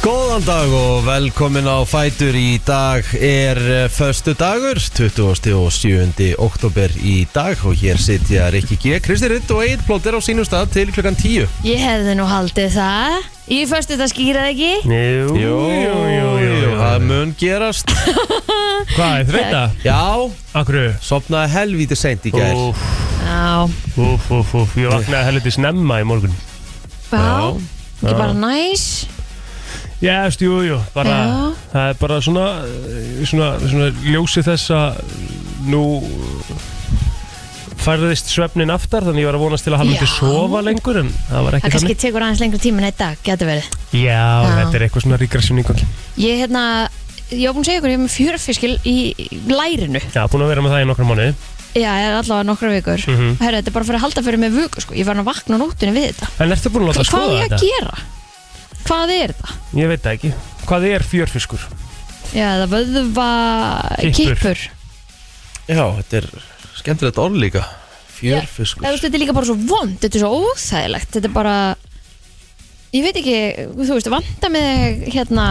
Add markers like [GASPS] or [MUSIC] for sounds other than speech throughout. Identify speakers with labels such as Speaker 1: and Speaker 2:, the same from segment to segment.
Speaker 1: Góðan dag og velkomin á Fætur Í dag er förstu dagur 27. oktober í dag og hér sitja Rikki G, Kristi Ritt og Eid Plóter á sínum stað til klukkan 10
Speaker 2: Ég hefði nú haldið það Ég fyrstu þetta skýrað ekki
Speaker 3: Jú, jú, jú, jú
Speaker 1: Það mun gerast
Speaker 3: Hvað, er þreita?
Speaker 1: Já,
Speaker 3: Akkur
Speaker 1: sopnaði helvíti seint í gær
Speaker 3: Úf,
Speaker 2: Já,
Speaker 3: úf, úf, úf Ég vaknaði helviti snemma í morgun
Speaker 2: já,
Speaker 1: Já.
Speaker 2: ekki bara næs
Speaker 3: Jæst, jú, jú bara,
Speaker 2: Já.
Speaker 3: Það er bara svona eh, Svona, svona ljósi þess að Nú Færðist svefnin aftar Þannig ég var að vonast til að hann myndi
Speaker 2: Já.
Speaker 3: sofa lengur En það var
Speaker 2: Það
Speaker 3: ekki
Speaker 2: kannski
Speaker 3: þannig
Speaker 2: tekur aðeins lengri tíma en eitt dag, getur verið
Speaker 3: Já, þetta er eitthvað svona ríkrassjón í gangi
Speaker 2: Ég hérna, ég var búin að segja ykkur, ég er með fjörufiskil í lærinu
Speaker 3: Já, búin að vera með það í nokkra mánuði
Speaker 2: Já, ég er allavega nokkra vikur mm
Speaker 3: Mhm.
Speaker 2: Herra, þetta er bara fyrir að halda fyrir mig vöku sko. Ég var hann að vakna á nóttunni við þetta
Speaker 3: En ertu búin að láta
Speaker 2: Hvað á
Speaker 3: skoða
Speaker 2: ég að
Speaker 3: þetta?
Speaker 2: gera? Hvað er þetta?
Speaker 3: Ég veit það ekki Hvað er fjörfiskur?
Speaker 2: Já, það vöðva
Speaker 3: Kippur.
Speaker 2: kippur
Speaker 1: Já, þetta er skemmtilegt orð líka Fjörfiskur
Speaker 2: Eða, þú veist, þetta er líka bara svo vond, þetta er svo óþægilegt Þetta er bara Ég veit ekki, þú veist, vanda mig hérna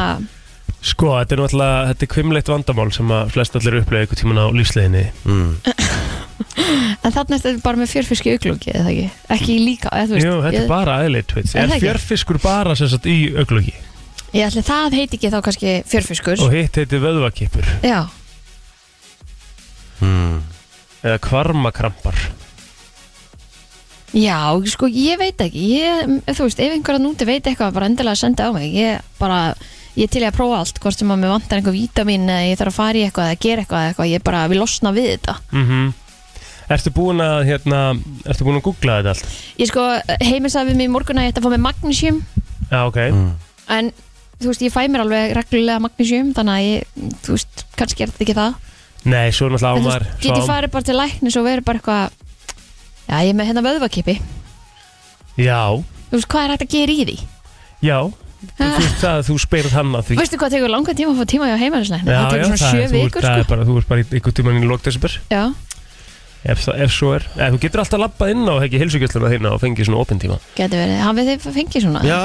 Speaker 3: Sko, þetta er náttúrulega, þetta er kvimleitt vandamál sem að flest allir upplega einhvern tíman á lífsleginni.
Speaker 1: mm.
Speaker 2: En þarna er þetta bara með fjörfiski auglungi, eða ekki Ekki í líka, eða þú veist
Speaker 3: Jú, þetta
Speaker 2: ég,
Speaker 3: er bara aðleitt, veit.
Speaker 2: Er
Speaker 3: Er
Speaker 2: það ekki?
Speaker 3: fjörfiskur bara sem sagt í auglugi
Speaker 2: ég ætli það heiti ekki þá kannski fjörfiskur
Speaker 3: og hitt heiti vöðvakipur
Speaker 2: Já,
Speaker 1: Mm.
Speaker 3: eða kvarmakrampar.
Speaker 2: já, sko, ég veit ekki ég, Þú veist, ef einhverja núti veit eitthvað bara endilega að senda á mig Ég bara, ég er til í að prófa allt Hvort sem að mér vantar einhver vítamín eða Ég þarf að fara í eitthvað eða gera eitthvað, eða eitthvað Ég bara vil losna við þetta
Speaker 3: Mm Ertu búin að, hérna, ertu búin að googla þetta allt?
Speaker 2: Ég sko, heimir sagði við mig í morgun að ég ætti að fá með magnesium
Speaker 3: Já, ok.
Speaker 1: Mm.
Speaker 2: en þú veist, ég fæ mér alveg reglulega magnísjum, þannig að ég, þú veist, kannski er þetta ekki það.
Speaker 3: Nei, svo náttúrulega
Speaker 2: en þú
Speaker 3: ámar.
Speaker 2: veist, get ég farið bara til læknis og verið bara eitthvað, já, ég er með hérna vöðvakipi.
Speaker 3: Já,
Speaker 2: Þú veist, hvað er hægt að gera í því?
Speaker 3: já.
Speaker 2: Ah.
Speaker 3: Þú veist það að þú spyrð hann að því.
Speaker 2: Veistu hvað tekur langan tíma að fá tíma hjá heimælisleikni? það
Speaker 3: Já, já,
Speaker 2: tekur svona
Speaker 3: það
Speaker 2: sjö
Speaker 3: er, þú,
Speaker 2: vikur,
Speaker 3: það er
Speaker 2: sko.
Speaker 3: bara, þú ert bara í- einhvern tíman í lókdesember,
Speaker 2: Já,
Speaker 3: ef, það- ef svo er. Eða, þú getur alltaf labbað inn á, ekki, heilsugjöldunar þína og fengið svona opinn tíma.
Speaker 2: getur verið. Hann við þið fengið svona.
Speaker 1: Já,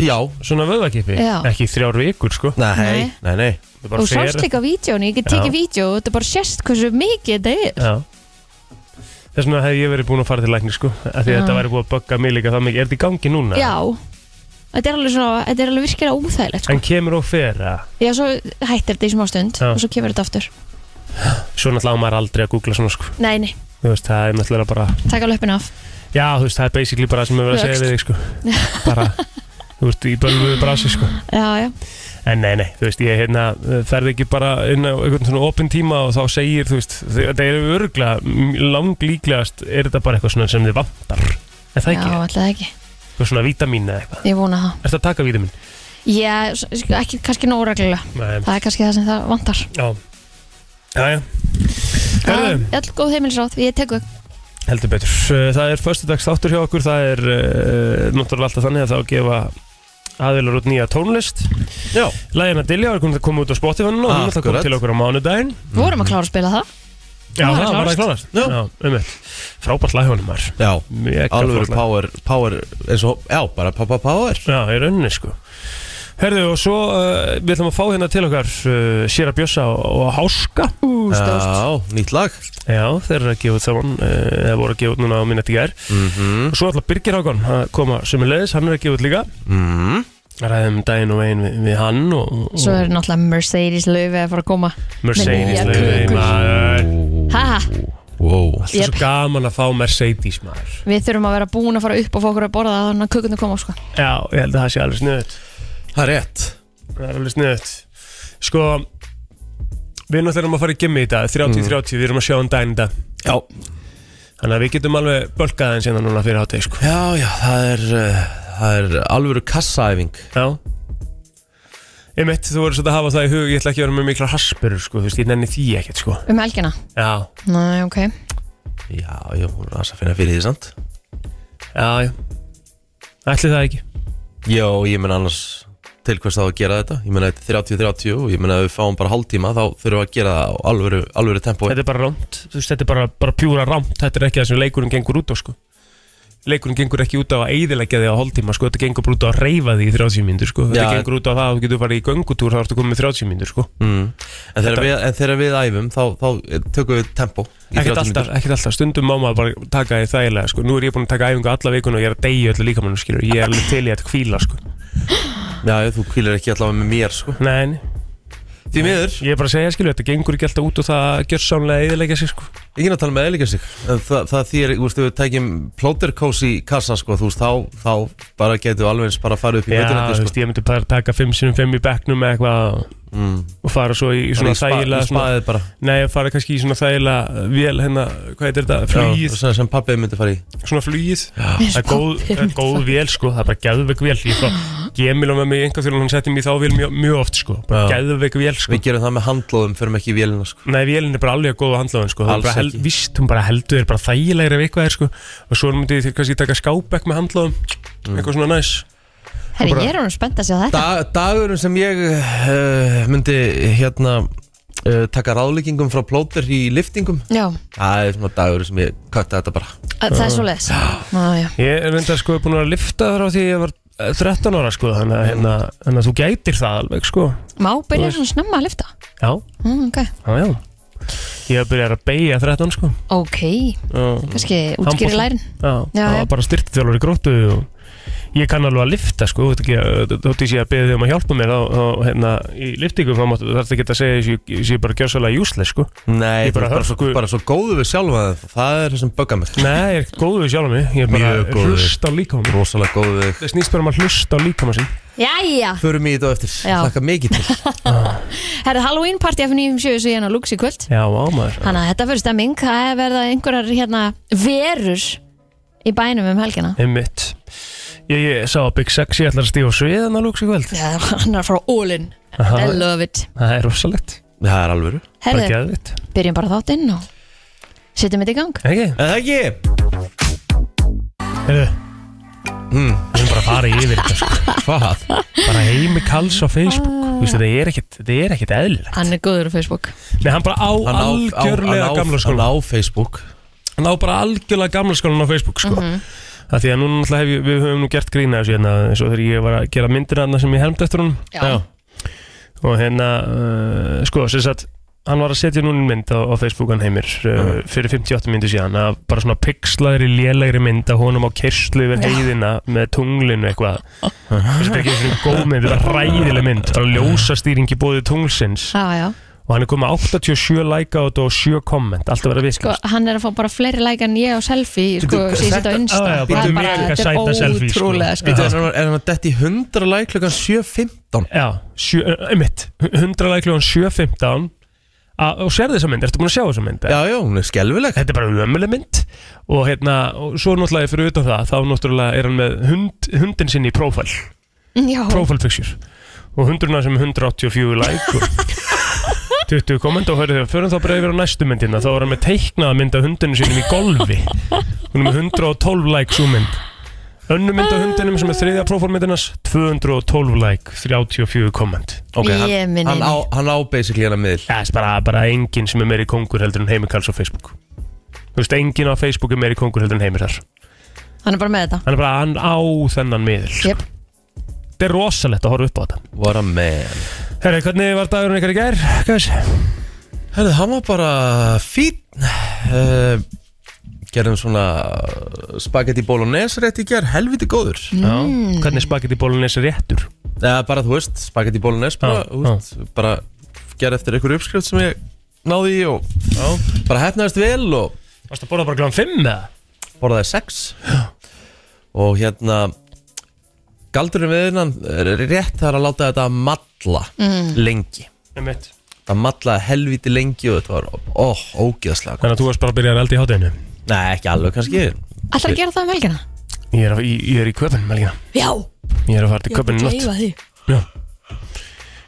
Speaker 1: já
Speaker 3: Svona vöðvakipi,
Speaker 2: Já.
Speaker 3: ekki þrjár vikur sko
Speaker 1: Nei, nei, nei,
Speaker 3: Ég bara
Speaker 2: og
Speaker 3: fer-
Speaker 2: sást líka á vídjónu, ég get
Speaker 3: Já.
Speaker 2: tekið vídjó og þetta bara sérst hversu mikið þetta er.
Speaker 3: Já Þess vegna hef ég verið búin að fara til lækni sko af Því að
Speaker 2: Já.
Speaker 3: þetta væri búið að bögga mig líka það mikið Er þetta í gangi núna?
Speaker 2: Já. Þetta er alveg svona, þetta er alveg virkilega óþægilegt, sko.
Speaker 3: En kemur og fer að
Speaker 2: Já, svo hættir þetta í smá stund
Speaker 3: Já.
Speaker 2: og svo kemur þetta aftur.
Speaker 3: Svo náttúrulega á maður aldrei að googla svona sko
Speaker 2: Nei, nei,
Speaker 3: Þú veist, það er náttúrulega bara
Speaker 2: taka löpun af.
Speaker 3: Já, þú veist, það er basically bara það sem við verið að segja
Speaker 2: Vöxt.
Speaker 3: við þig sko Bara, þú veist, í bölvuðu brasi sko
Speaker 2: [LAUGHS] Já, já.
Speaker 3: En nei, nei, þú veist, ég hérna ferði ekki bara inn á einhvern svona opinn tíma og þá segir, þú veist, þetta er örglega langlíklegast, er þetta bara eitthvað svona sem þið vantar, er það
Speaker 2: Já,
Speaker 3: ekki?
Speaker 2: alltaf ekki.
Speaker 3: Eitthvað svona vítamín eða eitthvað
Speaker 2: Ég vona það.
Speaker 3: Er þetta að taka vítamín?
Speaker 2: Já, s- sko, ekki kannski nóg reglulega.
Speaker 3: Nei,
Speaker 2: Það er kannski það sem það vantar.
Speaker 3: já Já, já, Herðu.
Speaker 2: Öll góð heimilisráð, ég teku.
Speaker 3: heldur betur Uh, Það er föstudags þáttur hjá okkur Það er uh, náttúrulega alltaf þannig að það á að gefa aðeilar út nýja tónlist
Speaker 1: já
Speaker 3: Lægin að Dilja var komin að koma út á Spotify núna og hún ætla að koma
Speaker 1: Akkurat.
Speaker 3: til okkur á mánudaginn
Speaker 2: Vorum að klára að spila það.
Speaker 3: Já,
Speaker 2: var að
Speaker 3: það var að
Speaker 2: klárast.
Speaker 3: klárast
Speaker 1: Já.
Speaker 3: Já, um eitt Frábært lag hjá honum maður
Speaker 1: Já,
Speaker 3: Mega
Speaker 1: alveg
Speaker 3: flott lag.
Speaker 1: power, power, eins og, já, bara pa- pa- power
Speaker 3: Já, í rauninni sko Herðu, og svo uh, við ætlum að fá hérna til okkar uh, Sýra Bjössa og, og Háska
Speaker 2: Ú, stórt.
Speaker 1: Já, nýtt lag
Speaker 3: Já, þeir eru að gefa út saman uh, eða voru að gefa út núna á minnetti gær
Speaker 1: Mhm,
Speaker 3: og svo ætla Birgir Hákon að koma sömulegis, hann er að gefa út líka
Speaker 1: mhm
Speaker 3: ræðum daginn og veginn við, við hann og, og
Speaker 2: Svo er náttúrulega Mercedes löfi að fara að koma.
Speaker 3: Mercedes
Speaker 2: Með nýja
Speaker 3: leiði,
Speaker 2: kökur.
Speaker 3: maður
Speaker 2: Ha, ha.
Speaker 1: Wow
Speaker 3: Það er
Speaker 2: Jep.
Speaker 3: svo gaman að fá Mercedes maður
Speaker 2: Við þurfum að vera búin að fara upp og fá okkur að borða það þannig að kökunni koma, sko.
Speaker 3: Já, ég held að það sé alveg sniðut
Speaker 1: Það er rétt
Speaker 3: Það er alveg sniðut Sko Við náttúrulega erum að fara í gimmi í dag 30-30, við erum að sjá hann daginn í dag
Speaker 1: Já,
Speaker 3: Þannig að við getum alveg bölkað þeim síðan núna fyrir hátegi sko
Speaker 1: já, já, það er uh, Það er alvöru kassaæfing
Speaker 3: Já Ég mitt, þú voru svolítið að hafa það í hug Ég ætla ekki að vera með mikla haspurur sko Þú veist, ég nenni því ekkert sko
Speaker 2: Um helgina.
Speaker 3: Já,
Speaker 2: Nei, ok.
Speaker 1: Já, já, hún er aðeins að finna fyrir því samt
Speaker 3: já, já Ætli það ekki
Speaker 1: Já, ég menn annars til hvers þá að gera þetta Ég menn að þetta er 30-30 og ég menn að við fáum bara hálftíma þá þurfum við að gera það á alvöru, alvöru tempói
Speaker 3: Þetta er bara rámt, þú veist, þetta er bara, bara pjúra rámt Þetta er ekki það sem leikurinn gengur út á sko leikurinn gengur ekki út á að eiðilegja þig á hóltíma sko, þetta gengur bara út á að reyfa þig í 30 mínútur sko, þetta
Speaker 1: Já.
Speaker 3: gengur út á það að þú getur farið í göngutúr þá ertu komið með 30 mínútur sko
Speaker 1: mm. en, þegar við, en þegar við æfum þá, þá tökum við tempo í 30
Speaker 3: ekkert alltaf,
Speaker 1: mínútur.
Speaker 3: ekkert alltaf, stundum má maður bara taka því þægilega sko, nú er ég búin að taka æfingu alla vikuna og ég er að deyja öllu líkamannum skilur, ég er alveg til í að hvíla sko,
Speaker 1: Já, þú kvílir ekki allavega með mér sko.
Speaker 3: nei, nei.
Speaker 1: Því miður,
Speaker 3: ég er bara að segja skilur, þetta gengur ekki alltaf út á það að gjör sánlega eiðilegja sig sko,
Speaker 1: Ég er að tala með eðlika sig en það, það þýr, þú veist, ef við tækjum plóterkós í kassa, sko, þú veist, þá, þá bara getum við alveg eins bara að fara upp í
Speaker 3: já,
Speaker 1: mötunandi,
Speaker 3: þú
Speaker 1: sko
Speaker 3: veist, ég myndi bara taka 5 sinum 5 í bekknum eða eitthvað
Speaker 1: mm.
Speaker 3: og fara svo í, í svona
Speaker 1: Þannig spa- í
Speaker 3: þægilega svona,
Speaker 1: spaðið bara
Speaker 3: nei, fara kannski í svona þægilega vél hérna, hvað heitir þetta,
Speaker 1: Já,
Speaker 3: flugið,
Speaker 1: svona sem pappið myndi fara í
Speaker 3: svona flugið
Speaker 2: Mér
Speaker 3: Það er góð,
Speaker 2: spáði
Speaker 3: það er
Speaker 2: um
Speaker 3: góð vél sko, það er bara geðveik vél Ég frá Gemil og með mig einhvern veginn, hann setti mig í þá vél mjög, mjög oft sko Bara
Speaker 1: Já.
Speaker 3: geðveik vél sko
Speaker 1: Við gerum það með handlóðum, förum ekki í vélina, sko
Speaker 3: Nei, vélin er bara alveg að góða handlaðin sko Það
Speaker 1: Alls
Speaker 3: er bara hel,
Speaker 1: ekki.
Speaker 3: Vist, hún bara heldur þér bara þægilegri ef eitthvað er sko Og svo myndi þér kannski taka skábekk með handlaðum
Speaker 1: Mm.
Speaker 3: Eitthvað svona næs
Speaker 2: Herri,
Speaker 3: bara-
Speaker 2: ég er hann spennt að sjá þetta
Speaker 1: da, Dagurum sem ég uh, myndi, hérna, uh, taka ráðlíkingum frá plóter í liftingum
Speaker 2: Já,
Speaker 1: Það er svona dagurum sem ég kötta þetta bara
Speaker 2: að- það er svo
Speaker 3: [GASPS]
Speaker 2: leis Já, já
Speaker 3: Ég er reyndar sko búin að lifta frá því ég var eh, 13 ára sko Þannig að, hérna, þannig að þú gætir það alveg sko
Speaker 2: Má byrja
Speaker 3: veist.
Speaker 2: svona snemma að lifta
Speaker 3: Já,
Speaker 2: mm, Ok,
Speaker 3: já, já Ég hef byrjað að beigja 13 sko
Speaker 2: ok,
Speaker 3: Já.
Speaker 2: kannski útskýri
Speaker 3: Handbolta.
Speaker 2: lærin
Speaker 3: Já,
Speaker 2: Já,
Speaker 3: það
Speaker 2: já.
Speaker 3: var bara styrtithjálfur í gróttu og ég kann alveg að lifta sko, þú veit ekki, þótt ég sé að beðið þig um að hjálpa mér þá, þá hérna, í liftingum þá máttu þarf það ekki að segja að ég- ég sé bara gjössalega júslega sko.
Speaker 1: Nei,
Speaker 3: Ég
Speaker 1: þú
Speaker 3: bara
Speaker 1: ert bara, svo,
Speaker 3: hörku-
Speaker 1: bara svo góðu við sjálfa það Það er það sem böggar mig
Speaker 3: Nei, ég er ekkert góður við sjálf mig, ég er bara
Speaker 1: Mjög góður.
Speaker 3: hlust á líkamann minn.
Speaker 1: Rosalega góðu við
Speaker 3: Það snýst bara um að hlusta á líkamann sinn.
Speaker 2: Jæja,
Speaker 1: Förum í þetta á eftir,
Speaker 2: Já.
Speaker 1: þakka mikið [LAUGHS] til
Speaker 2: herri, Halloween party F957 svo ég hann á Lux í kvöld
Speaker 3: Já, ámaður.
Speaker 2: Þannig að þetta fyrir stemming, það er verða einhverjar hérna verur í bænum um helgina
Speaker 3: Einmitt. Ég, ég sá að Big Sexy ætlar að stífa á sviðan að lúks í kvöld.
Speaker 2: Já, hann er frá Ólin I
Speaker 3: Aha,
Speaker 2: love it
Speaker 3: Það er rosalegt.
Speaker 1: Það er alvöru
Speaker 3: Bara
Speaker 2: Herri,
Speaker 3: geðvitt.
Speaker 2: byrjum bara þáttinn og setjum þetta í gang
Speaker 3: Ekki?
Speaker 1: Er það ekki?
Speaker 3: Heyrðu,
Speaker 1: Mm,
Speaker 3: við erum bara að fara yfir þetta sko.
Speaker 1: [LAUGHS] hvað?
Speaker 3: Bara heimi kals á Facebook. Þú veist, þetta er ekkert, þetta er ekkert eðlilegt.
Speaker 2: Hann er góður á Facebook
Speaker 3: Nei, hann bara á
Speaker 1: Hann á-
Speaker 3: algjörlega
Speaker 1: á- hann á-
Speaker 3: gamla skólan
Speaker 1: Hann á Facebook
Speaker 3: Hann á bara algjörlega gamla skólan á Facebook
Speaker 2: Mhm.
Speaker 3: sko. mm Því að núna náttúrulega hef, ég- við höfum nú gert grína þessu hérna eins og þegar ég var að gera myndir hann sem ég helmt eftir hún
Speaker 2: Já.
Speaker 3: Og hérna, uh, sko, sem sagt Hann var að setja núna mynd á, á Facebookan heimir uh, fyrir 58 myndir síðan að bara svona pixlaðri, lélegri mynd að honum á kerslu yfir heiðina með tunglinu eitthvað Þessi þetta er ekki svona góð mynd, þetta er bara ræðileg mynd bara ljósastýringi bóði tunglsins
Speaker 2: Já, já
Speaker 3: og hann er komið með 87 like á þetta og 7 komment, allt að vera
Speaker 2: Sko,
Speaker 3: viðskast
Speaker 2: hann er að fá bara fleiri like en ég á selfie sko,
Speaker 1: Bíddu,
Speaker 2: sem ég setja
Speaker 1: þetta-
Speaker 2: á Insta
Speaker 3: á, já,
Speaker 2: Það
Speaker 3: bíddu,
Speaker 2: er bara,
Speaker 3: mega
Speaker 2: þetta
Speaker 3: sæta
Speaker 2: er
Speaker 3: selfie, sko.
Speaker 2: ótrúlega sko.
Speaker 1: Býtu, er hann- er hann að detti 100 læk klukkan 7.15?
Speaker 3: Já, sjö, eh, einmitt 100 like klukkan 7.15 A- og sér þessa mynd, ertu búin að sjá þessa mynd?
Speaker 1: Já, já, hún er skelvileg
Speaker 3: Þetta er bara ömuleg mynd og hérna, og svo náttúrulega fyrir utan það þá náttúrulega er hann með hund, hundin sinni í prófæl,
Speaker 2: Mm, Já,
Speaker 3: prófæl picture og hundurna sem er 184 like og 20 komment og hörðu þau, förum þá bara yfir á næstu myndina þá var hann með teiknaða mynd af hundinu sinum í golfi hún er með 112 like svo mynd önnu mynd af hundinum sem er þriðja prófálmyndinas 212 like, 34 komment
Speaker 1: Ok,
Speaker 2: Ég
Speaker 1: hann,
Speaker 2: minni
Speaker 1: hann, á, hann á basically hann að miðl
Speaker 3: Það er bara, bara enginn sem er meiri kongur heldur en heimir kalls á Facebook Þú veist, enginn á Facebook er meiri kongur heldur en heimir þar
Speaker 2: hann er bara með þetta
Speaker 3: Hann er bara, hann á þennan miðil
Speaker 2: Jep.
Speaker 3: Þetta er rosalegt að horfa upp á þetta
Speaker 1: What a man
Speaker 3: Herri, hvernig var dagurinn ykkar í gær? Guys?
Speaker 1: Hörðu, hann var bara fín uh, Gerðum svona spagetti bolognese rétt í ger Helviti góður
Speaker 3: Mm. Hvernig spagetti bólunis er réttur?
Speaker 1: Eða bara, þú veist, spagetti bolognese bara,
Speaker 3: Já,
Speaker 1: þú veist, bara gerð eftir einhverju uppskrift sem ég náði í og
Speaker 3: Já
Speaker 1: bara hefnaðist vel og
Speaker 3: Varstu að borða bara glan 5 eða?
Speaker 1: borðaði sex og hérna galdurinn við innan er rétt það er að láta þetta matla
Speaker 2: Mm.
Speaker 1: lengi
Speaker 3: Nei mitt
Speaker 1: það matlaði helviti lengi og þetta var ó, ógeðslega gott.
Speaker 3: Þannig að þú varst bara að byrja að elda í hátæðinu
Speaker 1: nei, ekki alveg kannski
Speaker 2: Ætlar að gera það um helgina?
Speaker 3: Ég er, að- ég, ég er í köpinn, Melgina
Speaker 2: Já,
Speaker 3: Ég er að fara
Speaker 2: ég
Speaker 3: til
Speaker 2: ætla
Speaker 3: köpinn
Speaker 2: að
Speaker 3: í nótt
Speaker 2: gleifa því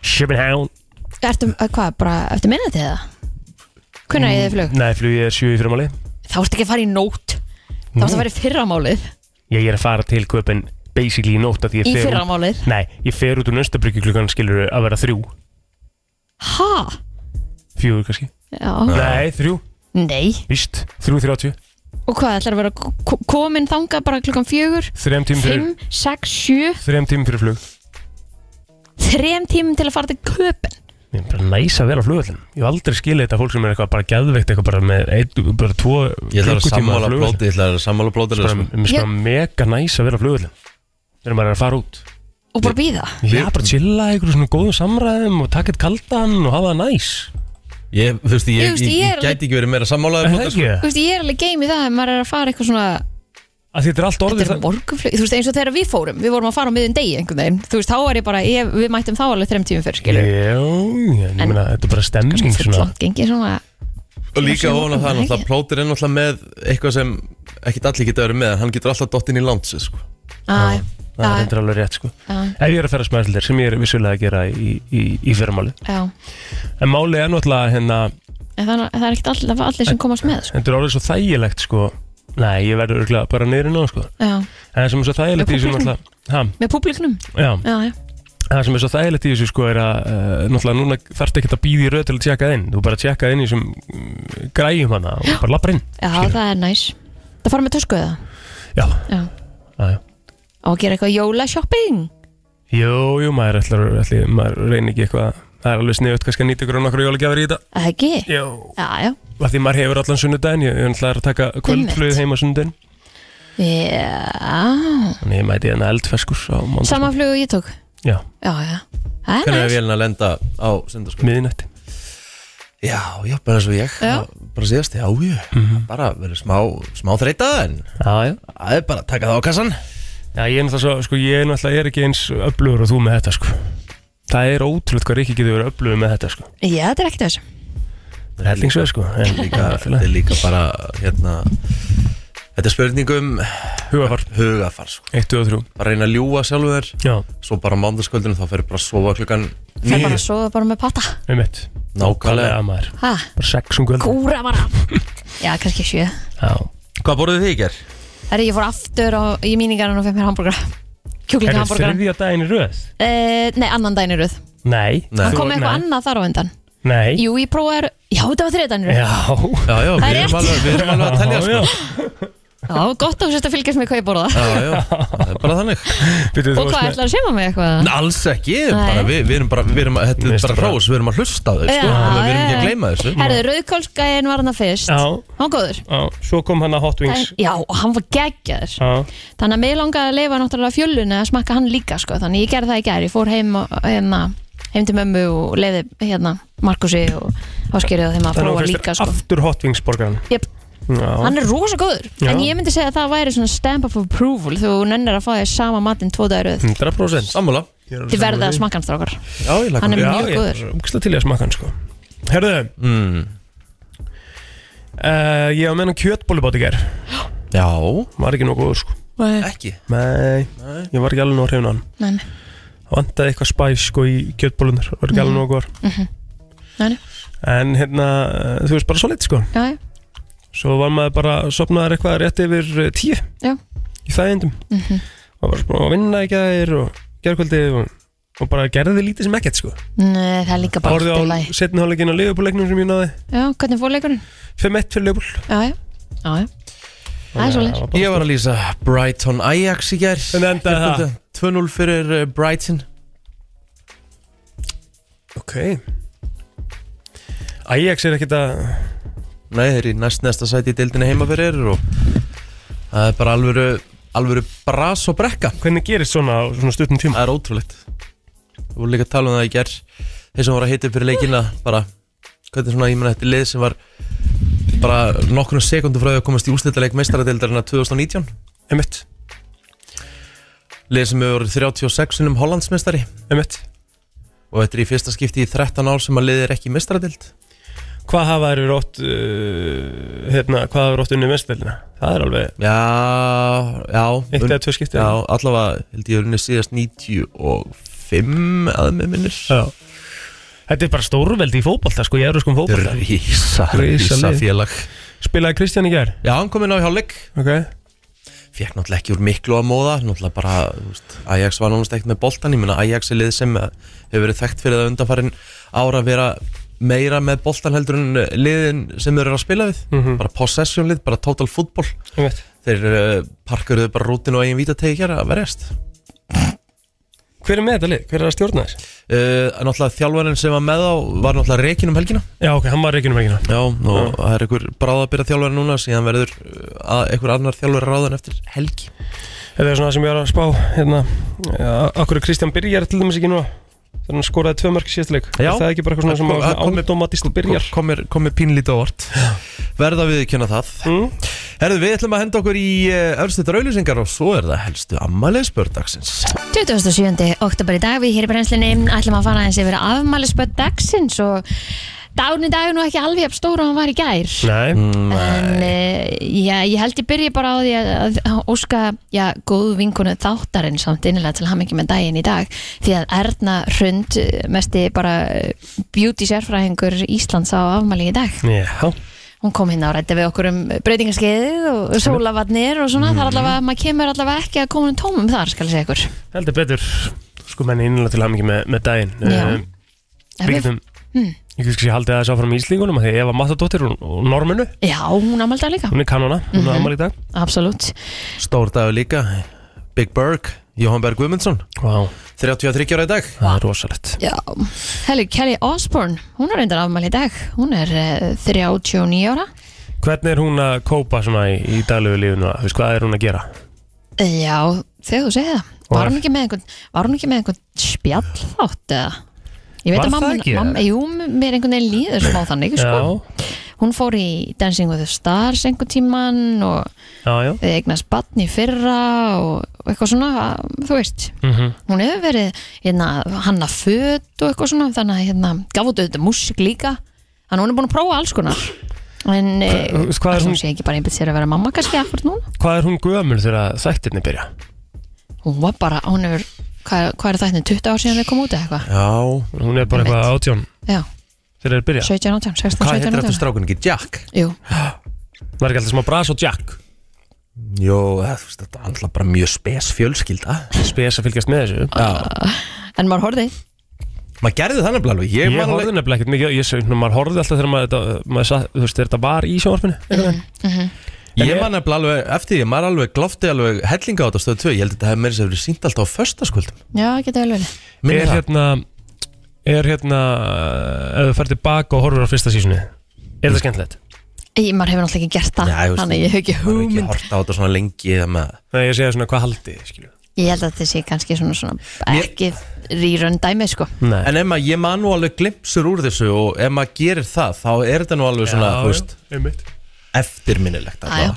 Speaker 3: Shipping Hound
Speaker 2: Ertu, eh, hvað, bara eftir minnati eða? Hvernig er þið flug?
Speaker 3: Nei, flugið er 7 í fyrirmáli
Speaker 2: Þá ertu ekki að fara í nót Þá ertu að fara í fyrramálið
Speaker 3: Ég er að fara til köpinn basically í nótt af því ég
Speaker 2: Í
Speaker 3: fer út-
Speaker 2: fyrramálið
Speaker 3: Nei, ég fer út úr Nöstabryggju klukkan skilur að vera þrjú,
Speaker 2: Ha?
Speaker 3: fjúur kannski
Speaker 2: Já
Speaker 3: Nei, þrjú,
Speaker 2: Nei
Speaker 3: víst, þrjú þrjáttíu
Speaker 2: og hvað, ætlar að vera ko- komin þangað bara klukkan fjögur,
Speaker 3: Þrem tímum fyrir,
Speaker 2: fimm, sex, sjö
Speaker 3: þrem tímum fyrir flug
Speaker 2: þrem tímum til að fara til köpen
Speaker 3: Ég er bara næs að vera á flugvöllin Ég hef aldrei skilið þetta fólk sem er eitthvað bara geðveikt eitthvað bara með ein, bara tvo
Speaker 1: Ég ætla að
Speaker 3: klukkutíma á
Speaker 1: sammála
Speaker 3: flugvöllin
Speaker 1: blóti Ég ætla að sammála sko. blóti
Speaker 3: Bara, Mér finnst bara mega næs að vera á flugvöllin Þegar maður er að fara út
Speaker 2: og bara býða
Speaker 3: Já, bara chilla í einhverjum svona góðum samræðum og taka eitt kaldan og hafa það næs
Speaker 1: Ég, þú veist,
Speaker 2: Ég
Speaker 1: ég,
Speaker 2: veist,
Speaker 1: ég,
Speaker 2: ég er
Speaker 1: ég
Speaker 2: alveg-
Speaker 1: gæti ekki verið meira sammálaður sko.
Speaker 3: Er það
Speaker 1: blóti
Speaker 3: ekki?
Speaker 2: Þú veist, ég er alveg game í það ef maður er að fara eitthvað svona
Speaker 3: Af því Þetta er allt orðið
Speaker 2: Þetta er
Speaker 3: það-
Speaker 2: morgunflug, þú veist eins og þegar við fórum Við vorum að fara á miðun degi einhvern veginn Þú veist, þá er ég bara, ég, við mættum þá alveg þrem tímum fyrr
Speaker 3: Já,
Speaker 2: skilur
Speaker 3: já, ég
Speaker 2: En-
Speaker 3: meina, þetta er bara
Speaker 2: Kannski
Speaker 3: stemning
Speaker 2: fyrir
Speaker 3: Mm, svona
Speaker 2: langt gengi svona
Speaker 1: Og líka
Speaker 2: Ég sé
Speaker 1: ofan á
Speaker 2: það
Speaker 1: það,
Speaker 2: ekki.
Speaker 1: náttúrulega, plótir er náttúrulega með eitthvað sem ekkert allir geta verið með, en hann getur alltaf dottinn í lánsi, sko.
Speaker 2: Æ,
Speaker 3: Það er
Speaker 2: já,
Speaker 3: endur alveg rétt sko
Speaker 2: já,
Speaker 3: Ef ég er að ferðast með allir sem ég er vissulega að gera í, í, í fyrramáli
Speaker 2: já
Speaker 3: En máli er náttúrulega hérna
Speaker 2: En það, það er ekkert allir, allir sem komast með sko.
Speaker 3: Þetta er orðið svo þægilegt sko Nei, ég verður örgulega bara niður í ná sko
Speaker 2: Já,
Speaker 3: En það sem er svo þægilegt í þessu náttúrulega ha,
Speaker 2: með públiknum
Speaker 3: já,
Speaker 2: Já, já,
Speaker 3: Það sem er svo þægilegt í þessu sko er að uh, Náttúrulega núna þarfst ekki að býða í röð til að tjekka inn Þú bara tjekka inn í þessum mm, græjum hana og bara lappar inn
Speaker 2: já
Speaker 3: Skilur.
Speaker 2: það er næs Það fara með tösku eða
Speaker 3: Já,
Speaker 2: Já,
Speaker 3: já, já
Speaker 2: og gera eitthvað jólashopping
Speaker 3: Jú, jú, maður ætlar, ætli, maður reynir ekki eitthvað Það er alveg sniðut kannski að nýta ykkur á nokkru jólagjafir í þetta
Speaker 2: Er Það ekki?
Speaker 3: Já
Speaker 2: Já, já,
Speaker 3: Af því maður hefur allan sunnudaginn, ég ég ætla að taka kvöldflöð heima sunnudaginn
Speaker 2: já
Speaker 3: Þannig ég mæti hérna eldfeskur á mándag
Speaker 2: Sama flug og ég tók
Speaker 3: Já,
Speaker 2: Já, já,
Speaker 1: Hvernig
Speaker 2: það er
Speaker 1: er
Speaker 2: næs
Speaker 1: vélina að lenda á sundarskóla?
Speaker 3: miðinætti
Speaker 1: Já, já, bara eins og ég.
Speaker 2: Já.
Speaker 1: Bara síðast, já, já. Bara verið smá, smá þreita, en
Speaker 3: Já, já
Speaker 1: það er bara að taka það á kassan.
Speaker 3: Já, ég er náttúrulega, svo, sko, ég er náttúrulega er ekki eins öflugur og þú með þetta, sko. Það er ótrúlega hvað Rikki getur verið öflugur með þetta, sko.
Speaker 2: Já, þetta er ekkert þess
Speaker 3: Það er hellingsveð, sko. En líka,
Speaker 1: Líka, [LAUGHS] þetta er líka bara, hérna, þetta er spurningum
Speaker 3: hugafar,
Speaker 1: hugafar, sko.
Speaker 3: 1, 2 og 3.
Speaker 1: Bara reyna að ljúa sjálfu þér,
Speaker 3: Já,
Speaker 1: svo bara mándaskvöldinu, þá fyrir bara að sofa klukkan
Speaker 2: Það er bara
Speaker 1: níu.
Speaker 2: að sofa bara með patta
Speaker 3: um mitt.
Speaker 1: Nákvæmlega.
Speaker 3: maður.
Speaker 2: Ha,
Speaker 3: Bara sex um kvöld.
Speaker 2: kúra bara Já, kannski sjö
Speaker 3: Já.
Speaker 1: Hvað borðuð þið í gerð?
Speaker 2: Það er ég fór aftur og, í míningarinn og fekk mér hambúrgar
Speaker 3: Er
Speaker 2: Kjúklinga Eh,
Speaker 3: þetta þriðja daginn í röð?
Speaker 2: Nei, annan daginn í röð
Speaker 3: Nei.
Speaker 1: Nei.
Speaker 2: Hann
Speaker 3: Þú-
Speaker 2: kom með eitthvað annað þar á undan
Speaker 3: Nei.
Speaker 2: Jú, ég prófaði Já, þetta var þriðdannir
Speaker 3: Já.
Speaker 1: Já, já,
Speaker 2: Það er
Speaker 1: við erum
Speaker 2: rétt.
Speaker 1: alveg, við erum alveg að telja,
Speaker 3: Já,
Speaker 1: sko.
Speaker 2: Já, gott og sérst að fylgjast með hvað ég borða
Speaker 1: Já, já, það er bara þannig.
Speaker 3: Býtu, þú
Speaker 2: Og hvað ætlar að sema mig eitthvað?
Speaker 1: Nei, Alls ekki,
Speaker 2: Nei.
Speaker 1: bara, við, við erum bara, við erum, þetta er
Speaker 3: Mér finnst
Speaker 1: bara
Speaker 3: það bara-
Speaker 1: rós, við erum að hlusta á þau, sko,
Speaker 2: Já,
Speaker 1: þannig að við erum ekki
Speaker 2: já,
Speaker 1: að
Speaker 2: já.
Speaker 1: gleyma þessu.
Speaker 2: Herðu, rauðkólsgæðin var hann að fyrst
Speaker 3: Já,
Speaker 2: Hann var góður
Speaker 3: já. Svo kom hann að Hot Wings.
Speaker 2: Já, og hann var geggjaður
Speaker 3: Já.
Speaker 2: Þannig að mig langaði að leifa náttúrulega fjölunni að smakka hann líka sko. Þannig ég gerði það í gær, ég fór heim, og- hérna, heim til mömmu og leiði hérna, Markusi og Áskerið og þeim að
Speaker 3: Þannig að
Speaker 2: prófa
Speaker 3: þú
Speaker 2: líka
Speaker 3: fyrst
Speaker 2: sko.
Speaker 3: aftur Hot Wings borgarinn.
Speaker 2: Jep,
Speaker 3: Já.
Speaker 2: hann er rosa góður
Speaker 3: Já.
Speaker 2: En ég myndi segja að það væri svona stamp of approval Þú nennir að fá því sama matinn tvo dagur
Speaker 3: Mm. 100%.
Speaker 1: Sammála.
Speaker 2: Þið verðið að smakka hann strákar
Speaker 1: Já, ég laka.
Speaker 2: Hann er
Speaker 3: Já,
Speaker 2: mjög
Speaker 3: ég
Speaker 2: góður
Speaker 3: er umksla til í að smaka hann sko Herðu,
Speaker 1: Mm,
Speaker 3: uh, ég var með hann kjötbólubát í ger
Speaker 1: já,
Speaker 3: Var ekki nóg góður sko
Speaker 2: Nei,
Speaker 1: ekki.
Speaker 3: Nei, ég var ekki alveg nóg hrifin á hann
Speaker 2: nei, nei,
Speaker 3: Það vantaði eitthvað spæs sko í kjötbólunar Var ekki
Speaker 2: Mhm.
Speaker 3: alveg nóg góður
Speaker 2: nei, nei.
Speaker 3: En hérna, eh, þú veist bara svo lit sko
Speaker 2: Já, já.
Speaker 3: Svo var maður bara sopnaðar eitthvað rétt yfir eh, tíu
Speaker 2: Já.
Speaker 3: Í þægindum
Speaker 2: Mhm.
Speaker 3: Og bara sprófa að vinna í gær og gerkvöldi og, og bara gerði lítið sem ekkert sko
Speaker 2: Nei, það er líka bara
Speaker 3: Horfði
Speaker 2: allt í
Speaker 3: á
Speaker 2: lagi.
Speaker 3: setni hálfleikinn á liðbúleiknum sem ég náði
Speaker 2: Já, hvernig fór leikurinn?
Speaker 3: 5-1 fyrir liðbúl
Speaker 2: Já, já, já, já Það er svoleiðis.
Speaker 1: Ég var að lýsa Brighton Ajax í gerð.
Speaker 3: Hvernig endaði það?
Speaker 1: 2-0 fyrir eh, Brighton.
Speaker 3: Ok Ajax er ekkert að
Speaker 1: Nei, þeir eru í næst næsta sæti í deildinni heima fyrir og það er bara alvöru, alvöru bras og brekka.
Speaker 3: Hvernig gerist svona, á svona stuttum tíma?
Speaker 1: Það er ótrúlegt. Við vorum líka að tala um það í gerð. Þeir sem voru að hita upp fyrir leikina, bara, hvernig svona, ég menna, þetta er lið sem var bara nokkurnum sekundum frá því að komast í úrslitaleik meistaradeildarinnar 2019.
Speaker 3: Emmett
Speaker 1: Lið sem hefur verið 36 sinnum Hollandsmeistari
Speaker 3: Emmett
Speaker 1: og þetta er í fyrsta skipti í 13 ár sem að liðið er ekki meistaradeild.
Speaker 3: Hvað hafa þeir rótt uh, hérna, hvað hafa rótt unni mestveldina? Það er alveg
Speaker 1: Já, já.
Speaker 3: eitt
Speaker 1: un-
Speaker 3: eða tvö skipti
Speaker 1: Já, allavega held ég að unni síðast 95 að með minnir.
Speaker 3: Já. Þetta er bara stórveldi í fótbolta sko, ég er sko um
Speaker 1: Þetta
Speaker 3: fótbolta
Speaker 1: er rísa,
Speaker 3: Rísa
Speaker 1: rísa
Speaker 3: lið.
Speaker 1: félag.
Speaker 3: Spilaði Kristján í gær
Speaker 1: Já, hann kom inn á hjáleik.
Speaker 3: Ok
Speaker 1: fekk náttúrulega ekki úr miklu að móða náttúrulega bara, þú veist, Ajax var náttúrulega ekkert með boltan ég meina Ajax er lið sem eh, hefur verið þekkt fyrir það undanfarin ára að vera meira með boltan heldur en liðin sem þeir eru að spila við
Speaker 3: Mhm.
Speaker 1: bara possession lið, bara total football
Speaker 3: einmitt.
Speaker 1: þeir uh, parkuruðu bara rútin og eigin vítategi hér að verjast
Speaker 3: Hver er með þetta lið? Hver er að stjórna þess?
Speaker 1: uh, náttúrulega þjálfarinn sem var með á var náttúrulega reikin um helgina
Speaker 3: Já, ok, hann var um reikinum veginna
Speaker 1: Já, og það er einhver bráðabyrja þjálfari núna síðan verður uh, að- einhver annar þjálfari ráðan eftir helgi
Speaker 3: Þetta er svona sem ég var að spá hérna, ja, Akkur er Kristján Byrjar til dæmis ekki núna Þannig að skoraði tvö mörg síðastleik
Speaker 1: Já.
Speaker 3: Það er ekki bara eitthvað svona sem
Speaker 1: Kom-
Speaker 3: að svona
Speaker 1: kom- kom-
Speaker 3: automatist byrjar
Speaker 1: Kom mér- kom mér pínlítið á vart Verða við kjöna það
Speaker 3: Mm.
Speaker 1: Herðu, við ætlum að henda okkur í uh, öfstu draulisingar og svo er það helstu ammælega spördagsins
Speaker 2: 27. oktober í dag við hér í brennslinni ætlum að fara aðeins yfir afmælisböld dagsins og dán í dag er nú ekki alveg jafn stór og hann var í gær
Speaker 3: Nei,
Speaker 2: en uh, já, ég held ég byrja bara á því að, að óska já, góð vinkunu þáttarinn samt innilega til hamingi með daginn í dag því að Erna Hrund eh, mesti bara eh, beauty sérfræðingur Íslands á afmæli í dag
Speaker 3: já
Speaker 2: hún kom hérna og rætti við okkur um breytingarskeiðið og sólavatnir og svona, það er allavega,
Speaker 3: Mhm.
Speaker 2: maður kemur allavega ekki að koma um tómum þar, skal ég segja ykkur
Speaker 3: Heldur betur, sko menni innlega til hamingi með, með daginn
Speaker 2: Já.
Speaker 3: Eh, Við getum, ég veist ekki haldið aðeins áfram í Íslingunum af Því að Eva Mattadóttir og, og Norminu,
Speaker 2: Já, hún ámaldi líka,
Speaker 3: hún er kanona, hún er ammali í dag
Speaker 2: absolutt
Speaker 1: Stór dagur líka Big Berg, Jóhann Berg Guðmundsson
Speaker 3: Vá,
Speaker 1: 33 ára í dag
Speaker 3: það er rosalegt
Speaker 2: Já, Helgi Kelly Osborne hún er reyndar afmæli í dag, hún er uh, 39 ára
Speaker 3: Hvernig er hún að kópa svona í, í daglegu lífinu, þú veist, hvað er hún að gera?
Speaker 2: Já, þegar þú segir það
Speaker 3: Og
Speaker 2: var
Speaker 3: er-
Speaker 2: hún ekki með einhvern, var hún ekki með einhvern spjall þátt eða Ég veit að
Speaker 3: Var það
Speaker 2: mamma,
Speaker 3: ekki,
Speaker 2: mamma, jú, mér einhvern veginn líður smá þannig, sko.
Speaker 3: Já,
Speaker 2: Hún fór í Dancing with the Stars einhvern tíman og
Speaker 3: já, já
Speaker 2: við eignast batn í fyrra og eitthvað svona, að- þú veist
Speaker 3: mm
Speaker 1: Mhm.
Speaker 2: hún hefur verið hérna, hanna föt og eitthvað svona þannig að hérna, gaf út auðvitað músík líka þannig að hún er búin að prófa alls konar en eh,
Speaker 3: Þú veist, hvað er
Speaker 2: ætli
Speaker 3: hún-
Speaker 2: hún sé ekki bara einbætt sér að vera mamma kannski akkur núna
Speaker 3: Hvað er hún gömul þegar þættirni byrja?
Speaker 2: hún var bara, hún hefur, hvað, hvað er þetta 20 ár síðan við komum út eða eitthvað
Speaker 1: Já,
Speaker 3: Hún er bara eitthvað átján
Speaker 2: já,
Speaker 3: þegar þeir byrja
Speaker 2: 17, 18, 16,
Speaker 1: hvað
Speaker 2: 17,
Speaker 1: heitir
Speaker 2: 18
Speaker 1: eftir strákun ekki? Jack?
Speaker 2: jú,
Speaker 3: Var ekki alltaf smá bras og jack
Speaker 1: Jó, eh, þú veist, þetta er alltaf bara mjög spes fjölskylda
Speaker 3: Spes að fylgjast með þessu
Speaker 1: Já,
Speaker 2: en maður horfði
Speaker 1: maður gerði það nefnilega alveg Ég,
Speaker 3: Ég
Speaker 1: man
Speaker 3: horfði
Speaker 1: alveg-
Speaker 3: nefnilega ekkert mikið, ég sagði, maður horfði alltaf þegar maður, þetta, maður sa, þú veist, þegar þetta var í sjónvarpinu einhvern veginn. En
Speaker 1: ég
Speaker 3: ég-
Speaker 1: man nefnilega alveg eftir því Maður alveg glofti alveg hellinga á þetta stöðu 2 Ég held að þetta hefði meira sér verið sínt alltaf á föstaskvöldum
Speaker 2: já, getur vel verið
Speaker 1: Minni
Speaker 3: Er
Speaker 1: það.
Speaker 3: hérna, er hérna, ef þú fer tilbaka og horfir á fyrsta sísunni, er það skemmtilegt?
Speaker 2: Ég, maður hefur náttúrulega ekki gert það,
Speaker 1: Nei, þú veist,
Speaker 2: þannig að ég hef ekki
Speaker 1: maður hefur
Speaker 2: hugmynd
Speaker 1: ekki hort á þetta svona lengi eða með-
Speaker 3: Nei, ég segja svona, hvað haldið, skilju?
Speaker 2: Ég held að þetta sé kannski svona, svona ekki rýrönd dæmi sko
Speaker 3: Nei,
Speaker 1: En ef maður, ég man nú alveg glimpsur úr þessu og ef maður gerir það, þá er þetta nú alveg svona, þú veist,
Speaker 3: einmitt.
Speaker 1: eftirminnilegt allavega.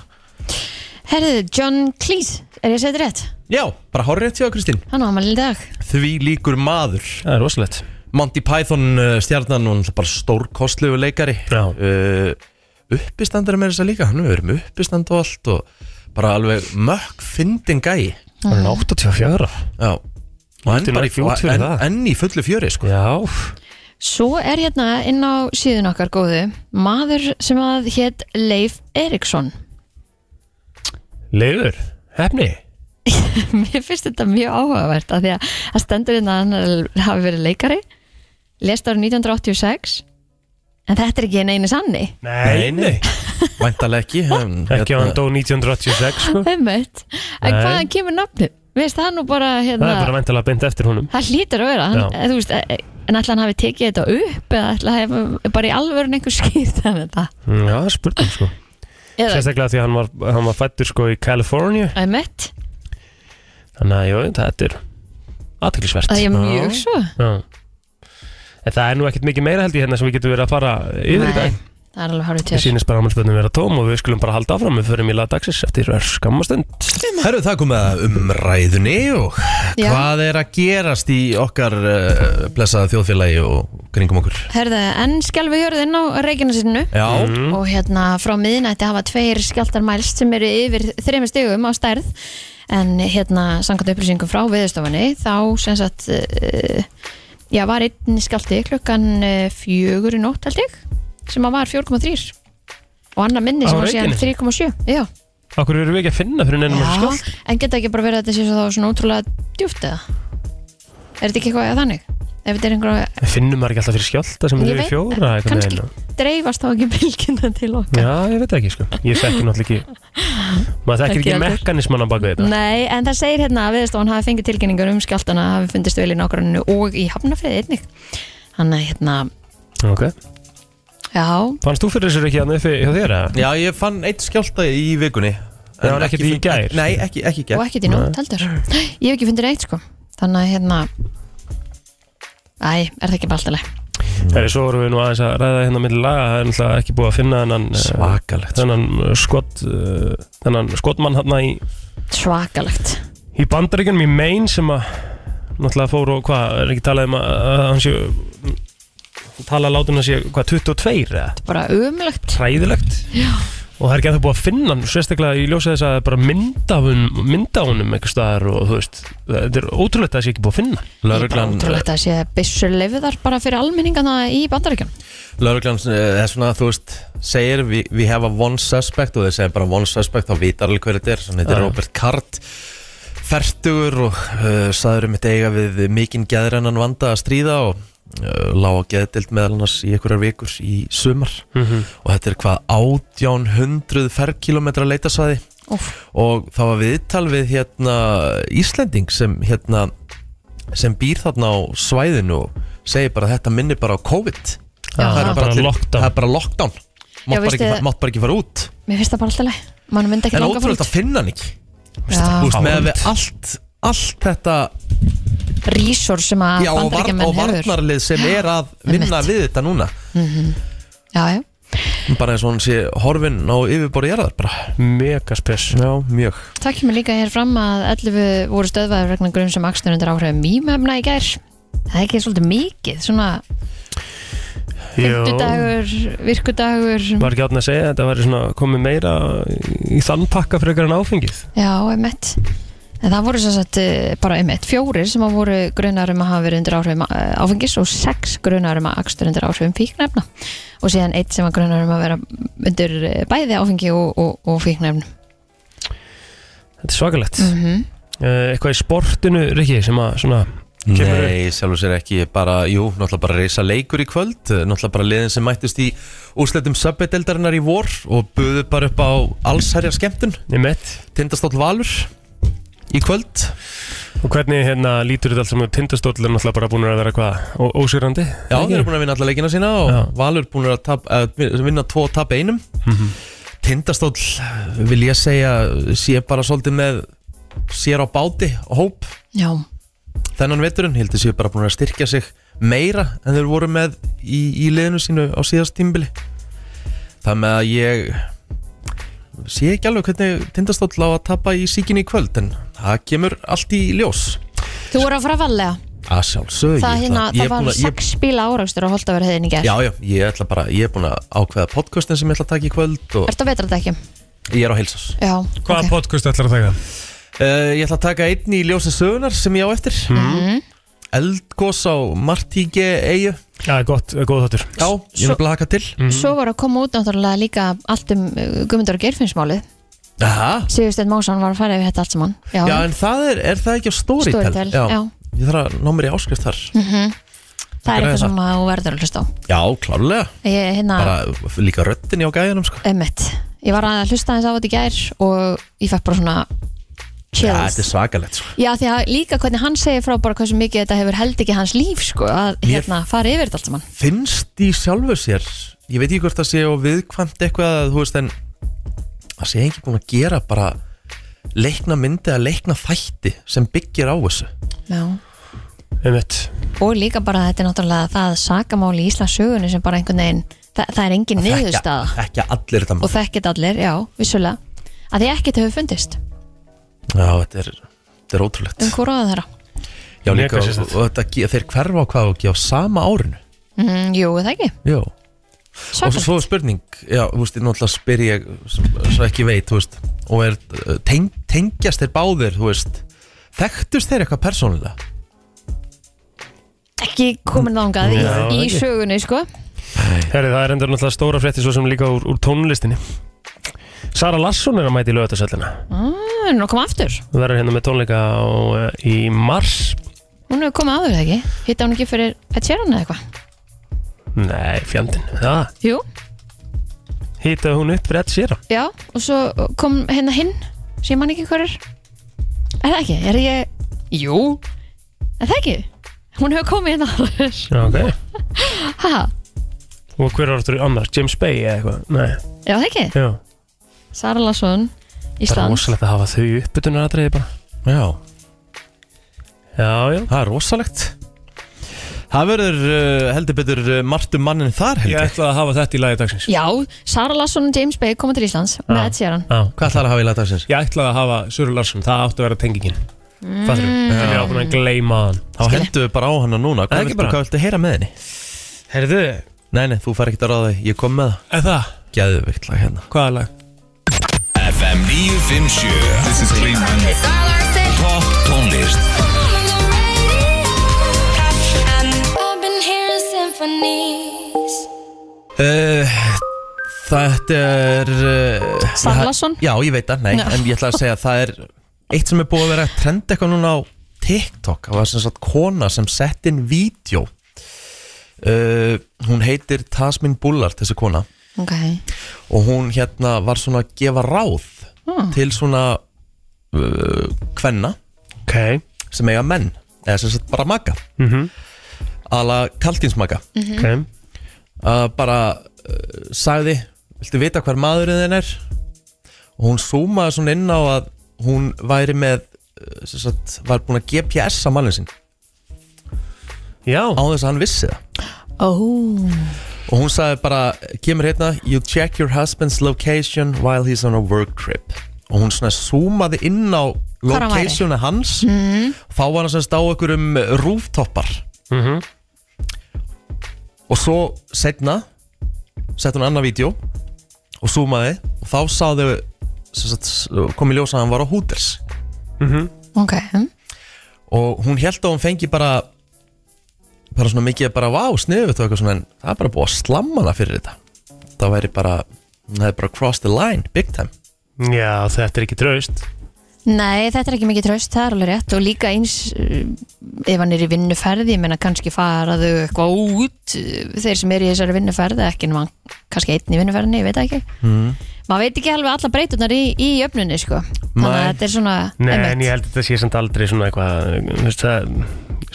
Speaker 2: Herðu, John Cleese, er ég að segja þetta rétt?
Speaker 1: Já, bara horrið til það, Kristín.
Speaker 2: Hann á ámæli í dag
Speaker 1: Því líkur maður.
Speaker 3: Það er rosalegt.
Speaker 1: Monty Python uh, stjarnan, hún er bara stórkostlegu leikari.
Speaker 3: Já.
Speaker 1: Uh, uppistandar er með þess að líka, hann er með uppistand og allt og bara alveg mökk fyndin gæi.
Speaker 3: Það er 84.
Speaker 1: Já. Og enn,
Speaker 3: Lítið
Speaker 1: bara
Speaker 3: nær fjút fyrir
Speaker 1: enn,
Speaker 3: það.
Speaker 1: enn í fullu fjöri, sko.
Speaker 3: Já,
Speaker 2: Svo er hérna inn á síðun okkar góðu maður sem að hétt Leif Eriksson [LAUGHS]
Speaker 3: leiður, hefni.
Speaker 2: Mér finnst þetta mjög áhugavert af því að það stendur hérna að hann er- hafi verið leikari lest árið 1986 en þetta er ekki einn eini sanni
Speaker 1: Nei, nei. Væntalega
Speaker 3: [LAUGHS]
Speaker 1: ekki. en
Speaker 3: Ekki á
Speaker 1: hérna-
Speaker 3: hann dó 1986, sko.
Speaker 2: Hérna- Einmitt. En
Speaker 3: Nei.
Speaker 2: hvaðan kemur nafnið? Veist það nú bara
Speaker 3: Það
Speaker 2: hérna
Speaker 3: er bara veintilega beint eftir honum.
Speaker 2: Það hlýtur að vera hann,
Speaker 3: Já.
Speaker 2: eh, þú veist, eh, En ætla hann hafi tekið þetta upp eða ætla hann hafi bara í alvörun einhver skýrt en þetta
Speaker 3: Já, það er spurning, sko.
Speaker 2: Eða,
Speaker 3: Sérstaklega því að hann var, hann var fættur, sko, í California.
Speaker 2: einmitt,
Speaker 3: Þannig að, jú, þetta er aðtækilsvert.
Speaker 2: það er mjög svo
Speaker 3: Já. En það er nú ekkert mikið meira held ég hérna sem við getum verið að fara yfir í dag.
Speaker 2: það er alveg hárið
Speaker 3: Við
Speaker 2: til
Speaker 3: sýnist bara ámælspöndum vera tóm og við skulum bara halda áfram. Við förum í laga dagsins eftir skammastönd.
Speaker 1: Herru, það komið að umræðunni og
Speaker 2: Já.
Speaker 1: hvað er að gerast í okkar uh, blessaða þjóðfélagi og kringum okkur?
Speaker 2: Herðu, enn skjálfi jörðin á Reykjanesinu
Speaker 1: Já,
Speaker 3: Mhm. Mm.
Speaker 2: og hérna frá miðnætti hafa tveir skjáltar mælst sem eru yfir þreymur stigum á stærð en hérna samkvæmt upplýsingum frá viðustofanni þá sem sagt uh, já var einn skjálti klukkan eh, fjögur í nótt held ég sem að var 4,3 og annar minni
Speaker 3: Á
Speaker 2: sem var síðan
Speaker 3: Reykjanesi?
Speaker 2: 3,7 já,
Speaker 3: Akkur eru við ekki að finna fyrir neinum
Speaker 2: já.
Speaker 3: að skjált?
Speaker 2: en geta ekki bara verið að þetta sé svo þá svona ótrúlega djúpt eða er þetta ekki eitthvað eða þannig? ef þetta er einhverja,
Speaker 3: Finnum maður ekki alltaf fyrir skjálta sem
Speaker 2: Ég
Speaker 3: eru í
Speaker 2: veit-
Speaker 3: fjóra einhvern
Speaker 2: kannski.
Speaker 3: veginn?
Speaker 2: dreifast þá ekki bylgjuna til okkar
Speaker 3: Já, ég veit ekki sko Ég þekki
Speaker 2: [LAUGHS]
Speaker 3: náttúrulega ekki Maður þekkir
Speaker 2: Ekki
Speaker 3: ekki
Speaker 2: heldur.
Speaker 3: mekanismann á baku þetta
Speaker 2: Nei, en það segir hérna að viðstofan hafi fengið tilkynningar um skjáltana hafi fundist vel í nágranninu og í hafnafriði einnig hann að hérna,
Speaker 3: Ok
Speaker 2: já,
Speaker 3: Fannst þú fyrir þessu ekki hann uppi hjá þér að?
Speaker 1: Já, ég fann eitt skjálta í vikunni
Speaker 3: Já, en ekkert í
Speaker 1: fun-
Speaker 3: gær?
Speaker 1: Nei, ekki, ekki í
Speaker 2: og
Speaker 1: gær
Speaker 2: ekkert í nótt heldur ég hef ekki fundið neitt sko þannig að hérna æ, er það ekki bara alltaf leið
Speaker 3: Það er svo vorum við nú aðeins að ræða hérna millir laga Það er náttúrulega ekki búið að finna þennan eh,
Speaker 1: Svakalegt
Speaker 3: Þennan eh, skot eh, Þennan skotmann hann í,
Speaker 2: svakalegt
Speaker 3: í bandaríkjunum í Maine sem að Náttúrulega fór og hvað Er ekki talað um að, að hann sé Talað látum hann sé hvað 22 eða?
Speaker 2: bara umlögt
Speaker 3: Hræðilegt
Speaker 2: Já.
Speaker 3: Og það er ekki að það búið að finna hann Sérstaklega ég ljósa þess að það er bara mynda af honum- mynd af honum einhvers staðar og þú veist Þetta er ótrúlegt að það sé ekki búið að finna hann.
Speaker 2: Lögreglan,
Speaker 1: Lörglan,
Speaker 2: ég er bara ótrúlegt að sé byssur leifiðar bara fyrir almenningana í bandaríkjum
Speaker 1: lörglan eh, er svona, þú veist segir, "We- we have a one suspect og þeir segir bara one suspect, þá vitar alveg hver þetta er þannig þetta er
Speaker 3: Já.
Speaker 1: Robert Card fertugur og uh, saður um þetta eiga við mikinn geðrennan vanda að stríða og uh, lág á geðdild meðal annars í einhverjar vikur í sumar og þetta er hvað 1800 ferkilometra leitasvæði
Speaker 2: Úf,
Speaker 1: og það var viðtal við hérna Íslending sem hérna sem býr þarna á svæðinu og segir bara að þetta minni bara á COVID það,
Speaker 2: bara
Speaker 1: er bara allir-
Speaker 3: lockdown.
Speaker 1: það er bara lockdown mátt, bara
Speaker 2: veistu-
Speaker 1: ekki, fa- mátt bara ekki fara út
Speaker 2: mér finnst það bara alltaf leið mann myndi ekki
Speaker 1: en
Speaker 2: langa
Speaker 1: ótrúlega
Speaker 2: fólk
Speaker 1: að finna hann ekki Þú
Speaker 2: Já,
Speaker 1: veist, með að
Speaker 3: Fáránlegt.
Speaker 1: við allt allt þetta
Speaker 2: rísor sem að
Speaker 1: já, og, var, og
Speaker 2: bandaríkjumenn hefur
Speaker 1: varnarlið sem er að vinna
Speaker 2: einmitt.
Speaker 1: við þetta núna
Speaker 2: já, já.
Speaker 1: bara eins og hann sé horfinn á yfirborði jarðar bara,
Speaker 3: Mega spes
Speaker 1: já, mjög
Speaker 2: það kemur líka hér fram að 11 voru stöðvaður vegna grunn sem akstur undir áhrifum mýmefna í gær það er ekki svolítið mikið svona
Speaker 3: Jú.
Speaker 2: fymtudagur, virkudagur
Speaker 3: Var ekki átna að segja að þetta væri svona komið meira í þann pakka frekar en áfengið
Speaker 2: já, emitt en það voru sem sagt eh, bara emitt fjórir sem að voru grunar um að hafa verið undir áhrifum eh, áfengis og sex grunar um að akstur undir áhrifum fíknefna og síðan eitt sem var grunar um að vera undir eh, bæði áfengi og, og, og fíknefnum
Speaker 3: Þetta er svakalegt mm.
Speaker 2: mm
Speaker 3: Eitthvað í sportinu, Rikki, sem að svona Kemur
Speaker 1: Nei, sjálfur sér ekki, bara, jú, náttúrulega bara reysa leikur í kvöld, náttúrulega bara liðin sem mættist í úrslitum sabbeteldarinnar í vor og buðu bara upp á allsherjar skemmtun,
Speaker 3: er mett
Speaker 1: tindastóll valur í kvöld.
Speaker 3: Og hvernig hérna lítur þetta allt sem tindastóll er náttúrulega bara búin að vera hvað ó- ósigrandi
Speaker 1: Já, þeir eru búin að vinna alla leikina sína og
Speaker 3: Já.
Speaker 1: valur búin að, tap, að vinna tvo og tap einum. Tindastóll, vil ég segja, sé bara svolítið með sér á báti, hóp,
Speaker 2: já,
Speaker 1: þennan veturinn, ég held að séu bara búin að styrkja sig meira en þeir voru með í, í liðinu sínu á síðast tímbili það með að ég sé ekki alveg hvernig tindastóll á að tapa í síkinni í kvöld en það kemur allt í ljós
Speaker 2: þú voru að fara valega
Speaker 1: að sjálfsög
Speaker 2: það, hérna, það var
Speaker 1: ég,
Speaker 2: sex bíla árakstur á Holtaverðiðin í gær
Speaker 1: já, já, ég ætla bara, ég er búin að ákveða podcastin sem ég ætla að taka í kvöld og
Speaker 2: Ertu á vetrardækjum?
Speaker 1: ég er á heilsás
Speaker 2: Já,
Speaker 3: Hvaða
Speaker 2: ok.
Speaker 3: okay. podcast ætlar að taka?
Speaker 1: uh, ég ætla að taka einn í ljósi sögunar sem ég á eftir
Speaker 2: Mm. Mhm.
Speaker 1: eldgós á Martíge eigu
Speaker 3: Já, gott, góð þáttur
Speaker 1: já, ég er
Speaker 2: Svo- Mm.
Speaker 1: nefnilega að haka til
Speaker 2: Svo var að koma út náttúrulega líka allt um uh, Guðmundur og Geirfinnsmálið
Speaker 1: Aha.
Speaker 2: Sigursteinn Másson var að fara yfir þetta allt saman Já,
Speaker 1: Já, en það er, er það ekki á Storytel?
Speaker 2: Storytel, já. Mm.
Speaker 1: Ég þarf að ná mér í áskrift þar
Speaker 2: það er
Speaker 1: græða
Speaker 2: eitthvað
Speaker 1: það.
Speaker 2: sem að þú verður að hlusta á
Speaker 1: Já, klárlega
Speaker 2: Ég, hérna,
Speaker 1: Bara líka röddin í á gæjanum sko
Speaker 2: emitt Ég var að hlusta aðeins á þetta í gær og ég fekk bara svona
Speaker 1: Já, þetta
Speaker 2: chills
Speaker 1: er svakalegt sko
Speaker 2: Já, því að líka hvernig hann segir frá bara hversu mikið þetta hefur held ekki hans líf sko, að
Speaker 1: Mér-
Speaker 2: hérna fara yfir þetta allt saman
Speaker 1: Finnst í sjálfu sér Ég veit ekki hvort það sé og viðkvæmt eitthvað að, Þú veist en Það sé ekki búin að gera bara Leikna myndi að leikna þætti Sem byggir á þessu
Speaker 2: Já
Speaker 3: Einmitt
Speaker 2: Og líka bara þetta er náttúrulega það sakamáli í Íslands sögunni sem bara einhvern veginn það, það er engin niðurstaða
Speaker 1: Þekkja- Þekkja allir þetta
Speaker 2: og
Speaker 1: maður
Speaker 2: þekkit allir, já, vissulega að því ekkert hefur fundist
Speaker 1: Já, þetta er, þetta er ótrúlegt
Speaker 2: um hvora þeirra
Speaker 1: Já, líka
Speaker 3: Mega
Speaker 1: og,
Speaker 3: sérstakt.
Speaker 1: og þetta, ge- þeir hverfa á hvað og ekki á sama árinu
Speaker 2: mm, Jú, er það ekki,
Speaker 1: Jó Og
Speaker 2: svakar
Speaker 1: svo er spurning, já, þú veist, ég náttúrulega spyr ég sem, sem ekki veit, þú veist og er, uh, teng, tengjast þeir báðir, þú veist þekktust þeir eitthvað persónulega?
Speaker 2: ekki komin þangað í,
Speaker 3: Já, er það
Speaker 2: í
Speaker 3: ekki?
Speaker 2: sögunni, sko
Speaker 3: Herri, það er endur náttúrulega stóra frétti svo sem líka úr, úr tónlistinni Sara Larsson er að mæti í lögatarsöllina
Speaker 2: Það er nú að koma Mm, aftur
Speaker 3: Þú verður hérna með tónleika á, eh, í mars
Speaker 2: Hún hefur komið áður eða ekki? Hitta hún ekki fyrir Ed Sheeran eða eitthvað?
Speaker 3: Nei, fjandinn, það
Speaker 2: Jú,
Speaker 3: Hitaði hún upp fyrir Ed Sheeran
Speaker 2: já, og svo kom hérna hinn sem ég man ekki hver er Er það ekki? Er ég... Jú Er það ekki? Hún hefur komið hérna áður [LAUGHS]
Speaker 3: Já, ok
Speaker 2: Haha,
Speaker 3: Og hver er áttur annars? James Bay eða eitthvað? Nei,
Speaker 2: já það ekki?
Speaker 3: já
Speaker 2: Sara Larsson,
Speaker 3: Það er
Speaker 2: Íslands
Speaker 3: rosalegt að hafa þau uppbytunaratriði bara
Speaker 1: Já,
Speaker 3: Já, já
Speaker 1: það er rosalegt Það verður uh, heldur betur uh, margt um mannin þar
Speaker 4: Ég
Speaker 1: heldur
Speaker 4: ætla að hafa þetta í lagi dagsins
Speaker 2: Já, Sara Larsson og James Bay koma til Íslands með
Speaker 3: Já.
Speaker 2: Ed Sheeran
Speaker 3: Já,
Speaker 1: Hvað ætlar að hafa í lagdagsins?
Speaker 4: Ég ætlaði að hafa Söru Larsson, það átti að vera tengingin mm. Fattur
Speaker 3: ég er ábúin að gleyma hann
Speaker 1: Þá
Speaker 2: Skilja.
Speaker 1: hendur við bara á hana núna
Speaker 3: Ekki
Speaker 1: Hvað viltu,
Speaker 3: bara.
Speaker 1: hvað viltu heyra með henni?
Speaker 4: Herðu
Speaker 1: Nei, nei, þú fær ekkert að ráða því. Ég kom með það
Speaker 4: Er það?
Speaker 1: Gæðuvikt lag hérna
Speaker 4: Hvaða lag?
Speaker 5: FM 957 This is Clean Monday Top tónlist
Speaker 1: uh, Þetta er uh,
Speaker 2: Sara
Speaker 1: ég-
Speaker 2: Larsson?
Speaker 1: Já, ég veit það, nei
Speaker 2: Já.
Speaker 1: En ég ætla að segja að það er Eitt sem er búið að vera að trenda eitthvað núna á TikTok Það var sem sagt kona sem sett inn vídeo uh, Hún heitir Tasmin Bullard, þessi kona
Speaker 2: Ok,
Speaker 1: og hún hérna var svona að gefa ráð til svona uh, kvenna
Speaker 3: Ok
Speaker 1: sem eiga menn eða sem sagt bara maka
Speaker 3: mm -hmm.
Speaker 1: ala kaltinsmaka
Speaker 3: Ok
Speaker 1: að bara uh, sagði, viltu vita hver maðurinn þinn er og hún zoomaði svona inn á að hún væri með uh, sem sagt, var búin að GPS að mannin sinn
Speaker 3: Já
Speaker 1: á þess að hann vissi það
Speaker 2: ó,
Speaker 1: og hún sagði bara, kemur hérna you check your husband's location while he's on a work trip og hún svona zoomaði inn á
Speaker 2: Hvar hann væri? Mhm.
Speaker 1: locationu hans þá var hann semst á einhverjum eh, rooftopar
Speaker 3: mm -hmm.
Speaker 1: og svo setna sett hún annað vídeo og zoomaði og þá sáðu sem sagt, kom í ljós að hann var á Hooters
Speaker 2: ok
Speaker 1: og hún held að hún fengi bara bara svona mikið bara vá, sniðut og eitthvað svona en það er bara búið að slamma hana fyrir þetta það væri bara, hún hefði bara crossed the line big time
Speaker 3: Já, þetta er ekki traust
Speaker 2: Nei, þetta er ekki mikið tröst, það er alveg rétt og líka eins eh, ef hann er í vinnuferði, ég menna kannski faraðu eitthvað út eh, þeir sem eru í þessari vinnuferði, ekki nema kannski einn í vinnuferðinni, ég veit það ekki
Speaker 3: Mm.
Speaker 2: maður veit ekki alveg alla breytunar í, í öfnunni sko, þannig að
Speaker 1: Nei.
Speaker 2: þetta er svona
Speaker 3: Nei,
Speaker 2: einmitt.
Speaker 3: en ég held að þetta sé samt aldrei svona eitthvað þú veist það,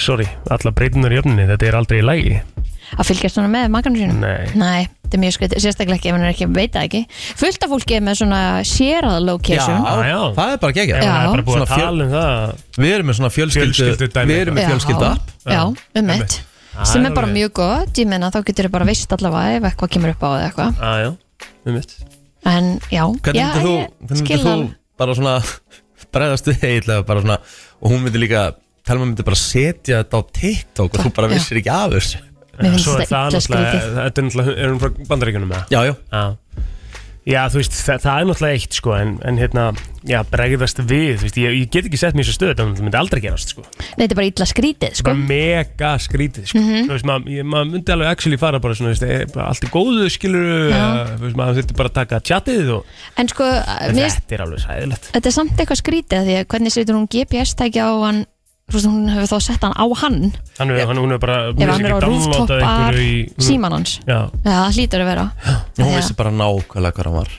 Speaker 3: Sorry, alla breytunar í öfninni Þetta er aldrei í lægi
Speaker 2: að fylgjast svona með makanum sínum
Speaker 3: Nei.
Speaker 2: þetta er mjög skrið, sérstaklega ekki ef hann er ekki, veit það ekki fullt af fólki er með svona sérað location
Speaker 3: Já, já.
Speaker 1: það er bara geggjað
Speaker 3: Ef hann er bara búið
Speaker 1: Svona
Speaker 3: að
Speaker 1: fjöl-
Speaker 3: tala um það
Speaker 1: Við erum með svona fjölskyldu,
Speaker 4: Fjölskyldu dæmi.
Speaker 1: Við erum með fjölskyldu app
Speaker 2: já, um mitt sem er bara
Speaker 3: alveg.
Speaker 2: mjög gott, ég menna þá getur þau bara veist allavega ef eitthvað kemur upp á eða eitthvað
Speaker 3: Já, já, um mitt
Speaker 2: en já, já,
Speaker 1: Hvernig myndir þú,
Speaker 2: ég
Speaker 1: hvernig
Speaker 2: skil
Speaker 1: myndir
Speaker 2: það
Speaker 1: þú bara svona [LAUGHS] bregðast við eiginlega bara svona og hún myndi líka Telma myndi bara setja þetta á TikTok og þú bara
Speaker 2: Já.
Speaker 1: vissir ekki af þessu
Speaker 2: mér finnst
Speaker 3: Svo er
Speaker 2: þetta
Speaker 3: það
Speaker 2: illa
Speaker 3: náttúrulega
Speaker 2: skrítið
Speaker 3: Þetta er náttúrulega, er hún frá bandaríkunum með það?
Speaker 1: Já, já,
Speaker 3: Já. Já, þú veist, það, það er náttúrulega eitt sko, en, en hérna, já, bregðast við þú veist, ég, ég get ekki sett mér í þessu stöð það myndi aldrei gerast, sko.
Speaker 2: nei, þetta er bara illa skrítið sko.
Speaker 3: Bara
Speaker 1: Mm.
Speaker 3: mega skrítið, sko.
Speaker 2: Mhm.
Speaker 3: Þú veist, maður ég- maður myndi alveg actually fara bara svona, þú veist, er bara allt í góðu, skilur
Speaker 2: Já.
Speaker 3: þú veist, maður þurfti bara að taka tjatið og
Speaker 2: en sko,
Speaker 3: en
Speaker 2: mér finnst
Speaker 3: þetta er alveg sæðilegt.
Speaker 2: þetta er samt eitthvað skrítið af því að hvernig setur hún GPS-tækja á hann þú veist, hún hefur þá sett hann á hann
Speaker 3: Hann er, hann, hún er bara, hún
Speaker 2: ef
Speaker 3: er
Speaker 2: hann
Speaker 3: ekki
Speaker 2: er á
Speaker 3: downloadað
Speaker 2: rooftopar
Speaker 3: einhverju í...
Speaker 2: síman hans
Speaker 3: Já,
Speaker 2: Já, það hlýtur að vera
Speaker 1: Mm. hún
Speaker 2: Já.
Speaker 1: vissi bara nákvæmlega hvað hann var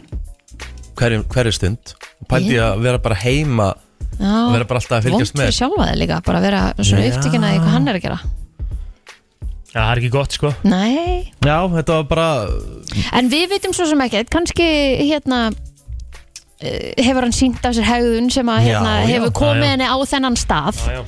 Speaker 1: hverju, hverju stund og pældi ég að vera bara heima og
Speaker 2: Já,
Speaker 1: vera bara alltaf að
Speaker 2: vond
Speaker 1: fylgjast
Speaker 2: fyrir
Speaker 1: með
Speaker 2: sjálfa þig líka bara vera svona
Speaker 1: Já.
Speaker 2: upptökin að því hvað hann er að gera
Speaker 3: já, það er ekki gott, sko.
Speaker 2: Nei,
Speaker 1: Já, þetta var bara
Speaker 2: en við veitum svo sem ekkert kannski hérna eh, hefur hann sínt af sér hegðun sem að
Speaker 1: Já,
Speaker 2: hérna,
Speaker 1: já,
Speaker 2: hefur
Speaker 3: já,
Speaker 2: komið
Speaker 3: já.
Speaker 2: hvort henni á þennan stað
Speaker 3: Já, já.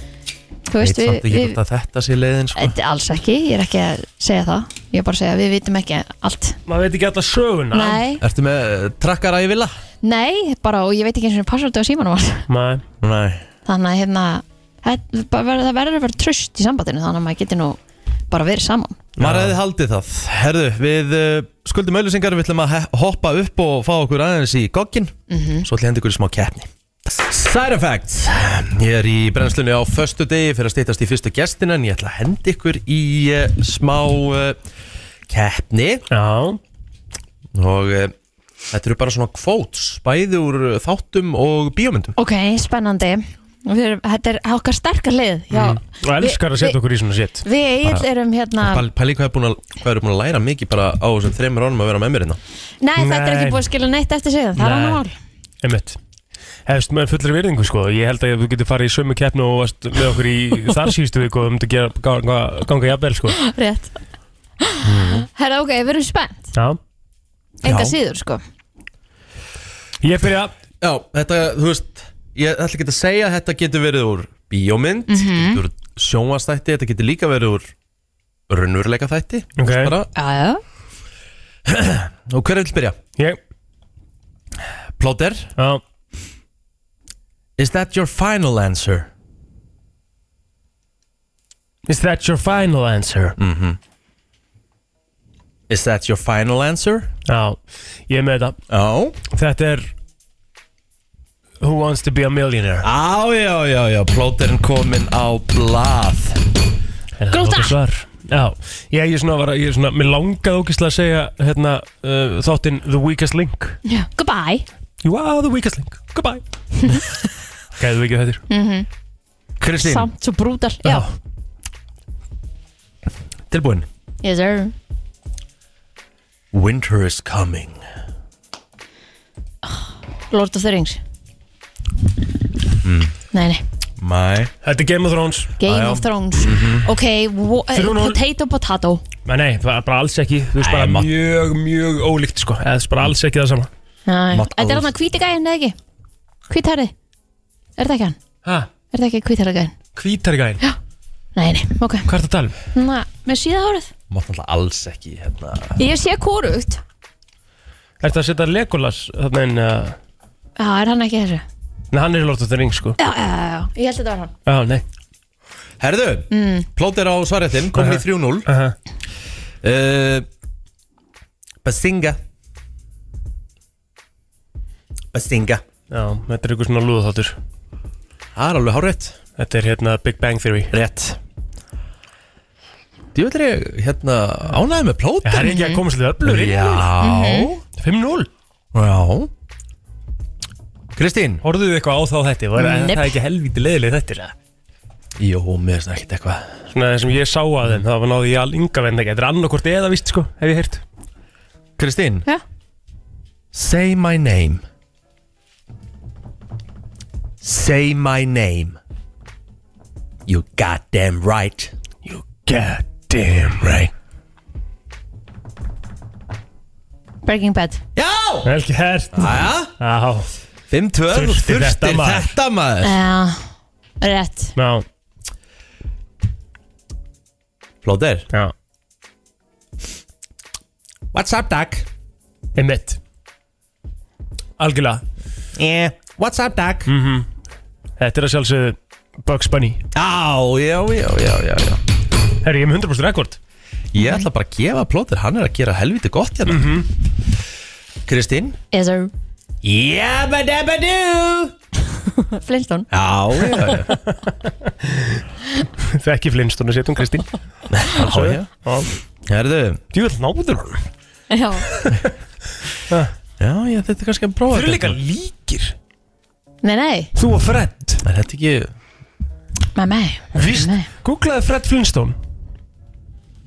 Speaker 2: Þú
Speaker 1: veit
Speaker 2: veist, við,
Speaker 1: samt ekki
Speaker 2: við,
Speaker 1: hvort að þetta sé leiðin sko.
Speaker 2: Þetta er alls ekki, ég er ekki að segja það Ég er bara að segja að við vitum ekki allt
Speaker 3: Maður veit ekki alltaf söguna.
Speaker 2: Nei,
Speaker 1: Ertu með eh, trakkara í villa?
Speaker 2: nei, bara og ég veit ekki eins og passvöldu á símanum hans
Speaker 3: Nei.
Speaker 1: Nei
Speaker 2: [LAUGHS] Þannig að hérna þetta- bara verður- það verður að vera tröst í sambandinu þannig að maður getur nú bara verið saman
Speaker 1: Maður hefði haldið það Herðu, við uh, skuldum auðlýsingar Við ætlum að he- hoppa upp og fá okkur aðeins í goggin Svo ætlum ég að henda ykkur í smá keppni Mhm. Side effects Ég er í brennslunni á föstu degi Fyrir að steytast í fyrstu gestina En ég ætla að henda ykkur í uh, smá uh, keppni
Speaker 3: Já,
Speaker 1: Og uh, þetta eru bara svona quotes Bæði úr uh, þáttum og bíómyndum
Speaker 2: Ok, spennandi Við erum, þetta er okkar sterka lið já.
Speaker 3: og elskar að setja okkur í svona shit
Speaker 2: Við eigin
Speaker 1: Bara-
Speaker 2: erum hérna
Speaker 1: Pæli pæli hvað er búin að, hvað er búin að læra mikið bara á þessum þreymur ánum að vera með mér hérna
Speaker 2: Nei, þetta er
Speaker 3: Nei.
Speaker 2: ekki búið að skilja neitt eftir sig Það er
Speaker 3: Nei.
Speaker 2: hann mál
Speaker 3: Einmitt Hefst með fullri virðingu sko Ég held að þú getur farið í sömu keppnu og varst með okkur í þar síðustu viku og um þetta gera, ganga, ganga jafnvel sko
Speaker 2: Rétt Herra, ok, við erum spennt
Speaker 3: Já
Speaker 2: Enga
Speaker 1: Já.
Speaker 2: síður, sko
Speaker 3: Ég byrja
Speaker 1: Já, þetta, þú veist Ég ætla ekki að segja að þetta getur verið úr bíómynd, mm -hmm. getur úr sjónvastætti Þetta getur líka verið úr raunveruleika þætti þú
Speaker 3: Ok.
Speaker 1: veist bara.
Speaker 2: Já, já
Speaker 1: Og hver vil byrja?
Speaker 3: Ég
Speaker 1: Plotter,
Speaker 3: Já
Speaker 1: is that your final answer?
Speaker 3: Is that your final answer?
Speaker 1: Is that your final answer?
Speaker 3: Já Ég er með þetta
Speaker 1: Já
Speaker 3: Þetta er Who wants to be a millionaire?
Speaker 1: Á, já, já, já, plóterinn kominn á blað
Speaker 3: Er það
Speaker 2: Gróta!
Speaker 3: nokkuð Svar Já, ég, ég svona var að, ég svona, mér langaði ógeðslega að segja hérna uh, þáttinn The Weakest Link
Speaker 2: Já, Goodbye
Speaker 3: You are the weakest link, goodbye Gæðu ekki þetta
Speaker 1: Kristín,
Speaker 2: Samt svo brútal Já,
Speaker 1: tilbúin
Speaker 2: yes sir
Speaker 1: Winter is coming
Speaker 2: Lord of the Rings Mm. Nei, nei
Speaker 1: My
Speaker 3: Þetta er Game of Thrones
Speaker 2: Game
Speaker 1: Já, já.
Speaker 2: of Thrones Ok, wo- eh,
Speaker 3: 3-0.
Speaker 2: potato, potato
Speaker 3: Nei, nei, það er bara alls ekki Þú veist
Speaker 1: Nei,
Speaker 3: bara
Speaker 1: Matt-
Speaker 3: mjög, mjög ólíkt sko Eða það er bara alls ekki það sama
Speaker 2: Nei.
Speaker 1: Not
Speaker 2: Eh, Þetta er
Speaker 1: ours.
Speaker 2: hann að hvíti gæðin eða ekki? Hvítherði Er þetta ekki hann?
Speaker 3: Hæ,
Speaker 2: Er þetta ekki hvítarði gæðin?
Speaker 3: hvítargæðin
Speaker 2: Nei, nei, ok
Speaker 3: Hvað er það að tala um?
Speaker 2: Na, Með síða hárið
Speaker 1: Mátt náttúrulega alls ekki hérna
Speaker 2: Ég sé kórugt
Speaker 3: Er það að setja Legolas þarna inn uh,
Speaker 2: Já, er hann ekki þessu?
Speaker 3: Nei, hann er í Lord of the Rings sko
Speaker 2: Já, já, já, já, ég held að þetta var hann
Speaker 3: Já, nei
Speaker 1: Herðu, mm. plóter á svarjættin, komin í 3-0
Speaker 3: uh -huh.
Speaker 1: uh, Basinga Basinga
Speaker 3: Já, þetta er ykkur svona lúðaþáttur
Speaker 1: Það er alveg hárétt
Speaker 3: Þetta er hérna Big Bang Theory
Speaker 1: Rétt Djúvill er ég hérna ánæði með plóter
Speaker 3: Það er ekki að koma svolítið öflur inn
Speaker 1: Já
Speaker 3: 5-0
Speaker 1: Já Kristín
Speaker 3: Horfðu þið eitthvað á þá þetta? Var,
Speaker 2: Nei.
Speaker 3: Það er ekki helvítið leiðileg þetta eða?
Speaker 1: Jó, mér finnst ekkert eitthvað
Speaker 3: Svona það sem ég sá að þeim Það var náði ég alveg ynga vend ekki Þetta er annarkort eða víst sko Hef ég heyrt
Speaker 1: Kristín
Speaker 2: Já.
Speaker 1: Say my name Say my name You goddamn right
Speaker 3: You goddamn right
Speaker 2: Breaking Bad
Speaker 1: Já
Speaker 3: Vel gert
Speaker 1: Aja
Speaker 3: Já,
Speaker 1: 5-12
Speaker 3: Þurfti
Speaker 1: Þurftir
Speaker 3: þetta, maður.
Speaker 1: þetta maður
Speaker 2: Já, Eh, rétt
Speaker 3: já,
Speaker 1: Plóter
Speaker 3: já
Speaker 1: What's up, Dag?
Speaker 3: Einmitt Algjörlega
Speaker 1: Yeah What's up, Dag?
Speaker 3: Þetta er að sjálfsögðu Bugs Bunny
Speaker 1: Já, já, já, já, já, já
Speaker 3: Herri, ég er með 100% rekord [LAUGHS]
Speaker 1: Ég ætla bara að gefa plóter Hann er að gera helviti gott hérna Mhm. Kristín
Speaker 2: Yes sir
Speaker 1: Yabba-dabba-doo
Speaker 2: Flintstone
Speaker 1: Já, já, já
Speaker 3: Þekki flinstunni setjum Kristín
Speaker 1: Já, já. Herðu,
Speaker 3: Djúvel náður hann
Speaker 2: Já,
Speaker 1: já, ég þetta er kannski að prófa
Speaker 3: Þeir eru líka
Speaker 1: þetta.
Speaker 3: líkir
Speaker 2: nei, nei
Speaker 3: Þú og Fred
Speaker 1: Er þetta ekki
Speaker 2: Nei, nei
Speaker 3: Víst,
Speaker 2: Nei.
Speaker 3: googlaði Fred Flintstone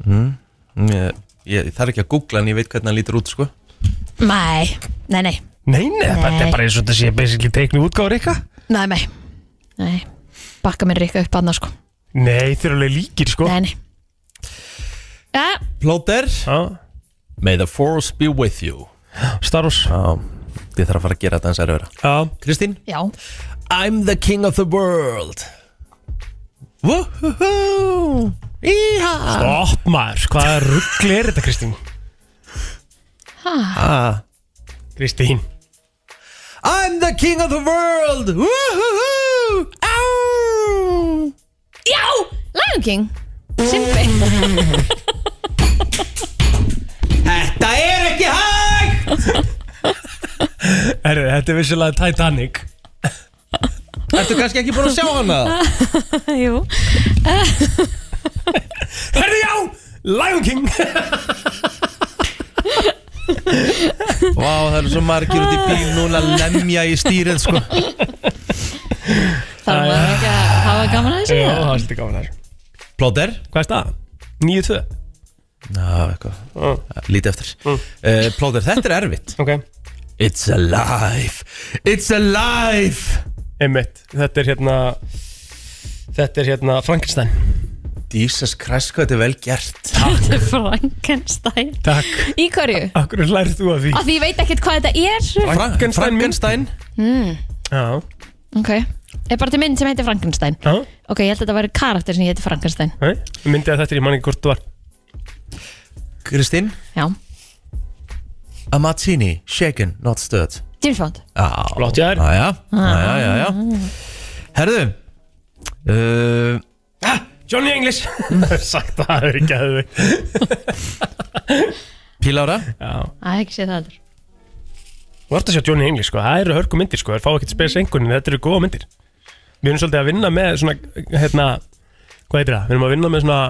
Speaker 1: Ég, mm, ég þarf ekki að googla en ég veit hvernig hann lítur út, sko
Speaker 2: Nei, nei, nei
Speaker 3: Nei, nei, þetta er bara eins og þetta sé basically teiknu útgáður eitthvað
Speaker 2: Nei, nei Nei Bakka mér rikka upp annars sko
Speaker 3: Nei, þeir eru alveg líkir sko
Speaker 2: Nei, nei Já,
Speaker 1: Plóter
Speaker 3: Já,
Speaker 1: May the force be with you
Speaker 3: Star Wars
Speaker 1: Já, ég þarf að fara að gera þetta eins að vera
Speaker 3: Já,
Speaker 1: Kristín
Speaker 2: já
Speaker 1: I'm the king of the world Woohoo Íha
Speaker 3: stopp maður Hvaða ruggli er þetta Kristín?
Speaker 1: Ah.
Speaker 3: Kristín
Speaker 1: I'm the king of the world Woohoo Áú
Speaker 2: Já, Lion King Simbi
Speaker 1: Þetta er ekki hægt
Speaker 3: Herri, þetta er vissilega Titanic
Speaker 1: Ertu kannski ekki búin að sjá
Speaker 3: [LAUGHS]
Speaker 1: hana?
Speaker 2: Jú
Speaker 3: Herri, já, Lion King
Speaker 1: Vá, það eru svo margir út í bíl núna að lemja í stýrið, sko
Speaker 2: Það þarf
Speaker 3: Já,
Speaker 2: maður
Speaker 3: já.
Speaker 2: ekki að hafa gaman að þessu
Speaker 3: Já, það
Speaker 2: eða?
Speaker 3: var [LAUGHS] svolítið gaman þar
Speaker 1: Plóter?
Speaker 3: Hvað er staðan? 9-2
Speaker 1: Ná, eitthvað, lítið eftir
Speaker 3: Mm.
Speaker 1: uh, Plóter, þetta er erfitt
Speaker 3: Ok
Speaker 1: It's alive It's alive
Speaker 3: Einmitt Þetta er hérna Þetta er hérna Frankenstein
Speaker 1: Jesus Christ, hvað þetta er vel gert
Speaker 2: [LAUGHS] Þetta er Frankenstein
Speaker 3: Takk
Speaker 2: Í hverju?
Speaker 3: Akkur lærið þú að því
Speaker 2: Af því ég veit ekkert hvað þetta er
Speaker 3: Frankenstein
Speaker 1: Frankenstein
Speaker 3: Já
Speaker 2: Ok Er bara til mynd sem heitir Frankenstein
Speaker 3: Já
Speaker 2: Ok, ég held að þetta væri karakter sem heitir Frankenstein
Speaker 3: Nei, ég myndi að þetta er ég man ekki hvort þú var
Speaker 1: Kristín
Speaker 2: Já
Speaker 1: A martini, shaken, not stirred
Speaker 2: James Bond
Speaker 1: Já,
Speaker 3: Flott hjá þér.
Speaker 1: Jæja, jæja, jæja Herðu uh,
Speaker 3: Johnny English Sagt að [LAUGHS] það er ekki að þau
Speaker 1: Pílára
Speaker 3: Já
Speaker 2: Það er ekki séð það heldur
Speaker 3: Þú ert að sjá Johnny English sko Það eru hörku myndir sko Það fá ekkert spes engunin Þetta eru góða myndir Við erum svolítið að vinna með svona Hérna Hvað heitir það? Við erum að vinna með svona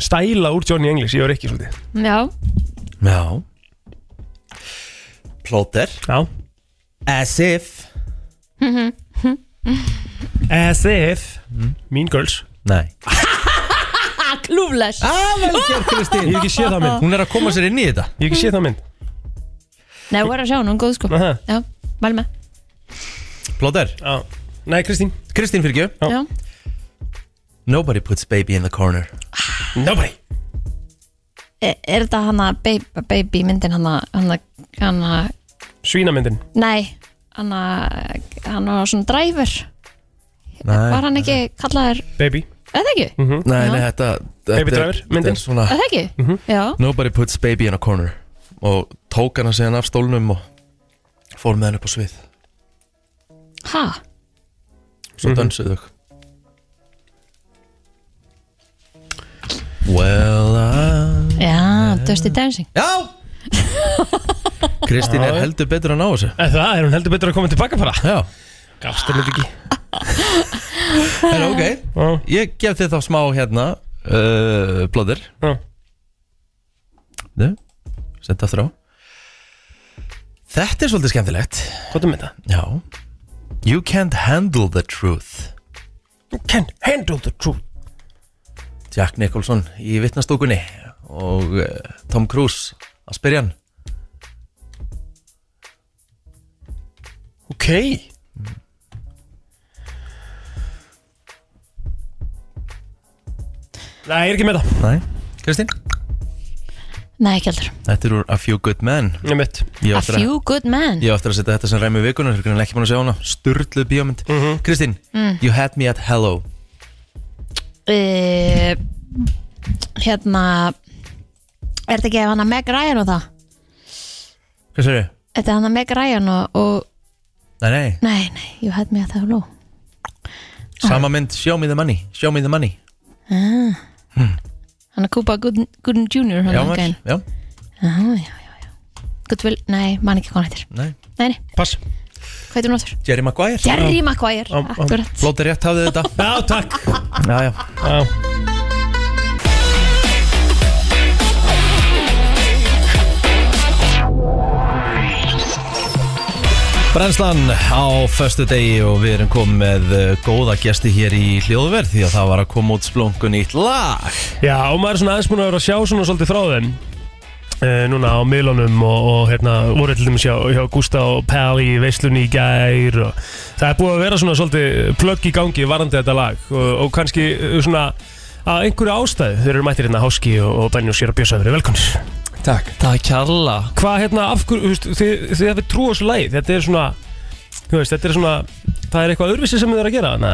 Speaker 3: Stæla úr Johnny English Ég var ekki svolítið
Speaker 2: Já
Speaker 1: Já Plóter
Speaker 3: Já
Speaker 1: As if
Speaker 3: As if Mean Girls
Speaker 1: Nei
Speaker 2: Ah, klúfles
Speaker 1: ah, vel gert Kristín
Speaker 3: Ég hef ekki séð það mynd
Speaker 1: Hún er að koma sér inn í þetta
Speaker 3: Ég hef ekki séð það mynd
Speaker 2: Nei, þú er að sjá hún, hún er góð sko
Speaker 3: Aha.
Speaker 2: Já, mæl með
Speaker 1: Plóter
Speaker 3: Já Nei, Kristín
Speaker 1: Kristín Fyrkjö
Speaker 3: Já.
Speaker 2: Já
Speaker 1: Nobody puts baby in the corner
Speaker 3: Nobody
Speaker 2: Er, er þetta hana baby, baby myndin hana, hana, hana
Speaker 3: Svínamyndin
Speaker 2: Nei, hana Hann var svona dræfur Var
Speaker 1: Nei, Mhm.
Speaker 2: hann ekki kallaður
Speaker 3: Baby
Speaker 2: Eða ekki? Mm -hmm.
Speaker 1: nei,
Speaker 2: Já.
Speaker 1: nei þetta þetta
Speaker 3: Baby
Speaker 1: er-
Speaker 3: Driver,
Speaker 1: þetta er
Speaker 3: myndin.
Speaker 1: svona,
Speaker 2: Eða ekki?
Speaker 1: Mhm.
Speaker 2: Já
Speaker 1: Nobody puts baby in a corner Og tók hana síðan af stólnum Og fór með henni upp á svið
Speaker 2: Ha?
Speaker 3: Mhm.
Speaker 1: Svo dansuðu þau Well I...
Speaker 2: Já, Dusty Dancing
Speaker 1: Já [LAUGHS] Kristín er heldur betur að ná þessu
Speaker 3: En það er hún heldur betur að koma tilbaka bara
Speaker 1: Já
Speaker 3: Gafst henni þetta ekki
Speaker 1: En ok,
Speaker 3: Já
Speaker 1: ég gef þið þá smá hérna uh, Blóðir
Speaker 3: Já.
Speaker 1: Þau, senda aftur á Þetta er svolítið skemmtilegt
Speaker 3: Hvað er með það?
Speaker 1: Já You can't handle the truth
Speaker 3: You can handle the truth
Speaker 1: Jack Nicholson í vittnastúkunni og uh, Tom Cruise að spyrja hann
Speaker 3: Ok Nei, ég er ekki með það
Speaker 1: Nei, Kristín?
Speaker 2: Nei, ekki heldur
Speaker 1: Þetta er úr A Few Good Men
Speaker 3: Ég er mitt
Speaker 1: Ég á
Speaker 2: A
Speaker 1: eftir að-
Speaker 2: few good men
Speaker 1: Ég á eftir að setja þetta sem ræmi vikunar Hvernig er ekki búin að sjá hana Sturluð bíómynd Kristín,
Speaker 2: Mm.
Speaker 1: you had me at hello
Speaker 2: uh, Hérna Er þetta ekki hana Meg Ryan og það?
Speaker 1: Hvað sér ég?
Speaker 2: Þetta er hana Meg Ryan og, og
Speaker 1: Nei, nei,
Speaker 2: Nei, nei, ég hætt mig að það ló Ah.
Speaker 1: sama mynd Show me the money, show me the money
Speaker 2: Hann er Kuba Gooden Gooden Jr. hann
Speaker 1: Já,
Speaker 2: er
Speaker 1: maður,
Speaker 2: gæinn.
Speaker 1: já,
Speaker 2: Já, já, já, já Goodwill, nei, man ekki hvað hann heitir
Speaker 1: nei
Speaker 2: Nei, nei,
Speaker 3: Pass
Speaker 2: hvað heitir hún áttur?
Speaker 1: Jerry Maguire
Speaker 2: Jerry Maguire,
Speaker 3: Já, já.
Speaker 2: akkurat
Speaker 1: Blóta rétt hafði þetta
Speaker 2: [LAUGHS]
Speaker 3: Já, takk
Speaker 1: Já, já
Speaker 3: Já
Speaker 1: Brennslan á föstu degi og við erum komið með eh, góða gesti hér í hljóðverð því að það var að koma út splungun nýtt lag
Speaker 3: Já, og maður er svona aðeins búin að vera að sjá svona svolítið frá þeim uh, núna á Milónum og, og hérna voru til dæmis hjá, hjá Gústa og Pell í veislunni í gær og það er búið að vera svona svolítið plögg í gangi varandi þetta lag og, og kannski eh, svona að einhverju ástæðu þeir eru mættir hérna Háski og, og Benni og Sér og Björnsæður velkomin
Speaker 1: Takk Það er kjalla
Speaker 3: Hvað hérna, af hverju, þú veist, þið, þið hefur trú á þessu lagi þetta er svona, þú veist, þetta er svona það er eitthvað öðruvísi sem þið eru að gera na,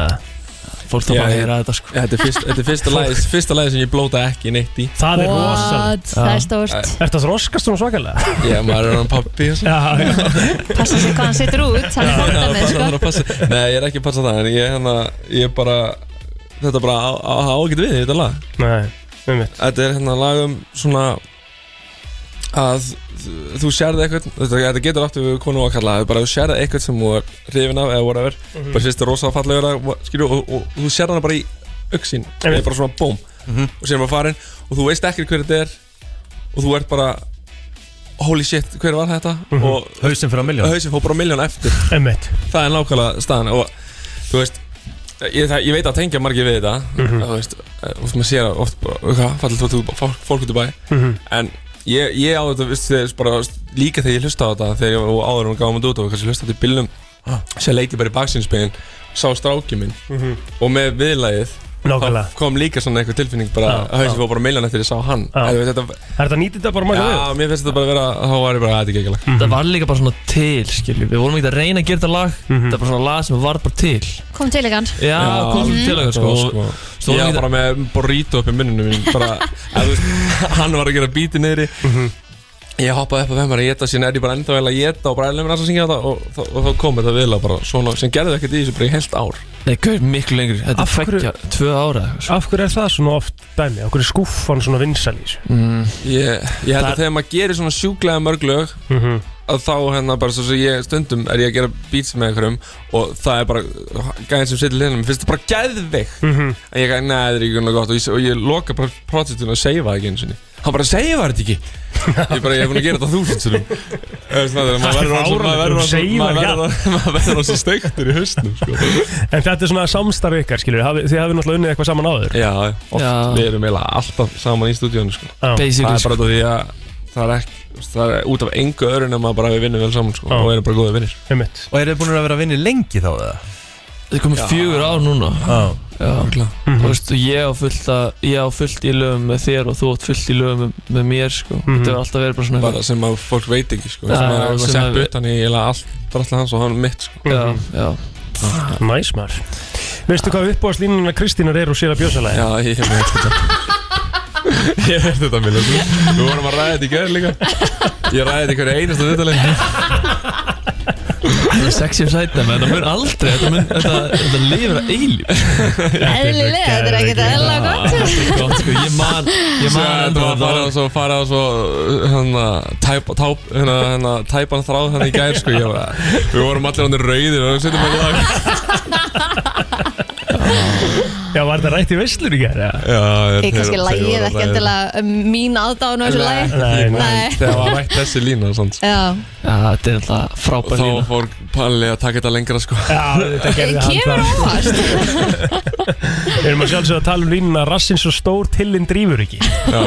Speaker 6: Fólk þarf bara að heyra þetta sko Þetta er, fyrst, þetta er fyrsta, lagi, fyrsta lagi sem ég blóta ekki neitt í
Speaker 3: það er rosalega
Speaker 2: What? Það er stórt,
Speaker 3: Ertu að þroskast svona svakalega?
Speaker 6: Ég maður er hann pappi og svo.
Speaker 3: Já, já,
Speaker 2: passa sig hvað hann setur út Hann er
Speaker 6: Það
Speaker 2: fórta
Speaker 6: er
Speaker 2: með,
Speaker 6: bara-
Speaker 2: sko
Speaker 6: það er að passa- Nei, ég er ekki að passa það En ég, hana, ég er bara Þetta bara á, á, á ekki við þetta lag
Speaker 3: nei, með mitt
Speaker 6: Þetta er hérna lag um svona Að þú- þú sérði eitthvað Þetta, þetta getur aftur við konu að kalla það Bara þú sérði eitthvað sem þú er hrifin af Eða whatever Bara finnst þetta rosa fallegur að- skilju, og, og, og þú sérði hana bara í auksín Það er bara svona bóm Og síðan bara farin Og þú veist ekki hver þetta er Og þú ert bara Holy shit, hver var þetta? Og
Speaker 1: Hauðsinn fyrir að miljón
Speaker 6: hausin fór bara miljón eftir
Speaker 3: Emmett
Speaker 6: það er nákvæmlega staðan og þú veist ég, það, ég veit að tengja margir við þetta
Speaker 3: Mhm.
Speaker 6: þú veist, eh, oft maður sér að oft bara, hvað, fallið þú, þú, fólk- fólk út í bæ
Speaker 3: Mhm.
Speaker 6: en ég, ég á þetta, veist, þegar, bara, þú veist, líka þegar ég hlusta á þetta þegar ég og áður hún gáðum þetta út og kannski hlusta þetta í bílnum sem leiti bara í baksinsbegin sá strákið minn
Speaker 3: Mhm.
Speaker 6: og með viðlagið
Speaker 3: Nákvæmlega.
Speaker 6: þá kom líka svona einhver tilfinning bara,
Speaker 3: Já,
Speaker 6: að þessi
Speaker 3: já.
Speaker 6: fór bara meiljan eftir ég sá hann
Speaker 3: Já.
Speaker 6: En þú veist, þetta,
Speaker 3: Er þetta nýtið þetta bara mæta
Speaker 6: já, mér finnst þetta bara að vera þá var ég bara að þetta er gekkjalag
Speaker 7: Það var líka bara svona til, skilju Við vorum ekki að reyna að gera þetta lag Það var bara svona lag sem var bara til
Speaker 2: Kom til ykkur
Speaker 7: Já, kom til að sko og-
Speaker 6: sko. Ég var bara með burrito upp í munninu mín
Speaker 7: [LAUGHS]
Speaker 6: bara, að, þú veist, Hann var að gera bíti niðri Ég hoppaði upp á þeim að geta Síðan er ég bara ennþá vel að geta og bara ennlega mér að syngja þetta og, og, og þá kom þetta vel að bara svona sem gerði ekkert í þessu bara í heilt ár
Speaker 7: Nei, gaur, miklu lengri Þetta er
Speaker 3: Af hverju-
Speaker 7: fekkja, tvö ára eitthvað, sko.
Speaker 3: Af hverju er það svona oft dæmi? Af hverju er skúffan svona vinsal í þessu?
Speaker 7: mm.
Speaker 6: Ég, ég held
Speaker 3: Það-
Speaker 6: að þegar maður gerir svona sjúklega mörg lög
Speaker 3: Mhm.
Speaker 6: að þá hérna bara svo sem ég stundum er ég að gera beats með einhverjum og það er bara gæðin sem sittir liðnum finnst það bara geðveikt
Speaker 3: Mhm.
Speaker 6: En ég gæti, neða, það er ekki náttúrulega gott og ég, og ég loka bara projektinu að seifa það ekki einu sinni Hann bara seifa þetta ekki Ég bara, ég hef búin að gera þetta þúsund sinum Það er
Speaker 3: Það er fáránlegt, þú seifaðir
Speaker 6: maður
Speaker 3: ekki
Speaker 6: verður maður verður svo steiktur í hausnum sko.
Speaker 3: En þetta er svona samstarf ykkar, skilur við Þið hafið náttúrulega unnið eitthvað saman áður
Speaker 6: Já, oft,
Speaker 7: Já.
Speaker 6: við erum eiginlega alltaf saman í stúdíónu sko.
Speaker 3: Já.
Speaker 6: Það
Speaker 7: Basically,
Speaker 6: er
Speaker 7: sko
Speaker 6: bara út af því að það er, ekki, það er út af engu öðru nema bara við vinnum vel saman sko,
Speaker 3: Já.
Speaker 6: og erum bara góða vinnir
Speaker 3: einmitt
Speaker 1: Og eru þið búin að vera að vinni lengi þá eða? Ah,
Speaker 7: Þetta er sko. komið fjögur ár núna
Speaker 3: Ah,
Speaker 7: Mhm.
Speaker 1: Já
Speaker 7: Já, og veist, og ég á fullt að Ég á fullt í lögum með þér og þú átt fullt í lögum með, með mér, sko
Speaker 3: Mhm.
Speaker 7: Þetta var alltaf verið bara svona
Speaker 6: Bara sem að fólk veit ekki sko.
Speaker 7: Já,
Speaker 6: sem að við
Speaker 7: sem
Speaker 6: erum að
Speaker 7: að
Speaker 6: setja
Speaker 7: við-
Speaker 6: utan í eiginlega allt drastlega hans og hann mitt sko.
Speaker 7: Já, já
Speaker 3: Næs maður Veistu hvað uppbúast línuna Kristínar er og sér að bjósalæði?
Speaker 6: Já, ég hef veit
Speaker 7: [LAUGHS]
Speaker 6: þetta Ég veit þetta, Mila Þú- Við vorum að ræða þetta í gerð líka Ég ræði þetta í hverju einasta viðtalið
Speaker 7: Þetta er sexy um sæta, menn það mun aldrei Þetta, mun, þetta, þetta lifir að eilíf
Speaker 2: Eðlilega, þetta er ekkert eðlilega gott
Speaker 7: Þetta er gott, sko Ég man, [LAUGHS] ég man
Speaker 6: Þetta
Speaker 7: ennþá
Speaker 6: var að fara og svo fara og svo hérna, tæpa, táp, hérna, hérna, tæpan þráð hérna í gær sko, ég, var- Við vorum allir hann rauðir og við hérna setjum ekki lag
Speaker 3: Já, var þetta rætt í veislur í gerð? Já,
Speaker 6: Já,
Speaker 2: Ég kannski lægið ekki endilega um, mín aðdáðan á þessu lægi
Speaker 3: Nei,
Speaker 2: nei.
Speaker 6: Þegar var rætt þessi lína sant?
Speaker 2: Já,
Speaker 7: Já, þetta er alltaf
Speaker 6: Og
Speaker 7: frábær
Speaker 6: þá
Speaker 7: lína
Speaker 6: fór Palli að taka þetta lengra sko
Speaker 3: þetta gerði
Speaker 2: það
Speaker 3: hann
Speaker 2: kemur
Speaker 3: það
Speaker 2: óvast
Speaker 3: Við erum að sjálfsögða að tala um línuna Rassin svo stór tillinn drífur ekki
Speaker 6: [LAUGHS] Já,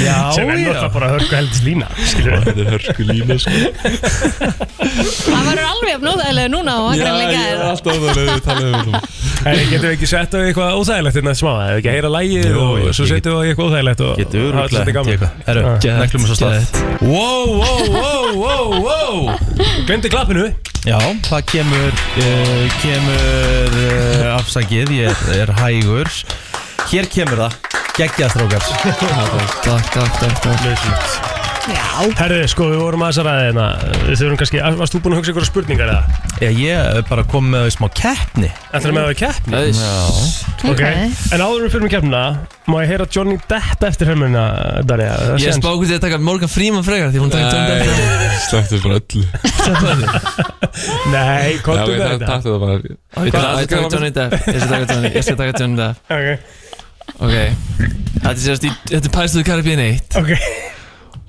Speaker 3: Já, Sem er náttúrulega bara hörku heldis lína Skilur við
Speaker 6: þetta er hörsku lína sko
Speaker 2: Það verður alveg jafn óþægilega núna og hann
Speaker 6: ég
Speaker 2: greinlega
Speaker 6: er
Speaker 2: er
Speaker 6: alltaf að það við tala um þetta
Speaker 3: En getum við ekki sett á eitthvað óþægilegt innan smá Ef við ekki að heyra lægið
Speaker 1: Jú,
Speaker 3: og
Speaker 1: ég-
Speaker 3: svo
Speaker 1: ég-
Speaker 3: setjum við á eitthvað óþægilegt og-
Speaker 1: Getur
Speaker 3: og hafa þetta Ah.
Speaker 1: öruglega
Speaker 3: svolítið gaman.
Speaker 1: Herru,
Speaker 3: Já.
Speaker 1: neklum við svo slað Wow, wow, wow, wow, wow
Speaker 3: Gleymdi klappinu
Speaker 1: Já, það kemur, uh, kemur uh, afsakið, ég er, er hægur Hér kemur það, geggjað þrókar
Speaker 3: [LAUGHS]
Speaker 7: Takk, takk, takk, takk
Speaker 2: Já,
Speaker 3: Herri, sko, við vorum aðeins að ræða hérna Við þurfum kannski, varst þú búin að hugsa ykkur spurningar eða?
Speaker 1: Já, ég er bara kom með smá keppni
Speaker 3: Ætlar með að við keppni?
Speaker 7: Æs.
Speaker 3: Ok,
Speaker 2: Ok.
Speaker 3: en áður við fyrir mig keppna Má ég heyra Johnny Depp eftir helmina, Darja
Speaker 7: Ég er spákuð því að taka Morgan Freeman frekar Því hún takk töndan frekar
Speaker 6: Slættu frá öllu
Speaker 3: Nei,
Speaker 6: Já,
Speaker 3: kontum
Speaker 6: við
Speaker 3: með þetta
Speaker 6: taktum það bara
Speaker 7: Og ég
Speaker 6: Hvað-
Speaker 7: skal aldrei
Speaker 6: hvað-
Speaker 7: taka Johnny Depp Ég skal taka Johnny Ég skal taka Johnny Depp
Speaker 3: Ok,
Speaker 7: Ok Þetta er sérst í Þetta er Pæstuðu Karabíin 1
Speaker 3: ok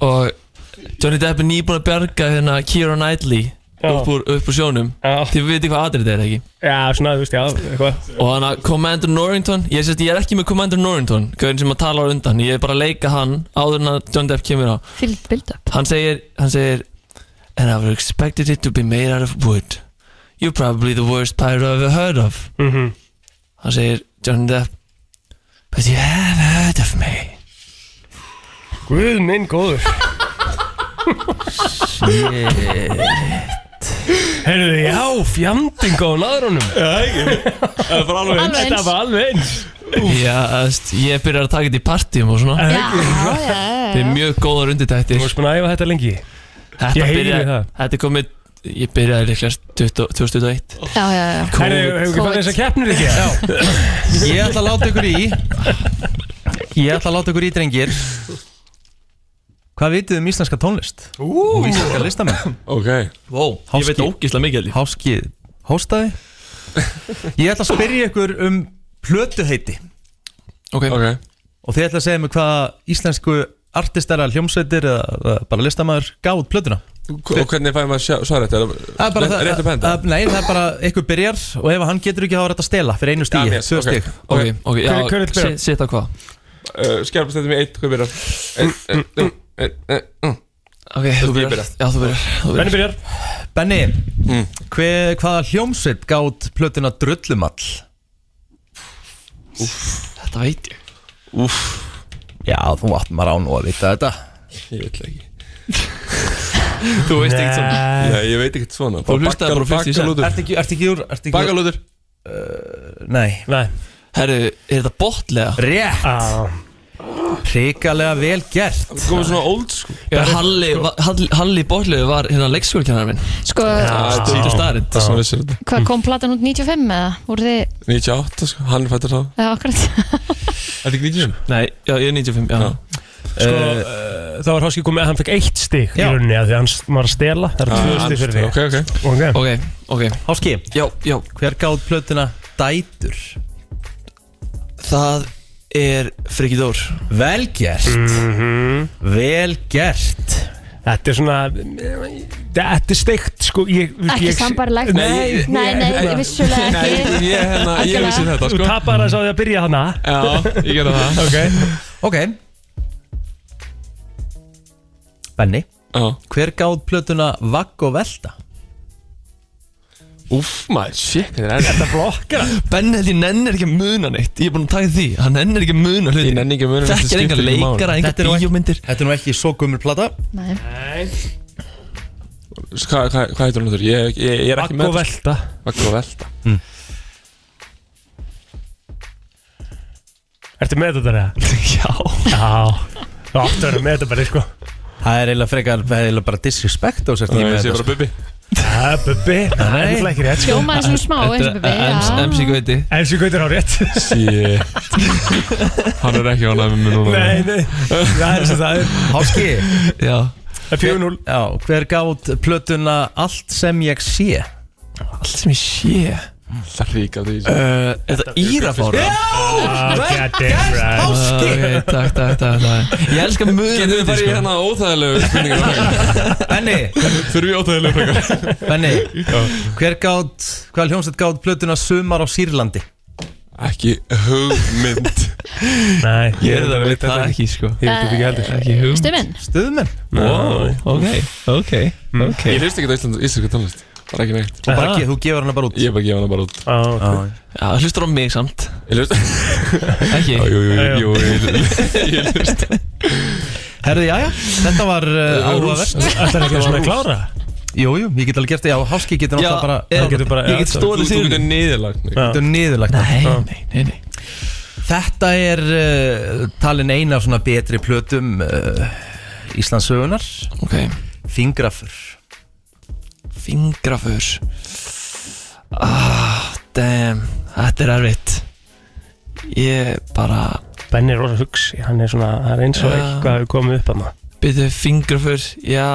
Speaker 7: Og Johnny Depp er nýbúin að berga hérna Keira Knightley
Speaker 3: Já.
Speaker 7: upp úr, upp úr sjónum
Speaker 3: Já,
Speaker 7: Þið veitir hvað atrið þetta er ekki
Speaker 3: Já, svona, þú veist, já, eitthvað
Speaker 7: Og hann að Commander Norrington Ég, sérst, ég er ekki með Commander Norrington Gauðin sem að tala á undan Ég er bara að leika hann Áður en að Johnny Depp kemur á
Speaker 2: fyllt build up
Speaker 7: Hann segir, hann segir And I would expected it to be made out of wood You're probably the worst pirate I've ever heard of
Speaker 3: Mhm.
Speaker 7: Hann segir, Johnny Depp But you have heard of me
Speaker 3: Guð minn góður Heyrðu, já, fjanding á náðrunum Já, ekki
Speaker 2: Alveg eins.
Speaker 3: Það var alveg eins
Speaker 7: Já, aðst, ég byrjar að taka þetta í partíum og svona
Speaker 2: Já, já, já,
Speaker 7: Það er
Speaker 2: já.
Speaker 7: mjög góðar undirtættir
Speaker 3: Þú varst búin að æfa þetta lengi
Speaker 7: Þetta
Speaker 3: ég heyri
Speaker 7: byrjaði,
Speaker 3: það.
Speaker 7: þetta er komið Ég byrjaði líklegast 20 2021
Speaker 2: já, já, já.
Speaker 3: Herru, hefur ekki
Speaker 2: Covid.
Speaker 3: farið þess að keppnir ekki? Já
Speaker 1: Ég ætla að láta ykkur í Ég ætla að láta ykkur í, drengir Hvað vitið þið um íslenska tónlist? Og íslenska listamenn?
Speaker 6: Ok
Speaker 7: Wow, ég veit
Speaker 1: háski.
Speaker 7: ógislega mikið held ég.
Speaker 1: Háski, hóstaði Ég ætla að spyrja ykkur um plötuheiti
Speaker 7: Ok,
Speaker 6: Ok
Speaker 1: Og þið ætla að segja mér hvað íslensku artistæra hljómsveitir eða eða bara listamaður gáð plötuna
Speaker 6: Og hvernig fæði maður sjá- svar þetta?
Speaker 1: Það er bara það-
Speaker 6: Rétt upp henda?
Speaker 1: að- Nei, það er bara einhver byrjar og ef hann getur ekki þá er þetta að stela fyrir einu stíi,
Speaker 6: Daniel,
Speaker 1: tvö
Speaker 6: Ah, ok. eh,
Speaker 1: stík
Speaker 7: Ok, ok, já,
Speaker 3: Hver- hver vill byrja?
Speaker 7: sit- sitt á hvað?
Speaker 6: Skjálpa stendum í eitt, hvað byrjar? Einn, eh, einn, einn, einn, einn, einn.
Speaker 7: Ok, þú
Speaker 6: ég
Speaker 7: byrjar
Speaker 6: byrja.
Speaker 7: Já, þú byrjar þú byrjar.
Speaker 3: Benni byrjar
Speaker 1: Benni, Mm. hver, hvaða hljómsveit gátt plötuna Drullumall?
Speaker 7: Þetta veit ég
Speaker 1: Já, þú átt maður á nú að vita þetta
Speaker 6: Ég veit það ekki
Speaker 7: Þú veist ekkert svona
Speaker 3: Eh.
Speaker 6: Já, ég veit ekkert svona Bara
Speaker 7: hlustaði
Speaker 6: bakkar-
Speaker 7: bara á 50 Cent.
Speaker 6: bakkalútur.
Speaker 1: Ertu ekki, ertu ekki úr, ertu ekki úr
Speaker 6: Bakalútur
Speaker 1: Nei
Speaker 3: Nei
Speaker 7: Herru, er þetta botlega?
Speaker 1: Rétt,
Speaker 3: ah.
Speaker 1: hrikalega vel gert
Speaker 6: Komið svona old school
Speaker 7: Halli, va- Halli, Halli botlega var hérna leikskólkennar minn
Speaker 2: Sko,
Speaker 3: Ah,
Speaker 7: Sýndu starrið
Speaker 6: Það er svona vissir þetta
Speaker 2: hvað kom platan út 95 eða? Voru þið,
Speaker 6: 98, sko, hann er fættur þá
Speaker 2: eða akkurat?
Speaker 6: Er þetta ekki 95?
Speaker 7: Nei, já, ég er 95, já
Speaker 1: Eh,
Speaker 3: Sko, uh, þá var Háski komið Hann fekk eitt stig í
Speaker 1: Já.
Speaker 3: rauninni af Því hann s- var að stela Ah, Það eru tvö stig fyrir
Speaker 6: Ok,
Speaker 3: þig
Speaker 6: ok
Speaker 3: okay.
Speaker 7: Ok, ok,
Speaker 1: Háski,
Speaker 7: já, já
Speaker 1: hver gátt plötuna Dætur?
Speaker 7: Það er Friggi Dór
Speaker 1: Vel gert Mhm. Vel gert
Speaker 3: Þetta er svona Þetta er steikt sko ég, þú veist,
Speaker 2: Ekki
Speaker 3: ég-
Speaker 2: sambarlegt
Speaker 6: Nei,
Speaker 2: nei, nei, vissulega
Speaker 6: Nei,
Speaker 2: ekki
Speaker 6: ég, hérna, ég
Speaker 2: Algjörlega.
Speaker 6: vissi
Speaker 3: Þú
Speaker 6: þetta, sko
Speaker 3: tapar þess á því að byrja hana
Speaker 6: Já, ég gerði það
Speaker 3: Ok
Speaker 1: Ok Benni,
Speaker 6: Já
Speaker 1: hver gátt plötuna Vagg og Velta?
Speaker 6: Úff, maður, shit, þetta er erfitt.
Speaker 3: Þetta blokkar það.
Speaker 7: Benni held ég nennir ekki að muna neitt Ég er búin að taka því, hann nennir ekki að muna hluti
Speaker 6: Ég nenni ekki að muna, þetta
Speaker 7: Þekkir
Speaker 6: skiptir
Speaker 7: engar
Speaker 6: ekki máli.
Speaker 7: leikara,
Speaker 1: Þetta er
Speaker 7: engar
Speaker 1: nú ekki-
Speaker 7: bíómyndir [LAUGHS]
Speaker 1: Þetta er nú ekki svo gummur plata
Speaker 2: Nei.
Speaker 6: Hvað hva, hva heitir hún þurr? Ég, ég, ég er ekki
Speaker 3: Akko
Speaker 6: með
Speaker 3: velta
Speaker 6: Akko velta
Speaker 3: Ertu með þetta þegar?
Speaker 7: Já
Speaker 3: Já Þú áttu að vera með þetta bara sko
Speaker 1: Það er eiginlega frekar, það er eiginlega bara disrespect á sér
Speaker 6: Það
Speaker 1: tíma
Speaker 6: er sko.
Speaker 1: þetta,
Speaker 6: bara bubbi
Speaker 3: Það er bubbi Það er eitthvað ekki rétt sko
Speaker 2: Hljómaði svona smá eins og
Speaker 7: Þetta er
Speaker 2: bubbi
Speaker 7: MC Gauti
Speaker 3: En svo gautir á rétt
Speaker 6: Shit Hann er ekki ánægð með mér núna
Speaker 3: Nei, nei Það er sem það er
Speaker 1: sko. Háski
Speaker 7: Já,
Speaker 3: Það er 4-0
Speaker 1: Já, hver gátt plötuna Allt sem ég sé?
Speaker 7: allt sem ég sé
Speaker 6: Það rík af því sko.
Speaker 7: Uh, Er þetta Írafára?
Speaker 3: Goddamn right
Speaker 7: Ok, takk, takk, takk, takk Ég elska sko. muna
Speaker 6: Getum við farið í hérna óþægilegu spurningar um frekar? [LAUGHS]
Speaker 1: Benni,
Speaker 6: Fyrir við óþægilegu frekar
Speaker 1: Benni Hver gátt, hvað hljómsveit gátt plötuna Sumar á Sýrlandi?
Speaker 6: Ekki hugmynd
Speaker 3: Nei
Speaker 7: Ég er það veit það ekki, sko
Speaker 6: Ég veit ekki heldur
Speaker 7: Ekki hugum
Speaker 2: Stuminn,
Speaker 1: Stöðmenn
Speaker 7: Wow, ok, ok,
Speaker 3: Mm.
Speaker 7: ok
Speaker 6: Ég hlust ekki á Ísland, íslensku tónlist Bara ekki neitt
Speaker 1: Og bara, ge- þú gefur hana bara út
Speaker 6: Ég er bara að gefa hana bara út
Speaker 3: Á, ok.
Speaker 7: Já, hlustur á mig samt
Speaker 6: Ég hlust
Speaker 7: Ekki
Speaker 6: Jú, jú,
Speaker 3: Já, já.
Speaker 6: jú, jú ég-
Speaker 3: [LAUGHS]
Speaker 6: Ég hlust
Speaker 1: Herði, jæja, þetta var uh, áhugavert
Speaker 3: Ætlar ekki að svona klára?
Speaker 1: Jú, jú, ég get alveg gert þetta Já, Háski getur
Speaker 7: Já,
Speaker 1: náttúrulega bara
Speaker 7: eh,
Speaker 3: getur bara-
Speaker 7: ég get
Speaker 3: já,
Speaker 6: Þú
Speaker 7: stólið
Speaker 6: þú
Speaker 7: síðan
Speaker 6: getur niðurlagt mig.
Speaker 1: Þetta er niðurlagt
Speaker 7: Nei, nei, nei, nei
Speaker 1: Þetta er uh, talin eina af svona betri plötum uh, Íslandsögunar
Speaker 7: Ok,
Speaker 1: Fingrafur
Speaker 7: fingrafur Ah, damn Þetta er erfitt Ég bara
Speaker 3: Benni er rosa hugsi Hann er svona Það er eins og
Speaker 7: Já.
Speaker 3: eitthvað hefur komið upp hann
Speaker 7: Byrðu fingrafur Já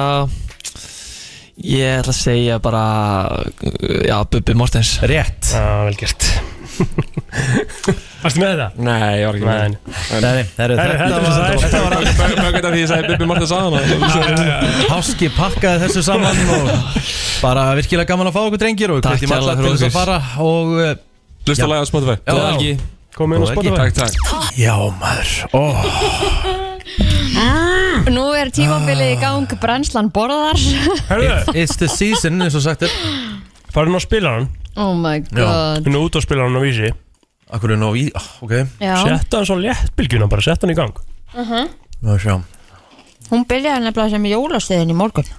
Speaker 7: Ég ætla að segja bara Já, Bubbi Mortens
Speaker 1: Rétt
Speaker 3: Já, vel gert Varstu með það?
Speaker 6: Nei, ég var ekki
Speaker 3: Nei
Speaker 1: Nei, nei, herru,
Speaker 3: Herru,
Speaker 1: Þetta
Speaker 3: þetta var-
Speaker 1: var- þetta var
Speaker 6: Mjög gæt af því ég sagði Bibi Martins að hana
Speaker 1: Háski pakkaði þessu saman og bara virkilega gaman að fá okkur drengir og
Speaker 7: Takk
Speaker 1: hvetjum alla til
Speaker 7: kærlega fyrir
Speaker 1: þess að fara og uh,
Speaker 6: Hlust að læga á Spotify
Speaker 1: já,
Speaker 7: Góða helgi.
Speaker 3: Komið inn
Speaker 1: Góða
Speaker 3: á
Speaker 1: helgi.
Speaker 3: Spotify
Speaker 6: Takk, takk
Speaker 1: já maður oh.
Speaker 2: nú er tímabilið í gang Brænslan borðar
Speaker 3: Herðu,
Speaker 1: It's the season eins og sagt er
Speaker 3: farin á spilaran
Speaker 2: [LAUGHS] Oh my god
Speaker 3: Nú út á spilaran á vísi
Speaker 1: Akkur er nóg í, ah, ok
Speaker 2: Já,
Speaker 3: Setta hann svo léttbylgjuna bara Setta hann í gang
Speaker 1: Ná sjá
Speaker 2: hún byrjaði nefnilega sem jólastöðin í morgun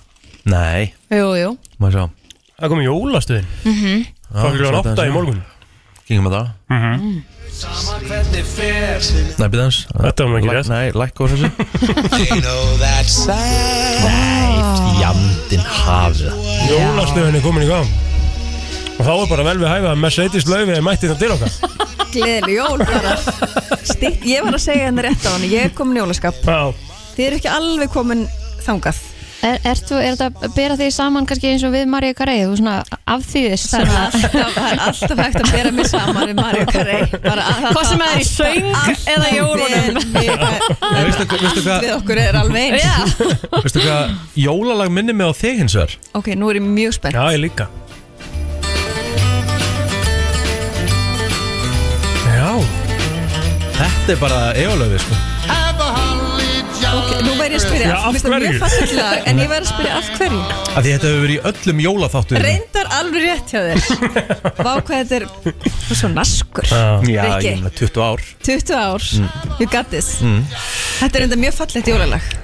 Speaker 1: Nei,
Speaker 2: Jú, jú
Speaker 1: maður sjá Ah,
Speaker 3: Það kom í jólastöðin Það fyrir hann átta í morgun
Speaker 1: Kingum að það
Speaker 2: Mhm.
Speaker 1: Nei, byrðu hans
Speaker 3: Þetta var nú ekki rétt.
Speaker 1: Nei, lækka úr þessu
Speaker 3: Jólastöðin er komin í gang Og þá er bara vel við hæfa að Mercedes laufi er mættið það til okkar
Speaker 8: Gleðileg jól bara Stitt, Ég var að segja henni rétt á hann Ég er komin í jólaskap
Speaker 3: Já,
Speaker 8: Þið eru ekki alveg komin þangað
Speaker 2: Er, er, þú, er þetta að bera þig saman kannski eins og við Maríu Karei, þú svona afþýðist
Speaker 8: Það er
Speaker 7: [LAUGHS]
Speaker 8: alltaf- það er alltaf hægt að bera mig saman við Maríu Carey
Speaker 2: Hvort sem það er í söng eða jólunum.
Speaker 1: [LAUGHS] En veistu hvað- veistu
Speaker 8: Allt
Speaker 1: hvað-
Speaker 8: við okkur er alveg eins
Speaker 2: Já,
Speaker 1: Veistu hvað, jólalag minni mig á þig hins vegar
Speaker 8: Ok, nú er ég mjög spennt
Speaker 3: Já, ég líka Já,
Speaker 1: Þetta er bara eolöfi sko
Speaker 8: Ok, Nú verð ég að spyrja
Speaker 3: Já, af
Speaker 8: Mér finnst það
Speaker 3: hverju?
Speaker 8: Mjög fallegt lag, en ég verð að spyrja af hverju
Speaker 1: Af því þetta hefur verið í öllum jólaþáttu
Speaker 8: Reyndar alveg rétt hjá þér Vá hvað þetta er Þú er svo naskur
Speaker 1: Já,
Speaker 8: Rikki.
Speaker 1: ég meina 20 ár
Speaker 8: 20 ár, you got this Þetta er enda mjög fallegt jólalag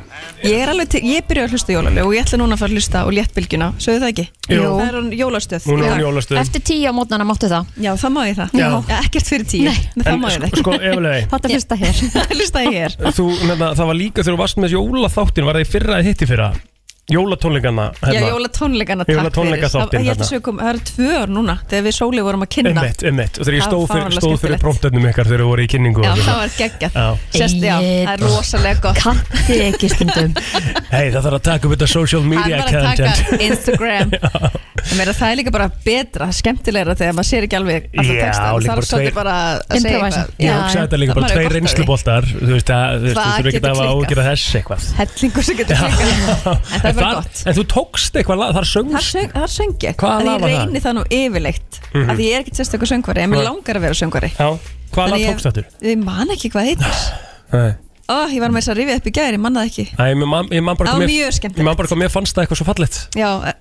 Speaker 8: Ég er alveg til, ég byrja að hlusta á jólalag og ég ætla núna að fara að hlusta á léttbylgjuna Sögðu það ekki?
Speaker 3: Jú.
Speaker 8: Það er hún jólastöð
Speaker 3: núna er
Speaker 8: Já.
Speaker 3: hún jólastöðum
Speaker 2: eftir tíu á mótnana máttu það
Speaker 8: Já, það má ég það
Speaker 3: Já.
Speaker 8: Ekkert fyrir tíu,
Speaker 2: Nei.
Speaker 8: en það má ég
Speaker 3: En
Speaker 8: það
Speaker 3: sko, sko eflega
Speaker 2: Þetta fyrsta hér [LAUGHS]
Speaker 8: [LAUGHS] Það hlusta ég hér
Speaker 3: Þú, nefna, það var líka þegar þú varst með jólaþáttin Var það í fyrra eða hitt í fyrra? Jólatónleikana
Speaker 8: Já,
Speaker 3: hérna.
Speaker 8: jólatónleikana takk
Speaker 3: Jólatónleikaþáttinn
Speaker 8: fyrir. Það- Ég held
Speaker 3: þarna.
Speaker 8: að séu kom, það eru tvö ár núna Þegar við Sóli vorum að kynna
Speaker 3: Einmitt, einmitt Og þegar ég
Speaker 8: Það
Speaker 3: stóð
Speaker 8: var
Speaker 3: fyrir,
Speaker 8: fáránlega
Speaker 3: stóð fyrir
Speaker 8: skemmtilegt.
Speaker 3: promptefnum ykkar þegar þú voru í kynningu
Speaker 8: Já,
Speaker 3: og
Speaker 8: það
Speaker 3: svona.
Speaker 8: var geggja
Speaker 3: Já.
Speaker 8: Sérst, já, það er rosalega gott
Speaker 2: Kanti ekki [LAUGHS] stundum
Speaker 3: Hei, það þarf að taka upp þetta social
Speaker 8: Hann
Speaker 3: media
Speaker 8: var að
Speaker 3: [LAUGHS]
Speaker 8: taka Instagram En meira, það er líka bara betra, skemmtilegra þegar maður sér ekki alveg alltaf
Speaker 3: Já, líka
Speaker 8: texta Það
Speaker 3: bara
Speaker 8: er svolítið
Speaker 3: tveir-
Speaker 8: bara að segja
Speaker 2: Improvisa.
Speaker 8: eitthvað.
Speaker 3: Ég
Speaker 8: Já,
Speaker 3: hugsa
Speaker 8: já.
Speaker 3: þetta líka bara
Speaker 8: Maður er
Speaker 3: tveir
Speaker 8: gott að því.
Speaker 3: reynsluboltar Þú veist að þú veist,
Speaker 8: Hvað
Speaker 3: þú þurfur ekki
Speaker 8: getur
Speaker 3: að hafa
Speaker 8: klikkað?
Speaker 3: ágjur að þess eitthvað
Speaker 8: Hellingur sem getur
Speaker 3: Já.
Speaker 8: klikkað hérna. En það er bara
Speaker 3: það-
Speaker 8: gott
Speaker 3: En þú tókst eitthvað lag, þar
Speaker 8: Það
Speaker 3: söngst
Speaker 8: söng, það söng ég,
Speaker 3: Hvaða
Speaker 8: en
Speaker 3: lag
Speaker 8: ég
Speaker 3: var það? Mhm.
Speaker 8: reyni það nú yfirleitt mm Því ég er ekkert sérstakur söngvari, en mér
Speaker 3: Nei.
Speaker 8: langar að vera söngvari
Speaker 3: Já, hvaða lag
Speaker 8: Þannig ég-
Speaker 3: tókst þetta?
Speaker 8: Ég man ekki hvað það heitir
Speaker 3: [GASPS] Æ,
Speaker 8: Ó, ég var með þess að rifja upp í gæri, ég man það ekki
Speaker 3: ég man ég man bara
Speaker 8: Það
Speaker 3: hvað
Speaker 8: var
Speaker 3: mér-
Speaker 8: mjög skemmtilegt.
Speaker 3: Ég man bara hvað mér fannst það eitthvað svo fallegt
Speaker 8: Já, eh,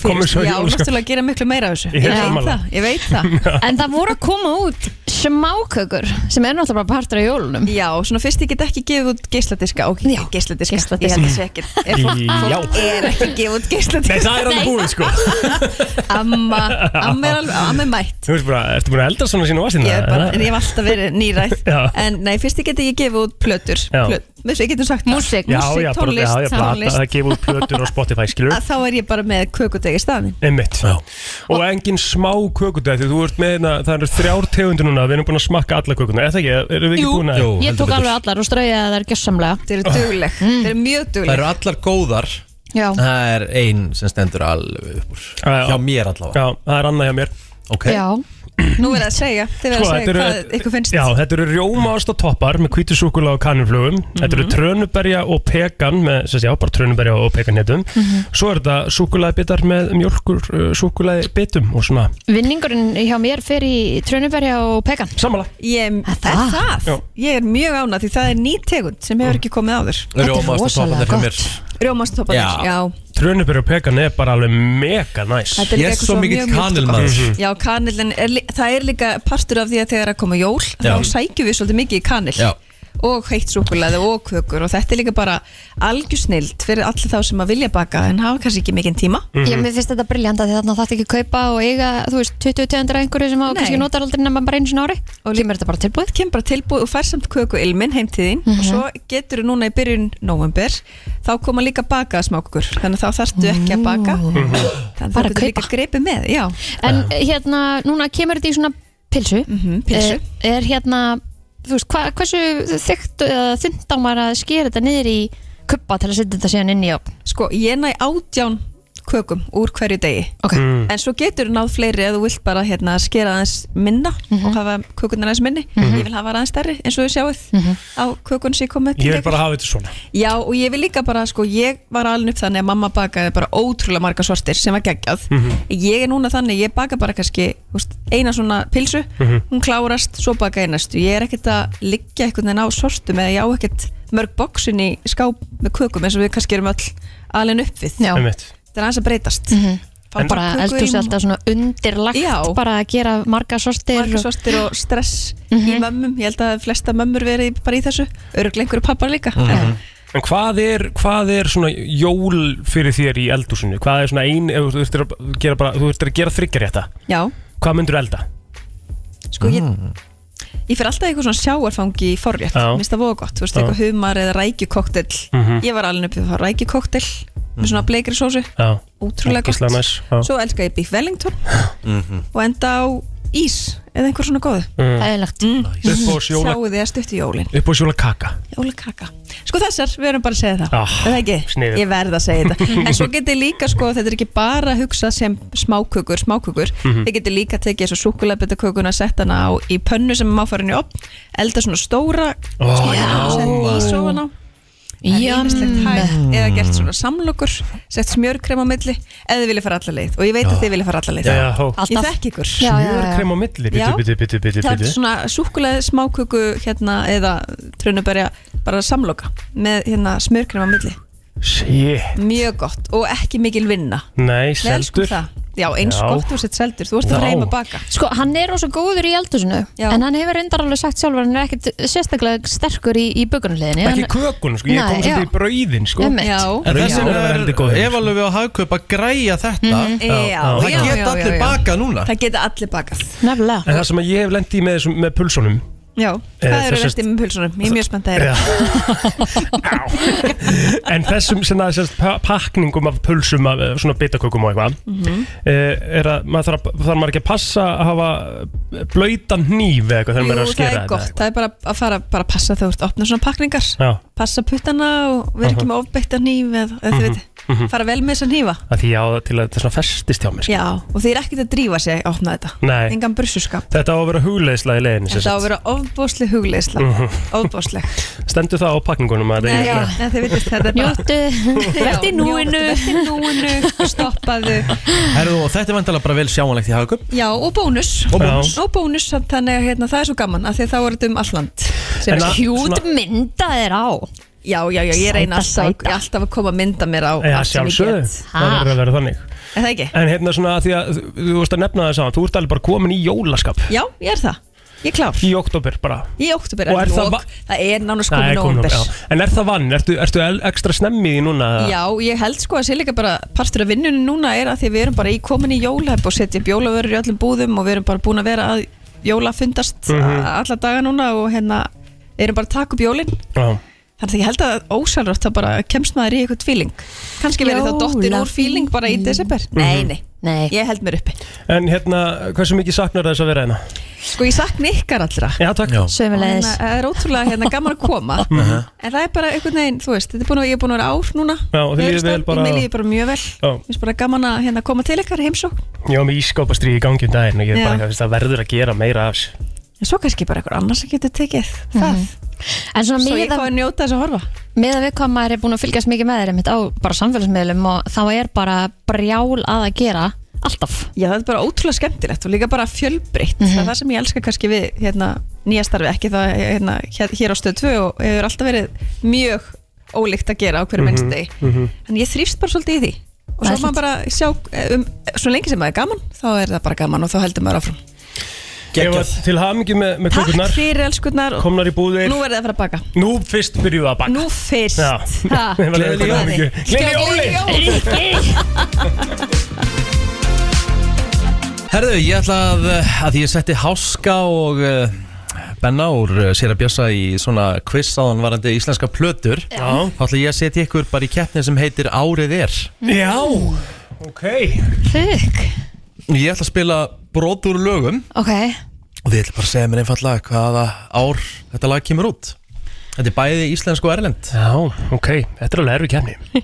Speaker 3: Komum
Speaker 8: fyrir,
Speaker 3: svo í sko.
Speaker 8: já,
Speaker 3: jólaskap.
Speaker 8: náttúrulega að gera miklu meira af þessu
Speaker 3: Ég
Speaker 8: Ég
Speaker 3: er
Speaker 8: veit
Speaker 3: sammála.
Speaker 8: það, ég veit það
Speaker 2: En það voru að koma út smákökur sem er náttúrulega bara partur af jólunum
Speaker 8: Já, svona fyrst ég get ekki gefið út geisladiska Ok,
Speaker 2: Já,
Speaker 8: geisladiska,
Speaker 2: geisladiska.
Speaker 8: ég held að sé
Speaker 3: [LAUGHS]
Speaker 8: ekkert Ef fólk, fólk er ekki að gefa út geisladiska
Speaker 3: það er alveg búið sko
Speaker 8: Amma, amma er alveg, amma er mætt
Speaker 3: Þú veist bara, ertu búin að elda svona sína vasina?
Speaker 8: Ég hef bara, en ég hef alltaf verið nýrætt
Speaker 3: Já.
Speaker 8: En nei, fyrst ég get ekki gefið út plötur
Speaker 3: Já.
Speaker 8: Plöt, við getum sagt það.
Speaker 2: Músík,
Speaker 3: Já,
Speaker 8: músík,
Speaker 3: já, bara,
Speaker 8: tónlist,
Speaker 3: já, já, plata,
Speaker 8: tónlist.
Speaker 3: það gefur út plötur á Spotify, skilur
Speaker 8: að Þá er ég bara með kökutegi staðin
Speaker 3: Einmitt Og engin smá kökudæð, þú ert með, na, það eru þrjár tegundir núna, við erum búin að smakka alla kökuna, eða ekki, erum við ekki
Speaker 2: Jú.
Speaker 3: búin að
Speaker 2: Ég tók alveg allar og straujaði þær gjössamlega
Speaker 3: Ah.
Speaker 8: Þeir eru dugleg, þeir eru mjög
Speaker 1: Það
Speaker 8: dugleg
Speaker 1: eru allar góðar
Speaker 2: Mm. Já,
Speaker 1: Það er ein sem stendur alveg upp úr
Speaker 3: Já, já.
Speaker 1: Hjá mér allavega
Speaker 3: Já, það er annað hjá mér
Speaker 1: Ok
Speaker 2: já
Speaker 8: Nú er það að segja, þeir eru að segja hvað ykkur finnst
Speaker 3: Sko, Já, þetta eru rjómaost og toppar með kvítusúkula og kanumflugum Þetta
Speaker 8: Mhm.
Speaker 3: eru trönuberja og pekan með, sérst, já, bara trönuberja og pekan heitum
Speaker 8: Mhm.
Speaker 3: Svo er þetta súkulaðbitar með mjölkur uh, súkulaðbitum og svona
Speaker 2: Vinningurinn hjá mér fer í Trönuberja og Pekan
Speaker 3: Samala
Speaker 8: Ég,
Speaker 2: Er
Speaker 8: er
Speaker 2: það?
Speaker 8: það?
Speaker 3: Já.
Speaker 8: Ég er mjög ánað því það er ný tegund sem hefur ekki komið áður
Speaker 1: Rjómaðast og
Speaker 2: rosalega
Speaker 1: topandir hjá mér
Speaker 2: gott.
Speaker 8: Rjómastopanir,
Speaker 1: Já.
Speaker 8: já. já
Speaker 3: Trönuberja og pekan er bara alveg mega næs
Speaker 1: Ég
Speaker 8: Þetta líka
Speaker 1: er
Speaker 8: eitthvað
Speaker 1: svo mikill
Speaker 8: mjög mjúkt og gott.
Speaker 1: kanilmaður
Speaker 3: Mhm.
Speaker 8: Já, kanilin, er, lí- það er líka partur af því að þegar að koma jól
Speaker 1: Já.
Speaker 8: þá sækjum við svolítið mikið í kanil
Speaker 1: Já.
Speaker 8: og heitt súkulæði og kökur og þetta er líka bara algjörsnild fyrir allir þá sem að vilja baka en hafa kannski ekki mikinn tíma
Speaker 1: Mm.
Speaker 3: Mhm.
Speaker 2: Já, mér finnst þetta briljant að þetta þarf ekki að kaupa og eiga, þú veist, 20 tegundir af einhverju sem á
Speaker 8: Nei.
Speaker 2: kannski notar aldrei nema bara einu sinni á ári og límur þetta bara tilbúið
Speaker 8: kemur bara tilbúið og fær samt köku ilminn heim til þín og svo getur þú núna í byrjun november, þá koma líka bakaða smákur, þannig að þá þarftu ekki að baka
Speaker 1: Mm-hmm.
Speaker 8: þannig að
Speaker 2: Bara
Speaker 8: þú getur líka greipið með já,
Speaker 2: En hérna, núna kemur þetta í svona pilsu,
Speaker 8: Mhm, pilsu.
Speaker 2: Er, er hérna, þú veist, hva, hversu þykkt eða þynt á maður að skera þetta niður í kuppa til að setja þetta síðan inn í opn
Speaker 8: sko, ég næ átján kökum úr hverju degi
Speaker 2: Ok,
Speaker 3: Mm.
Speaker 8: en svo getur þú náð fleiri ef þú vilt bara hérna, skera aðeins minna og hafa kökunar aðeins minni ég vil hafa þær aðeins stærri eins og þau sjáuð á kökun sem ég kom með til
Speaker 3: Ég vil
Speaker 8: ykkar.
Speaker 3: bara hafa þetta svona
Speaker 8: já og ég vil líka bara sko ég var alveg upp þannig að mamma bakaði bara ótrúlega marga svartir sem var geggjað ég er núna þannig, ég baka bara kannski þú veist, eina svona pilsu hún klárast, svo baka einastu ég er ekkert að liggja einhvern veginn á svartum eða ég á ekkert mörg boksin í skáp með kökum eins og við kannski erum öll alveg upp við
Speaker 2: já, Mhm.
Speaker 3: Einmitt.
Speaker 8: þetta er aðeins að breytast Fá
Speaker 3: En-
Speaker 2: bara
Speaker 8: köku í
Speaker 2: eldur sér
Speaker 8: og-
Speaker 2: alltaf svona undirlagt
Speaker 8: Já.
Speaker 2: bara að gera marga sortir og- Mhm.
Speaker 8: margasvartir og stress í mömmum ég held að flesta mömmur verið bara í þessu öruglega einhverju pappar líka
Speaker 2: Mhm.
Speaker 8: en,
Speaker 3: En hvað er, hvað er svona jól fyrir þér í eldúsinu? Hvað er svona ein, ef þú ert að gera bara, þú ert að gera þryggjarétta
Speaker 8: já,
Speaker 3: Hvað myndur elda?
Speaker 8: sko ég ég fer alltaf í eitthvað svona sjáarfangi í forrétt
Speaker 3: Já.
Speaker 8: minnst það voða gott, þú veist,
Speaker 3: Já.
Speaker 8: eitthvað humar eða rækjukoktel
Speaker 3: Mhm.
Speaker 8: ég var alveg upp við að fá rækjukoktel með svona bleikri sósu,
Speaker 3: Já, Ógeðslega
Speaker 8: ótrúlega gott
Speaker 3: næs, já.
Speaker 8: svo elska ég Beef Wellington og enda á ís eða eða einhver svona góðu
Speaker 3: Mm.
Speaker 2: Það er lagt
Speaker 3: Uppbóðs jóla,
Speaker 8: Sjáu þið að stuttu jólin
Speaker 3: uppbóðs jóla kaka
Speaker 8: Jólakaka Sko þessar, við erum bara að segja það
Speaker 3: Ah,
Speaker 8: Er Það ekki,
Speaker 3: sniðugt.
Speaker 8: ég verð að
Speaker 3: [LAUGHS]
Speaker 8: segja þetta En svo getið líka, sko, þetta er ekki bara að hugsa sem smákökur, smákökur
Speaker 3: Mhm.
Speaker 8: Þið getið líka að tekið þessu súkulabitakökuna Sett hana á í pönnu sem má fara henni upp Elda svona stóra
Speaker 3: Ó,
Speaker 8: Sett í sóan á Það er ýmislegt hægt. Eða gert svona samlokur Sett smjörkrem á milli Eða þið vilja fara alla leið Og ég veit að þið vilja fara alla leið
Speaker 3: Já, já, hó.
Speaker 8: Ég
Speaker 2: Alltaf.
Speaker 8: þekki ykkur
Speaker 2: Já, já, já.
Speaker 3: Smjörkrem á milli,
Speaker 8: Já.
Speaker 3: bitu, bitu, bitu, bitu,
Speaker 8: Það er
Speaker 3: bitu.
Speaker 8: svona súkulega smáköku hérna eða trunubæri bara samloka með hérna smjörkrem á milli
Speaker 3: Shit,
Speaker 8: Mjög gott og ekki mikil vinna
Speaker 3: nei,
Speaker 8: Við elskum
Speaker 3: seldur
Speaker 8: það. Já, eins
Speaker 3: Já.
Speaker 8: gott og sett seldur Þú ert að
Speaker 3: Vá.
Speaker 8: reyma baka
Speaker 2: Sko, hann er ósvo góður í eldusinu
Speaker 8: Já.
Speaker 2: En hann hefur reyndar alveg sagt sjálfur Hann er ekkit sérstaklega sterkur í, í bögunarliðinni
Speaker 3: Ekki kökun, sko, ég
Speaker 2: Nei,
Speaker 3: kom
Speaker 2: já.
Speaker 3: svolítið í brauðin, sko
Speaker 2: Einmitt.
Speaker 1: En
Speaker 3: Rauðin
Speaker 1: þess
Speaker 3: er að vera heldur
Speaker 1: vegna
Speaker 3: góð
Speaker 1: er efalöfi á hagkaup að græja þetta
Speaker 8: Já, já,
Speaker 3: já.
Speaker 1: Það
Speaker 8: Mhm. já, já,
Speaker 1: geta allir
Speaker 8: já, já.
Speaker 1: baka núna
Speaker 8: Það geta allir bakað
Speaker 2: Nefnilega
Speaker 3: En það sem að ég hef lent í með, þessum- með pulsunum
Speaker 8: Já, hvað
Speaker 3: Eh, það
Speaker 8: eru
Speaker 3: sést-
Speaker 8: restið með pulsunum? Ég er mjög spennt að
Speaker 3: Já.
Speaker 8: [LAUGHS] þeirra
Speaker 3: Á. En þessum sem það er sérst pa- pakningum af pulsum af eh, svona bitakökum og eitthvað
Speaker 8: Mhm.
Speaker 3: eh, er að maður þarf, að- þarf maður ekki að passa að hafa blöytan hníf eða eitthvað þegar
Speaker 8: Jú,
Speaker 3: maður er að
Speaker 8: það
Speaker 3: skera
Speaker 8: er gott, það er bara að fara bara að passa þegar þú ert að opna svona pakningar
Speaker 3: Já,
Speaker 8: Passa puttana og vera ekki með ofbeitta hníf eða eða
Speaker 3: Mhm,
Speaker 8: þið veit, fara vel með þessa hnífa
Speaker 3: að því ég á það til að þetta svona festist hjá mér sko.
Speaker 8: Já, og þið er ekkert að drífa sig að opna þetta
Speaker 3: Nei,
Speaker 8: engan brussuskap
Speaker 3: þetta á að vera hugleiðsla í leiðinni sem
Speaker 8: Þetta á
Speaker 3: sagt.
Speaker 8: að
Speaker 3: Mhm.
Speaker 8: vera ofbóðsleg hugleisla
Speaker 3: [LAUGHS]
Speaker 8: Ofbóðsleg
Speaker 3: Stendur það á pakningunum að
Speaker 8: Nei,
Speaker 3: þetta er
Speaker 8: nei, þið vitið þetta er bara-
Speaker 2: Njóttu, verðt í
Speaker 8: Já,
Speaker 2: núinu
Speaker 8: njóttu, Vertu í núinu, stoppaðu
Speaker 1: Herru, og þetta er vantilega bara vel sjáanlegt í hagkaup
Speaker 8: Já, og bónus
Speaker 1: Og
Speaker 3: Já.
Speaker 1: bónus
Speaker 8: Og bónus, þannig að hérna, það er svo gaman af því að þá er þetta um alland sem,
Speaker 3: En að-
Speaker 2: Hjút mynda þér á
Speaker 8: Já, já, já, ég reyna
Speaker 2: Sæta,
Speaker 8: alltaf,
Speaker 2: sæta.
Speaker 8: alltaf að koma að mynda mér á
Speaker 3: Já,
Speaker 8: allt sem ég
Speaker 3: sjálfsögðu,
Speaker 8: get.
Speaker 3: það verður að vera þannig
Speaker 8: Er það ekki?
Speaker 3: En hérna svona að því að þú- þú vorst að nefna það saman Þú ert alveg bara komin í jólaskap
Speaker 8: Já, ég er það, ég er klár
Speaker 3: Í oktober bara
Speaker 8: Í óttúber
Speaker 3: Og er það
Speaker 8: það,
Speaker 3: va-
Speaker 8: það er nánast
Speaker 3: Nei,
Speaker 8: komið
Speaker 3: kom nú,
Speaker 8: nóvember
Speaker 3: já. En er það vann? Ertu, ertu el- ekstra snemmi í því núna? eða?
Speaker 8: Já, ég held sko að sé líka bara partur af vinnunni núna er að því að við erum bara í komin í jólahöpp og setja bjólavörur í öllum búðum og við erum bara búin að vera að jólafundast mm alla daga núna og hérna erum bara að taka upp jólin
Speaker 3: Já.
Speaker 8: þannig að ég held að ósælrætt þá bara kemst maður í eitthvað fíling kannski verið það dottin úr fíling bara í desember Nei, nei,
Speaker 2: Nei,
Speaker 8: ég held mér uppi
Speaker 3: En hérna, hversu mikið saknar þess að vera hérna?
Speaker 8: Sko ég sakna ykkar allra
Speaker 3: Já, takk. Mhm.
Speaker 1: Já.
Speaker 8: Þannig
Speaker 2: sömulegis
Speaker 8: að það er ótrúlega hérna, gaman að koma en það er bara einhvern veginn, þú veist, þetta er búin að ég er búin að vera ár núna
Speaker 3: Já, og þér líður vel bara-
Speaker 8: Mér líður bara mjög vel,
Speaker 3: Já.
Speaker 8: mér finnst bara gaman að hérna, koma til ykkar í heimsókn
Speaker 3: Ég var með ískópastrí í gangi um daginn og ég er
Speaker 8: Já.
Speaker 3: bara, eitthvað, veist, það verður að gera meira af þessu.
Speaker 8: En svo kannski bara einhver annars að getur tekið
Speaker 2: Mhm.
Speaker 8: það
Speaker 2: En svona
Speaker 8: eh, Svo ég
Speaker 2: miða,
Speaker 8: fái að njóta þess að horfa
Speaker 2: miða við hvað maður er búin að fylgjast mikið með þér einmitt á bara samfélagsmiðlum og þá er bara brjál að að gera alltaf
Speaker 8: Já, það er bara ótrúlega skemmtilegt og líka bara fjölbreytt
Speaker 2: Mhm.
Speaker 8: Það er það sem ég elska kannski við hérna, nýja starfi ekki það hérna, hér, hér á stöð 2 og hefur alltaf verið mjög ólíkt að gera á
Speaker 3: Mhm,
Speaker 8: hverju minnst degi Þannig ég þrýfst bara svolítið í því og
Speaker 2: Það er
Speaker 8: svo má maður
Speaker 2: fínt.
Speaker 8: bara sjá um, svo lengi sem maður er gaman, þá er það bara gaman og þá heldur maður áfram
Speaker 3: Ég var til hamingi með, með
Speaker 8: Takk
Speaker 3: kökurnar,
Speaker 8: fyrir elskurnar og
Speaker 3: komnar í búðir.
Speaker 8: nú
Speaker 3: Nú,
Speaker 8: verðið að fara að baka
Speaker 3: fyrst byrjuðu að baka.
Speaker 8: Nú fyrst
Speaker 3: Já. [LAUGHS]
Speaker 8: Ha.
Speaker 3: Ég var leiðileg í hamingju. Gleðileg jólin!
Speaker 1: Herðu, ég ætla að, að ég setti Háska og uh, Benna úr uh, sér að bjösa í svona quiz áðan varandi íslenska plötur
Speaker 3: Já.
Speaker 1: Þá ætla ég að setja ykkur bara í keppni sem heitir Árið er
Speaker 3: Já. Ok.
Speaker 2: Þig,
Speaker 1: Ég ætla að spila brot úr lögum
Speaker 2: ok
Speaker 1: og þið ætla bara að segja mér einfallega hvaða ár þetta lag kemur út Þetta er bæði íslensk og erlend
Speaker 3: Já, ok. Þetta er alveg erfið kemni.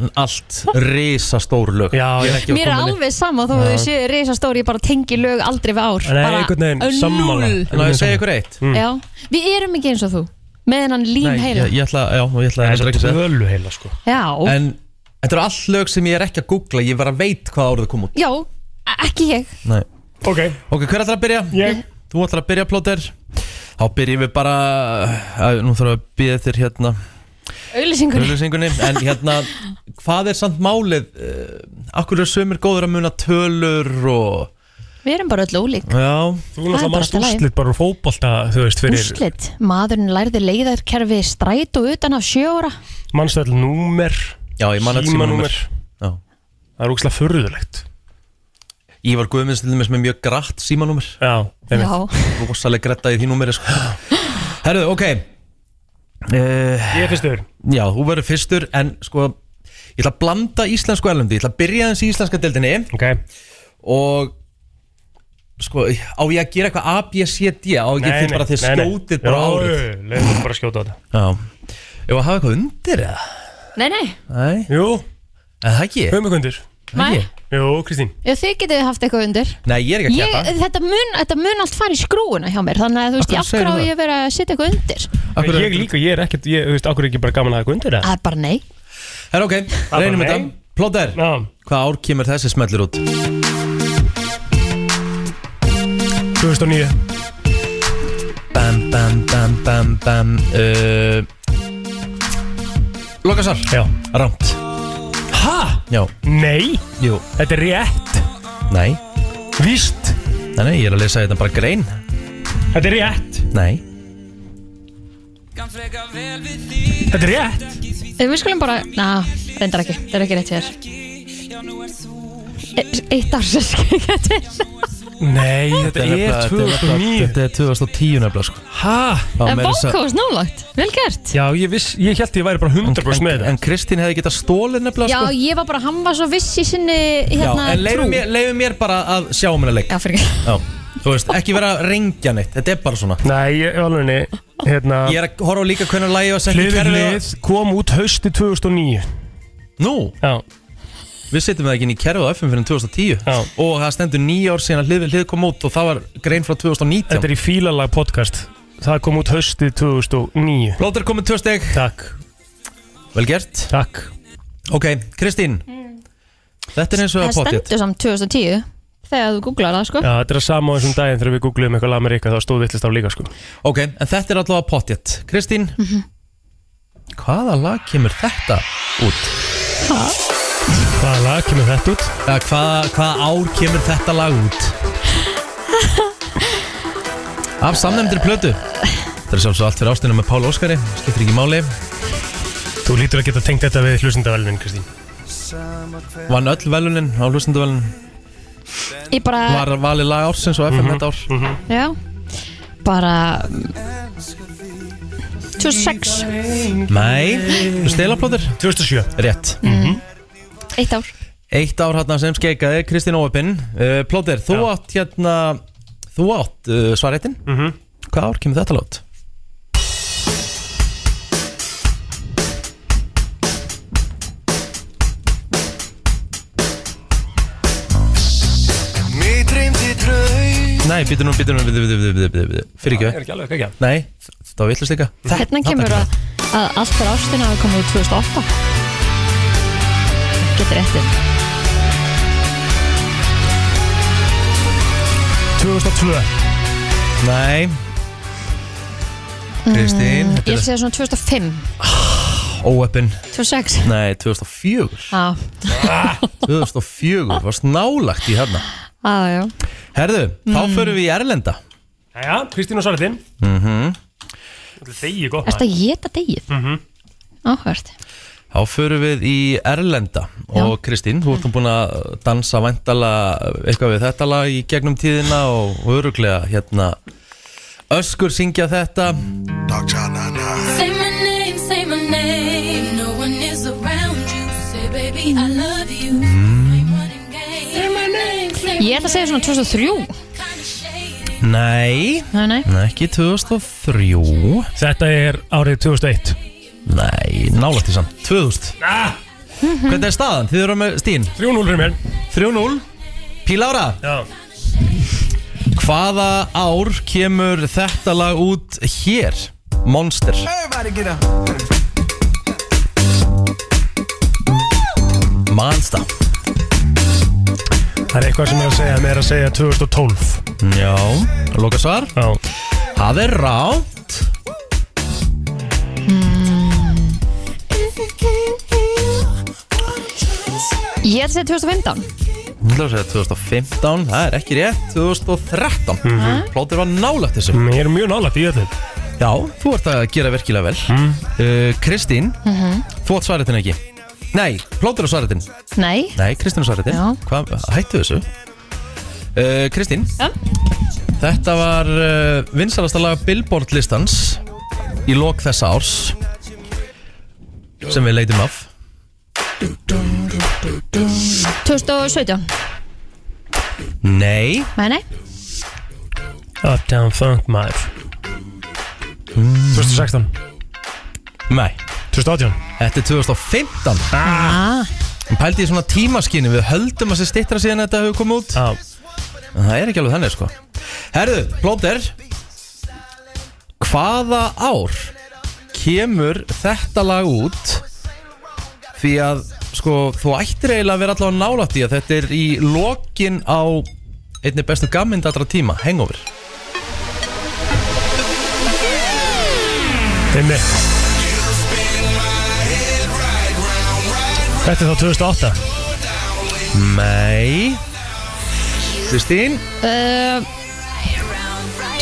Speaker 1: en allt risastór lög
Speaker 3: Já,
Speaker 1: ég
Speaker 3: já.
Speaker 1: er ekki að
Speaker 2: Mér er
Speaker 1: koma henni.
Speaker 2: alveg sama þó að þú séu reysastóri ég bara tengi lög aldrei við ár
Speaker 3: Nei,
Speaker 2: bara
Speaker 3: einhvern veginn,
Speaker 2: ö,
Speaker 3: sammála.
Speaker 2: núll.
Speaker 1: En á ég að segja ykkur eitt
Speaker 2: Já, við erum ekki eins og þú með hennan lím
Speaker 1: Mm. Nei,
Speaker 2: heila
Speaker 1: ég, ég ætla, já, og ég ætla
Speaker 3: Það
Speaker 1: heldur
Speaker 3: er
Speaker 1: ekki að segja
Speaker 3: svo ölu heila, sko.
Speaker 2: Já,
Speaker 1: En þetta eru allt lög sem ég er ekki að googla Ég var að veit hvaða árið það kom út
Speaker 2: já, e- ekki ég
Speaker 1: Nei.
Speaker 3: Ok.
Speaker 1: Ok, hver ætlar að byrja?
Speaker 3: Ég.
Speaker 1: Þú ætlar að byrja, Plóter Þá byrjum við bara að, Nú þarf að byrja þér hérna
Speaker 2: Auðlýsingur
Speaker 1: auglýsingunni. En hérna, hvað er samt málið? Uh, akkur er sömur góður að muna tölur og
Speaker 2: Við erum bara öll ólík
Speaker 1: Já,
Speaker 3: Þú náttúrulega
Speaker 2: bara
Speaker 3: mannst
Speaker 2: allt í lagi.
Speaker 3: úrslit bara úr fótbolta, þú veist, fyrir
Speaker 2: Úrslit, maðurinn lærði leiðarkerfi stræt og utan af sjóra
Speaker 3: mannst all númer,
Speaker 1: já ég man að
Speaker 3: símanúmer.
Speaker 1: Já.
Speaker 3: Það er úkslega förðulegt.
Speaker 1: Ívar Guðmunds til dæmis með mjög grætt símanúmer
Speaker 3: Já, einmitt.
Speaker 2: Já,
Speaker 1: Rosaleg gretta í því númeri sko. Herðu, ok uh,
Speaker 3: Ég er fyrstur.
Speaker 1: Já, þú verður fyrstur En sko, ég ætla að blanda íslensku erlendi Ég ætla að byrja aðeins í íslenska deildinni
Speaker 3: Ok.
Speaker 1: og Sko, á ég að gera eitthvað A, B, C, D Á ekki þið bara þið skjótið bara á
Speaker 3: Já, já, leiðum okkur bara að skjóta á þetta
Speaker 1: Já Ég var að hafa eitthvað undir eða?
Speaker 2: Nei, nei,
Speaker 1: Nei
Speaker 3: Jú,
Speaker 1: En það ekki
Speaker 3: höfum við kundir
Speaker 2: nei
Speaker 3: Jú, Kristín
Speaker 2: Já, þið getið haft eitthvað undir
Speaker 1: Nei, ég er ekki
Speaker 2: ég,
Speaker 1: að keppa
Speaker 2: þetta, mun, þetta mun allt fara í skrúuna hjá mér Þannig að þú veist,
Speaker 1: Af
Speaker 2: ég
Speaker 1: hverju
Speaker 2: af hverju
Speaker 1: segirðu
Speaker 2: á ég að vera að setja eitthvað undir
Speaker 1: Akkur-
Speaker 3: Ég líka, ég er ekkert, ég, þú veist, okkur er ekki bara gaman að hafa eitthvað undir
Speaker 2: Það er bara nei
Speaker 1: Herra, ok,
Speaker 3: bara
Speaker 1: reynum
Speaker 3: nei.
Speaker 1: þetta Plóter,
Speaker 3: Já,
Speaker 1: hvað ár kemur þessi smellur út?
Speaker 3: 2009
Speaker 1: Bam, bam, bam, bam, bam uh, Lokasar
Speaker 3: Já
Speaker 1: Rámt
Speaker 3: Ha?
Speaker 1: Já,
Speaker 3: Nei,
Speaker 1: jú,
Speaker 3: þetta er rétt
Speaker 1: nei
Speaker 3: Víst
Speaker 1: Nei, nei, ég er að lesa þetta bara grein
Speaker 3: Þetta er rétt
Speaker 1: Nei
Speaker 3: Þetta er rétt
Speaker 2: Þegar við skulum bara, na, reyndar ekki Það er ekki rétt hér E- Eitt árs er ekki rétt hér
Speaker 3: Nei, þetta er
Speaker 2: E
Speaker 1: nefnilega- þetta er nefnilega-
Speaker 3: 2009
Speaker 1: Þetta er 2010 nefnilega sko
Speaker 3: Ha?
Speaker 1: Það var
Speaker 2: En
Speaker 1: meira að segja-
Speaker 2: bókóðs nálagt, vel gert
Speaker 3: Já, ég viss, ég held ég væri bara 100% með
Speaker 1: En,
Speaker 3: þetta
Speaker 1: en Kristín hefði getað stólið nefnilega
Speaker 2: Já,
Speaker 1: sko
Speaker 2: ég var bara, hann var svo viss í sinni hérna,
Speaker 1: en leiðum mér, leiðum mér bara að sjá um hennar leik
Speaker 2: Já, fyrir ekki
Speaker 1: Já, þú veist, ekki vera að rengja neitt Þetta er bara svona
Speaker 3: Nei, ég alveg niður Hérna
Speaker 1: Ég er að horfa á líka hvernig lagi var sett í
Speaker 3: Hlið við
Speaker 1: kerfið
Speaker 3: hlið kom út hausti 2009
Speaker 1: Nú,
Speaker 3: Já,
Speaker 1: við setjum það ekki inn í kerfið á FM fyrir um 2010
Speaker 3: Já.
Speaker 1: Og það stendur nýja ár síðan að hlið við hlið kom út Og það var grein frá 2019
Speaker 3: þetta er í fílalag podcast Það kom út hausti 2009
Speaker 1: Blóter komið tvö steg
Speaker 3: Takk,
Speaker 1: Vel gert
Speaker 3: takk
Speaker 1: Ok, Kristín Þetta er eins og
Speaker 2: Það
Speaker 1: að potið
Speaker 2: stendur samt 2010 Þegar þú googlar það, sko
Speaker 3: Já, þetta er að sama á þessum daginn þegar við googluðum eitthvað Lameríka þá stóð vittlist á líka sko
Speaker 1: Ok, en þetta er allavega potið Kristín
Speaker 2: Mhm.
Speaker 1: Hvaða lag kemur þetta út?
Speaker 3: Hvaða lag kemur þetta út?
Speaker 1: Eða Hvaða hvaða ár kemur þetta lag út? Af samnefndir plötu Þetta er sjálfsög allt fyrir ástina með Pál Óskari Skiptir ekki máli
Speaker 3: Þú lítur að geta tengt þetta við hlustendavælunin Kristín
Speaker 1: Vann öll velunin á hlustenduvelun
Speaker 2: Ég bara,
Speaker 1: Var valið lag ársins og FM þetta ár
Speaker 2: já Bara mm, 2006,
Speaker 1: Nei, þú stela plötur?
Speaker 3: 2007
Speaker 1: Rétt
Speaker 2: eitt ár
Speaker 1: Eitt ár hérna sem skeikaði Kristín Óöpinn uh, Plóter, þú
Speaker 3: Já.
Speaker 1: átt hérna Þú átt uh, svaréttin
Speaker 3: Mhm.
Speaker 1: Hvað ár kemur þetta lát? Nei, býtu nú, býtu nú, býtu, býtu, býtu, býtu, býtu Fyrir ekki,
Speaker 3: ekki alveg, ekki
Speaker 1: nei, það var villast líka
Speaker 2: Hérna kemur að, að allt fyrir ástina hafi komið úr 2008 Getur réttið
Speaker 3: 2002
Speaker 1: Nei Kristín,
Speaker 3: Mm,
Speaker 1: þetta
Speaker 2: Ég
Speaker 1: er
Speaker 2: sé svona 2005,
Speaker 1: óöppin
Speaker 2: 2006
Speaker 1: Nei, 2004
Speaker 2: Já,
Speaker 1: 2004, varst nálagt í hérna
Speaker 2: já, já
Speaker 1: Herðu,
Speaker 3: Mm.
Speaker 1: þá förum við í Erlenda
Speaker 3: Jæja, Kristín og Svartin Þetta er þegi gott
Speaker 2: Ertu að geta degið? Mm
Speaker 1: Mhm.
Speaker 2: -hmm. Áhvert
Speaker 1: Þá förum við í Erlenda Og Kristín, þú ert nú búin að dansa væntala eitthvað við þetta lag í gegnum tíðina og öruglega hérna Öskur syngja þetta
Speaker 9: Say my name, say my name. No one is around you. Say, baby, I love you. Ain't running game. Say my name, say
Speaker 2: Ég ætla að segja svona 2003
Speaker 9: kind of shady.
Speaker 1: Nei,
Speaker 2: Nei, nei
Speaker 1: nei, ekki 2003
Speaker 3: Þetta er árið 2001
Speaker 1: Nei, nálagt í samt 2000
Speaker 3: ah,
Speaker 1: Hvernig er staðan? Þið eru með Stín
Speaker 3: 3-0 fyrir mér
Speaker 1: 3-0 Pílára,
Speaker 3: Já
Speaker 1: hvaða ár kemur þetta lag út hér? Monster Mansta
Speaker 3: Það er eitthvað sem er að segja með er að segja 2012
Speaker 1: Já, loka svar
Speaker 3: Já
Speaker 1: Það er rátt
Speaker 2: Ég ætla að segja 2015
Speaker 1: Það er að segja 2015, það er ekki rétt 2013 Plótir var nálægt þessu
Speaker 3: Ég er mjög nálægt í öllu
Speaker 1: Já, þú ert að gera virkilega vel uh, Kristín, þú átt svaretin ekki Nei, plótir á svaretin
Speaker 2: Nei
Speaker 1: Nei, Kristín á svaretin
Speaker 2: Já.
Speaker 1: Hvað, hættu þessu uh, Kristín
Speaker 2: Já.
Speaker 1: Þetta var uh, vinsalasta laga Billboard listans Í lok þessa árs Sem við leitum af
Speaker 2: 2017
Speaker 1: Nei,
Speaker 2: Nei, nei
Speaker 3: Uptown Funk maður 2016
Speaker 1: Nei
Speaker 3: 2018
Speaker 1: Þetta er 2015
Speaker 3: ah.
Speaker 1: Pældi í svona tímaskinni Við höldum að sér stittra síðan þetta hefur komið út
Speaker 3: ah.
Speaker 1: Það er ekki alveg þannig sko Herðu, Blóter Hvaða ár kemur þetta lag út Því að sko þú ættir eiginlega að vera allavega nálætt í að þetta er í lokin á einni bestu gammind allra tíma, Hangover
Speaker 3: Einmi Þetta er þá 2008
Speaker 1: Nei Kristín?
Speaker 2: Uh,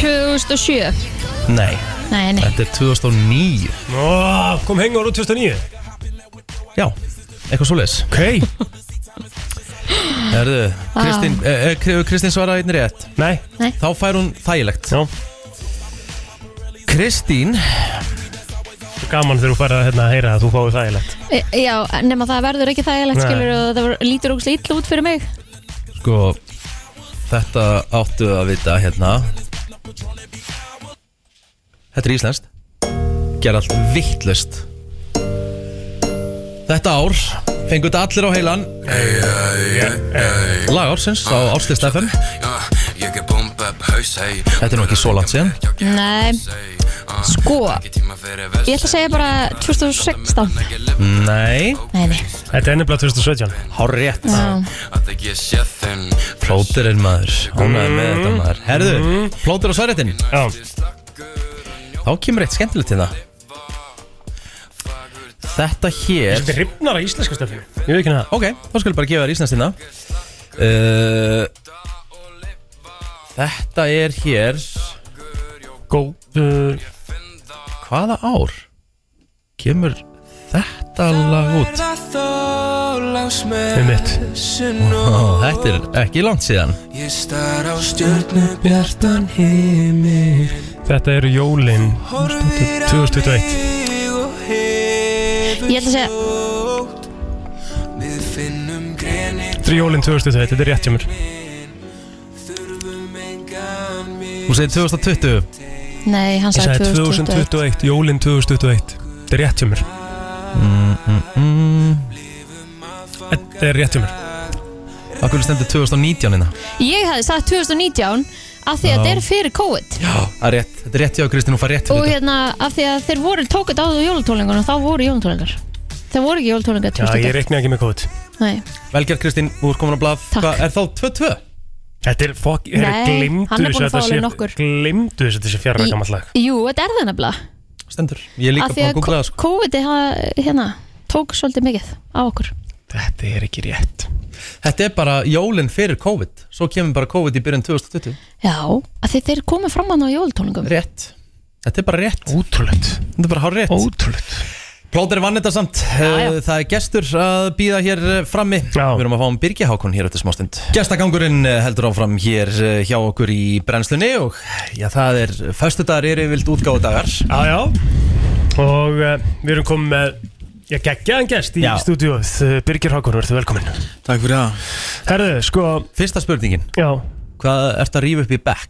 Speaker 2: 2007
Speaker 1: Nei
Speaker 2: Nei, nei
Speaker 1: Þetta er 2009
Speaker 3: oh, Kom hengur úr 2009
Speaker 1: Já, eitthvað svoleiðis
Speaker 3: Ok
Speaker 1: Herðu, Kristín, eh, eh, Kri- Kristín svaraði einnig rétt
Speaker 3: Nei
Speaker 2: Nei.
Speaker 1: Þá fær hún þægilegt
Speaker 3: Já
Speaker 1: Kristín
Speaker 3: Svo Gaman þegar þú færði að hérna, heyra að þú fáið þægilegt
Speaker 2: E- Já, nema það verður ekki þægilegt
Speaker 3: Nei.
Speaker 2: skilur og það var- lítur ógst illa út fyrir mig
Speaker 1: Sko, þetta áttu að vita hérna Þetta er íslenskt Ger allt vittlust Þetta ár Fengu þetta allir á heilan Lag ársins á Árslist FM Þetta er nú ekki svo langt síðan
Speaker 2: Nei, sko Ég ætla að segja bara 2016
Speaker 1: Nei,
Speaker 2: Nei, nei
Speaker 3: Þetta er nefnilega 2017
Speaker 1: hár rétt
Speaker 2: Já.
Speaker 1: Plóterinn maður Ánæður með þetta maður Herðu, plóter á svarréttin
Speaker 3: Já
Speaker 1: Þá kemur eitt skemmtilegt hérna Þetta hér
Speaker 3: Þetta er hrifnar að íslenska stöfi Ég veit ekki hérna
Speaker 1: Ok, þá skulum bara gefa þér íslenstina uh, Þetta er hér
Speaker 3: Góður
Speaker 1: Hvaða ár Kemur þetta lag út
Speaker 3: Einmitt
Speaker 1: Ó, Þetta er ekki langt síðan
Speaker 3: Þetta eru jólin 2021
Speaker 2: Ég ætla að segja
Speaker 3: Þetta eru jólin 2021 Þetta er rétt hjá mér
Speaker 1: Þú segir 2020
Speaker 2: Nei, hann
Speaker 3: Ég
Speaker 2: sagði
Speaker 3: sagði
Speaker 2: 2020
Speaker 3: 2021 Jólin 2021 Þetta er rétt hjá mér Mm, Þetta er rétt hjá mér
Speaker 1: Akkur stendur 2019 hérna
Speaker 2: Ég hefði sagt 2019 af því að þetta er fyrir COVID
Speaker 1: Það er rétt, þetta er rétt hjá Kristín, hún fær rétt
Speaker 2: og
Speaker 1: fyrir þetta
Speaker 2: hérna af því að þeir voru tókut á því jólutólingunum þá voru jólutólingar þeir voru ekki jólutólingar
Speaker 3: Já, ég
Speaker 2: 2020
Speaker 3: reikna ekki með kóð
Speaker 2: Nei,
Speaker 1: Velgerð Kristín, þú ert komin að blað
Speaker 2: Takk.
Speaker 1: Hvað er þá 2-2?
Speaker 3: Þetta er fokk Nei,
Speaker 2: Nei, hann er
Speaker 3: glimdu
Speaker 2: búinn að
Speaker 3: þess að þetta
Speaker 2: fá alveg nokkur.
Speaker 3: sé Glimdu þess að þetta sé fjarrra
Speaker 2: Í-
Speaker 3: gammalt lag
Speaker 2: Jú, þetta er það nefnilega
Speaker 1: Stendur, ég er líka
Speaker 2: af því
Speaker 1: búin að
Speaker 2: að
Speaker 1: googla það
Speaker 2: ko-
Speaker 1: sko
Speaker 2: COVID ha- hérna, tók svolítið mikið á okkur
Speaker 3: Þetta er ekki rétt
Speaker 1: Þetta er bara jólin fyrir COVID Svo kemur bara COVID í byrjun 2020
Speaker 2: Já, af því þeir komu fram hann á jólutólingum
Speaker 1: Rétt Þetta er bara rétt
Speaker 3: Ótrúlegt
Speaker 1: Þetta er bara hár rétt
Speaker 3: Ótrúlegt
Speaker 1: Plóter vann þetta samt Eh,
Speaker 2: já.
Speaker 1: Það er gestur að býða hér eh, frammi
Speaker 3: Já.
Speaker 1: Við erum að fá um Birgi Hákon hér eftir smástund Gestagangurinn eh, heldur áfram hér eh, hjá okkur í brennslunni og já, það er, föstudagar eru yfirvilt útgáðudagar
Speaker 3: Já, já Og uh, við erum komið með Já, geggjaðan gest í
Speaker 1: Já.
Speaker 3: stúdíóð Uh, Birgir Hákon, verður velkominn
Speaker 4: Takk fyrir það
Speaker 3: Herðu, sko
Speaker 1: Fyrsta spurningin,
Speaker 3: Já,
Speaker 1: hvað ertu að rífa upp í back?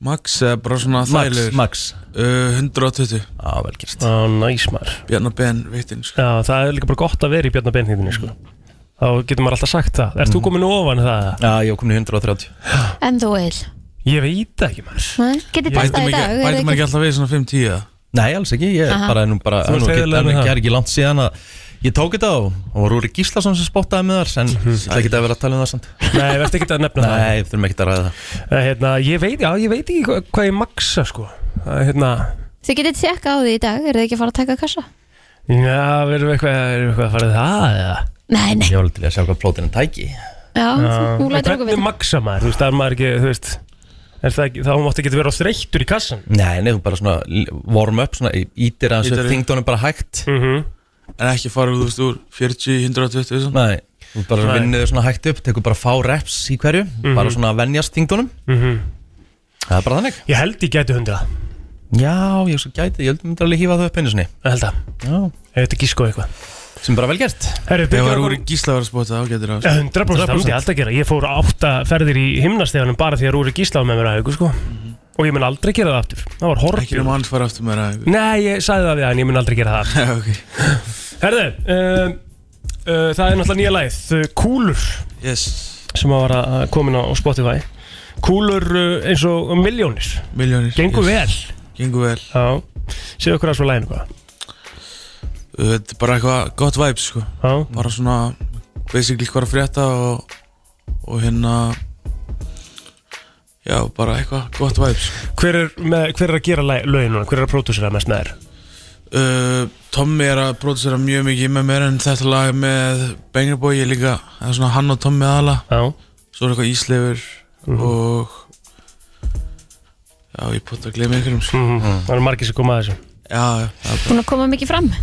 Speaker 4: Max er bara svona
Speaker 1: Max,
Speaker 4: þægilegur
Speaker 1: Max
Speaker 4: uh, 120
Speaker 1: Á, vel gert
Speaker 3: á næs maður
Speaker 4: Bjarnar Ben veitinn sko.
Speaker 3: Já, það er líka bara gott að vera í bjarnabennhýðinni, sko Þá getur maður alltaf sagt það Ert þú komin ofan það?
Speaker 1: Já, ég kom í 130
Speaker 2: En þú eil
Speaker 3: Ég veit það ekki maður
Speaker 2: Getið
Speaker 4: Bætum
Speaker 2: testað í
Speaker 4: ekki,
Speaker 2: dag er
Speaker 4: bætum
Speaker 2: það
Speaker 4: ekki alltaf við svona 5-10 eða?
Speaker 1: Nei, alls ekki, ég
Speaker 2: Aha.
Speaker 1: bara er nú bara
Speaker 3: Þú ert
Speaker 1: nú ekki-
Speaker 3: heiðarlegur með
Speaker 1: en
Speaker 3: það.
Speaker 1: er ekki langt síðan að ég tók þetta og og var Rúri Gíslason sem spottaði með þar en ég ætla ekki að vera að tala um það samt
Speaker 3: [LAUGHS] Nei, verður ekki að nefna það
Speaker 1: Nei, þurfum ekki að ræða það
Speaker 3: Eh, hérna, ég, veit, já, ég veit ekki hva, hvað ég maksa sko. Það er, hérna,
Speaker 2: Þið getið tjekka á því í dag, er þið ekki að fara að taka kassa?
Speaker 3: Já, verðum við eitthvað, erum við eitthvað að fara í það eða?
Speaker 2: Nei, nei,
Speaker 1: Ég var alveg til að sjá hvað plótinu tæki
Speaker 2: já, þú
Speaker 3: En
Speaker 2: lætur okkur
Speaker 3: Hvernig
Speaker 2: við
Speaker 3: maksa maður, þú veist, það er maður ekki, þú veist er það ekki, Þá máttu ekki vera þreyttur í kassan
Speaker 1: Nei, nei, þú bara svona l- warm up, svona ítir aðeins
Speaker 4: Ýtir
Speaker 1: upp
Speaker 4: upp.
Speaker 1: þingdónum bara hægt
Speaker 3: mm -hmm.
Speaker 4: En ekki fara þú veist úr 40, 120 svona.
Speaker 1: Nei, Mhm. þú bara
Speaker 3: Nei.
Speaker 1: vinnur þau svona hægt upp, tekur bara fá reps í hverju Bara svona að venjast þingdónum Það er bara þannig
Speaker 3: Ég held ég gæti hundra
Speaker 1: Já, ég svo gæti, ég held myndi alveg hífa þau upp einu sinni
Speaker 3: Ég held að,
Speaker 1: Já,
Speaker 3: ég veit ekki sko eitthvað
Speaker 1: Sem bara vel gert
Speaker 3: Herru,
Speaker 6: Ef
Speaker 3: Birgir
Speaker 6: það
Speaker 3: var
Speaker 6: voru gíslaverðsbóti þá getur það
Speaker 3: 100% það myndi ég alltaf gera Ég fór átta ferðir í himnasteganum bara því að Rúri Gísla var með mér að haugu sko. Og ég mun aldrei gera það aftur Það var horfið
Speaker 6: Mhm. Ekki um hans fara aftur
Speaker 3: [LAUGHS]
Speaker 6: með það
Speaker 3: Nei, ég sagði það við hann, ég mun aldrei gera
Speaker 6: [LAUGHS]
Speaker 3: það okay. Herðu, um, uh, það er náttúrulega nýja læð uh, Kúlur
Speaker 6: yes.
Speaker 3: Sem að var að að komin á á Spotify Kúlur uh, eins og miljónir
Speaker 6: Miljónir
Speaker 3: Gengur
Speaker 6: yes.
Speaker 3: vel
Speaker 6: Gengur vel
Speaker 3: Já, séu okkur að svo læginu hvað
Speaker 6: Þetta er bara eitthvað gott væp sko
Speaker 3: Já.
Speaker 6: Bara svona Basically hvað er að frétta og Og hérna Já, bara eitthvað gott væp sko
Speaker 3: Hver er, með, hver er að gera læ- lögin núna? Hver er að pródúsera mest með þér?
Speaker 6: Uh, Tommy er að pródusera mjög mikið með mér en þetta lag með Banger Boy er líka, það er svona hann og Tommy aðala
Speaker 3: Já.
Speaker 6: Svo er eitthvað Ísleifur og Já, ég búið að gleyma einhverjum sko.
Speaker 3: mm -hmm. Það eru margir sem koma að þessu
Speaker 6: Já, já, það er
Speaker 2: Búin að koma mikið fram,
Speaker 6: bara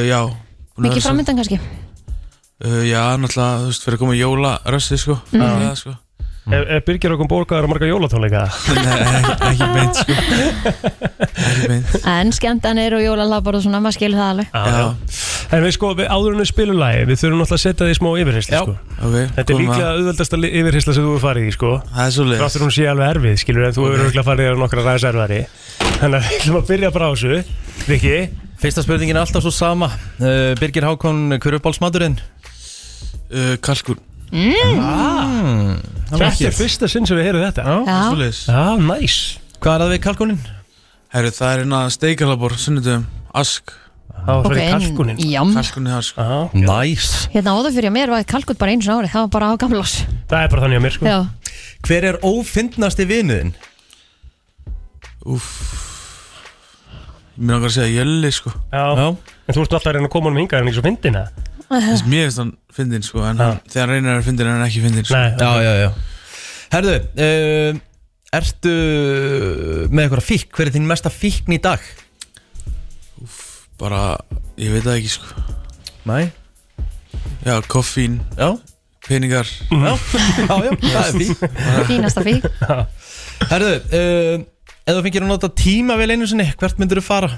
Speaker 6: uh, Já búin að vera
Speaker 2: mikið
Speaker 6: svo-
Speaker 2: framöndan kannski
Speaker 6: uh, Já, náttúrulega, þú veist, fyrir að koma jólarösti sko
Speaker 2: Mhm.
Speaker 6: Það er það, sko.
Speaker 3: Er, er Birgir okkur borgaður á marga jólatónleika?
Speaker 6: Nei, ekki- ekki beint sko Ekki beint
Speaker 2: En skemmtanir og jólalapar og svona, maður skilur það alveg
Speaker 3: Já, já. En við sko, við áður en við spilum lagi Við þurfum náttúrulega að setja því smá yfirheysla sko.
Speaker 6: okay,
Speaker 3: Þetta er
Speaker 6: komum
Speaker 3: líklega auðveldasta li- yfirheysla sem þú hefur farið í sko.
Speaker 6: Það er svo leið
Speaker 3: Ráttur hún sé alveg erfið, skilur En þú hefur auðvitað farið í nokkra ræðis erfari Þannig að við ætlum að byrja bara á þessu Viki
Speaker 1: Fyrsta spurningin er alltaf svo sama uh, Birgir Hákon, hver er uppáhaldsmaturinn?
Speaker 6: Uh, kalkun
Speaker 2: mm.
Speaker 1: ah,
Speaker 3: Þetta er fyrsta sinn sem við heyrum þetta
Speaker 2: Já.
Speaker 6: Já,
Speaker 3: Já, næs
Speaker 1: Hvað er það við kalkunin?
Speaker 6: Herru, það er hérna steikarlabor, sunnudum, ask
Speaker 3: Já,
Speaker 2: það er Ok, kalkúninn. jam.
Speaker 6: Kalkunin það, sko
Speaker 1: Næs nice.
Speaker 2: Hérna áður fyrir mér var kalkut bara eins og árið, það var bara á gamlás
Speaker 3: Það er bara þannig að mér sko
Speaker 2: Já,
Speaker 1: Hver er ófindnasti vinuðin?
Speaker 6: Úff Ég myndi okkar að segja Jölli, sko
Speaker 3: Já. En þú ert alltaf að reyna að koma honum hingað en ekki svo fyndina
Speaker 6: Þess, Mér finnst hann fyndin, sko En hann, þegar hann reynir að vera fyndin er hann ekki fyndin, sko
Speaker 3: Nei,
Speaker 1: Já, já, já Herðu, uh, ertu með eitthvað fík? Hver er þín mesta fíkn í dag?
Speaker 6: Bara, ég veit það ekki, sko
Speaker 1: Nei
Speaker 6: Já, koffín
Speaker 1: Já
Speaker 6: Peningar
Speaker 1: Já, já, já, [LAUGHS] það er fík
Speaker 2: fínasta fík
Speaker 1: Herðu, uh, ef þú fengir að nota tíma vel einu sinni Hvert myndur þú fara?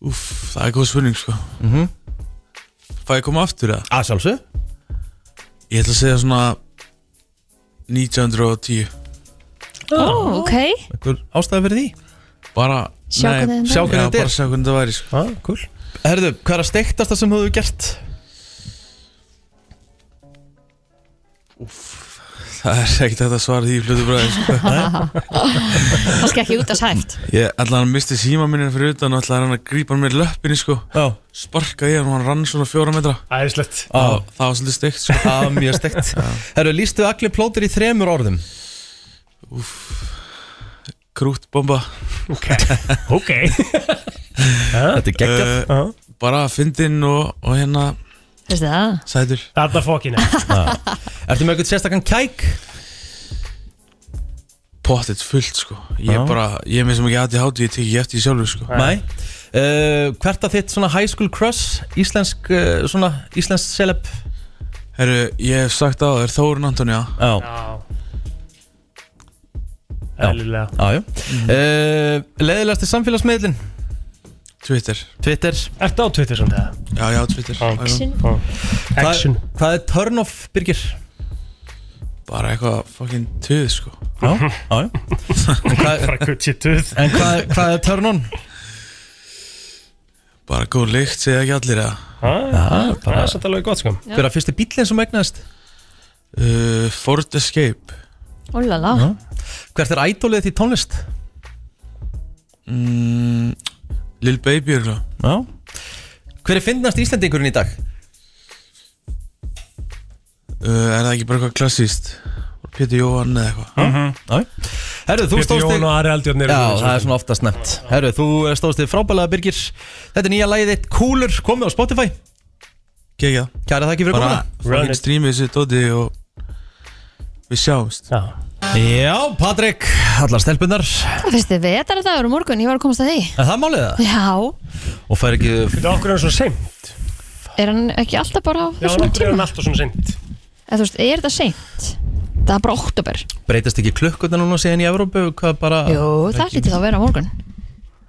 Speaker 6: Úff, það er góð spurning, sko
Speaker 1: Mm -hmm.
Speaker 6: Fæ ég koma aftur, eða?
Speaker 1: Að sjálfsög
Speaker 6: Ég ætla að segja svona 1910
Speaker 2: Ó, ok
Speaker 1: Einhver ástæði fyrir því?
Speaker 6: Bara
Speaker 2: Sjá
Speaker 6: nei,
Speaker 2: hvernig þetta er.
Speaker 1: Sjá hvernig þetta
Speaker 6: Já,
Speaker 1: er.
Speaker 6: bara sjá hvernig þetta væri, sko
Speaker 3: ah, cool.
Speaker 1: Herðu, hvað er að steiktasta sem þú hefur gert?
Speaker 6: Það er ekkert þetta svara því í fljótu bræði, sko
Speaker 2: Kannski ekki út að sæft
Speaker 6: Ég ætlaði hann að misti síma minni fyrir utan og ætlaði hann að grípa hann með löppinni sko
Speaker 1: Já.
Speaker 6: Sparkaði ég hann og hann rann svona fjóra metra
Speaker 3: Æðislegt
Speaker 1: Já.
Speaker 6: Það það var svolítið steikt sko
Speaker 1: Að mjög steikt Herðu, lístu allir plótir í þremur orðum
Speaker 6: Krútbomba
Speaker 3: Ok, ok
Speaker 1: Þetta er geggjað
Speaker 6: uh, Bara fyndinn og, og hérna
Speaker 2: Veistu það?
Speaker 6: sætur
Speaker 3: Þarna fokkinu
Speaker 1: Ertu með eitthvað sérstakann kæk?
Speaker 6: Pottet fullt sko Ég
Speaker 1: Já.
Speaker 6: er bara, ég er með sem ekki aðti hátu, ég teki eftir því sjálfur sko
Speaker 1: Nei uh, Hvert að þitt svona high school crush Íslensk, uh, svona, íslensk celeb
Speaker 6: Herru, ég hef sagt á þér Þórun Antonija
Speaker 1: Já,
Speaker 3: Já
Speaker 1: Já.
Speaker 3: Æðilega
Speaker 1: já, já uh, Leðilegasti samfélagsmiðlin
Speaker 6: Twitter
Speaker 1: Twitter
Speaker 3: Ertu á Twitter samt það?
Speaker 6: Já, já, Twitter
Speaker 3: Já.
Speaker 6: Æ,
Speaker 3: Já. Action
Speaker 1: Hvað, hvað er turn off, Birgir?
Speaker 6: Bara eitthvað fucking töð sko
Speaker 1: Já,
Speaker 3: Mhm.
Speaker 1: já, já En hvað,
Speaker 3: Bara gutt sér tuð
Speaker 1: en hvað, hvað er turn on?
Speaker 6: Bara góð lykt, segja ekki allir eða
Speaker 3: Það
Speaker 1: bara-
Speaker 3: er satt alveg gott sko
Speaker 1: Hver er að fyrsti bíllinn sem egnaðist?
Speaker 6: uh, Ford Escape
Speaker 2: Ólala,
Speaker 1: Hvert er ædólið þitt í tónlist?
Speaker 6: mm, Lil Baby er það
Speaker 1: Já Hver er fyndnast Íslendingurinn í dag?
Speaker 6: Uh, er það ekki bara eitthvað klassíst? Pétur Jóhann eða eitthvað?
Speaker 1: Já Herru, þú
Speaker 3: Pétur
Speaker 1: stóðst
Speaker 3: Jón
Speaker 1: þig
Speaker 3: og Ari Aldjörn eru
Speaker 1: Já,
Speaker 3: í þessu.
Speaker 1: það er svona oftast nefnt Herru, þú eh, stóðst þig frábælega, Birgir Þetta er nýja lagið þitt Cooler komið á Spotify
Speaker 6: Gekja
Speaker 1: Kæra þakki fyrir
Speaker 6: Bara
Speaker 1: komuna
Speaker 3: Run
Speaker 6: fucking
Speaker 3: it.
Speaker 6: streamið þessu dóti og við sjáumst
Speaker 3: Já.
Speaker 1: Já, Patrik, allar stelpunar Er
Speaker 2: það finnst þið vetar að það eru morgun, ég var að komast að því
Speaker 1: það málið það?
Speaker 2: Já,
Speaker 1: Og fær ekki
Speaker 3: Þetta okkur er svona seint
Speaker 2: er hann ekki alltaf bara á
Speaker 3: Já, hann
Speaker 2: þessum
Speaker 3: okkur er hann
Speaker 2: tíma?
Speaker 3: alltaf svona seint
Speaker 2: Eða þú veist, er þetta seint? Það er bara oktober
Speaker 1: Breytast ekki klukkutna núna síðan í Evrópu Hvað bara
Speaker 2: Jú, það lítið þá að vera á morgun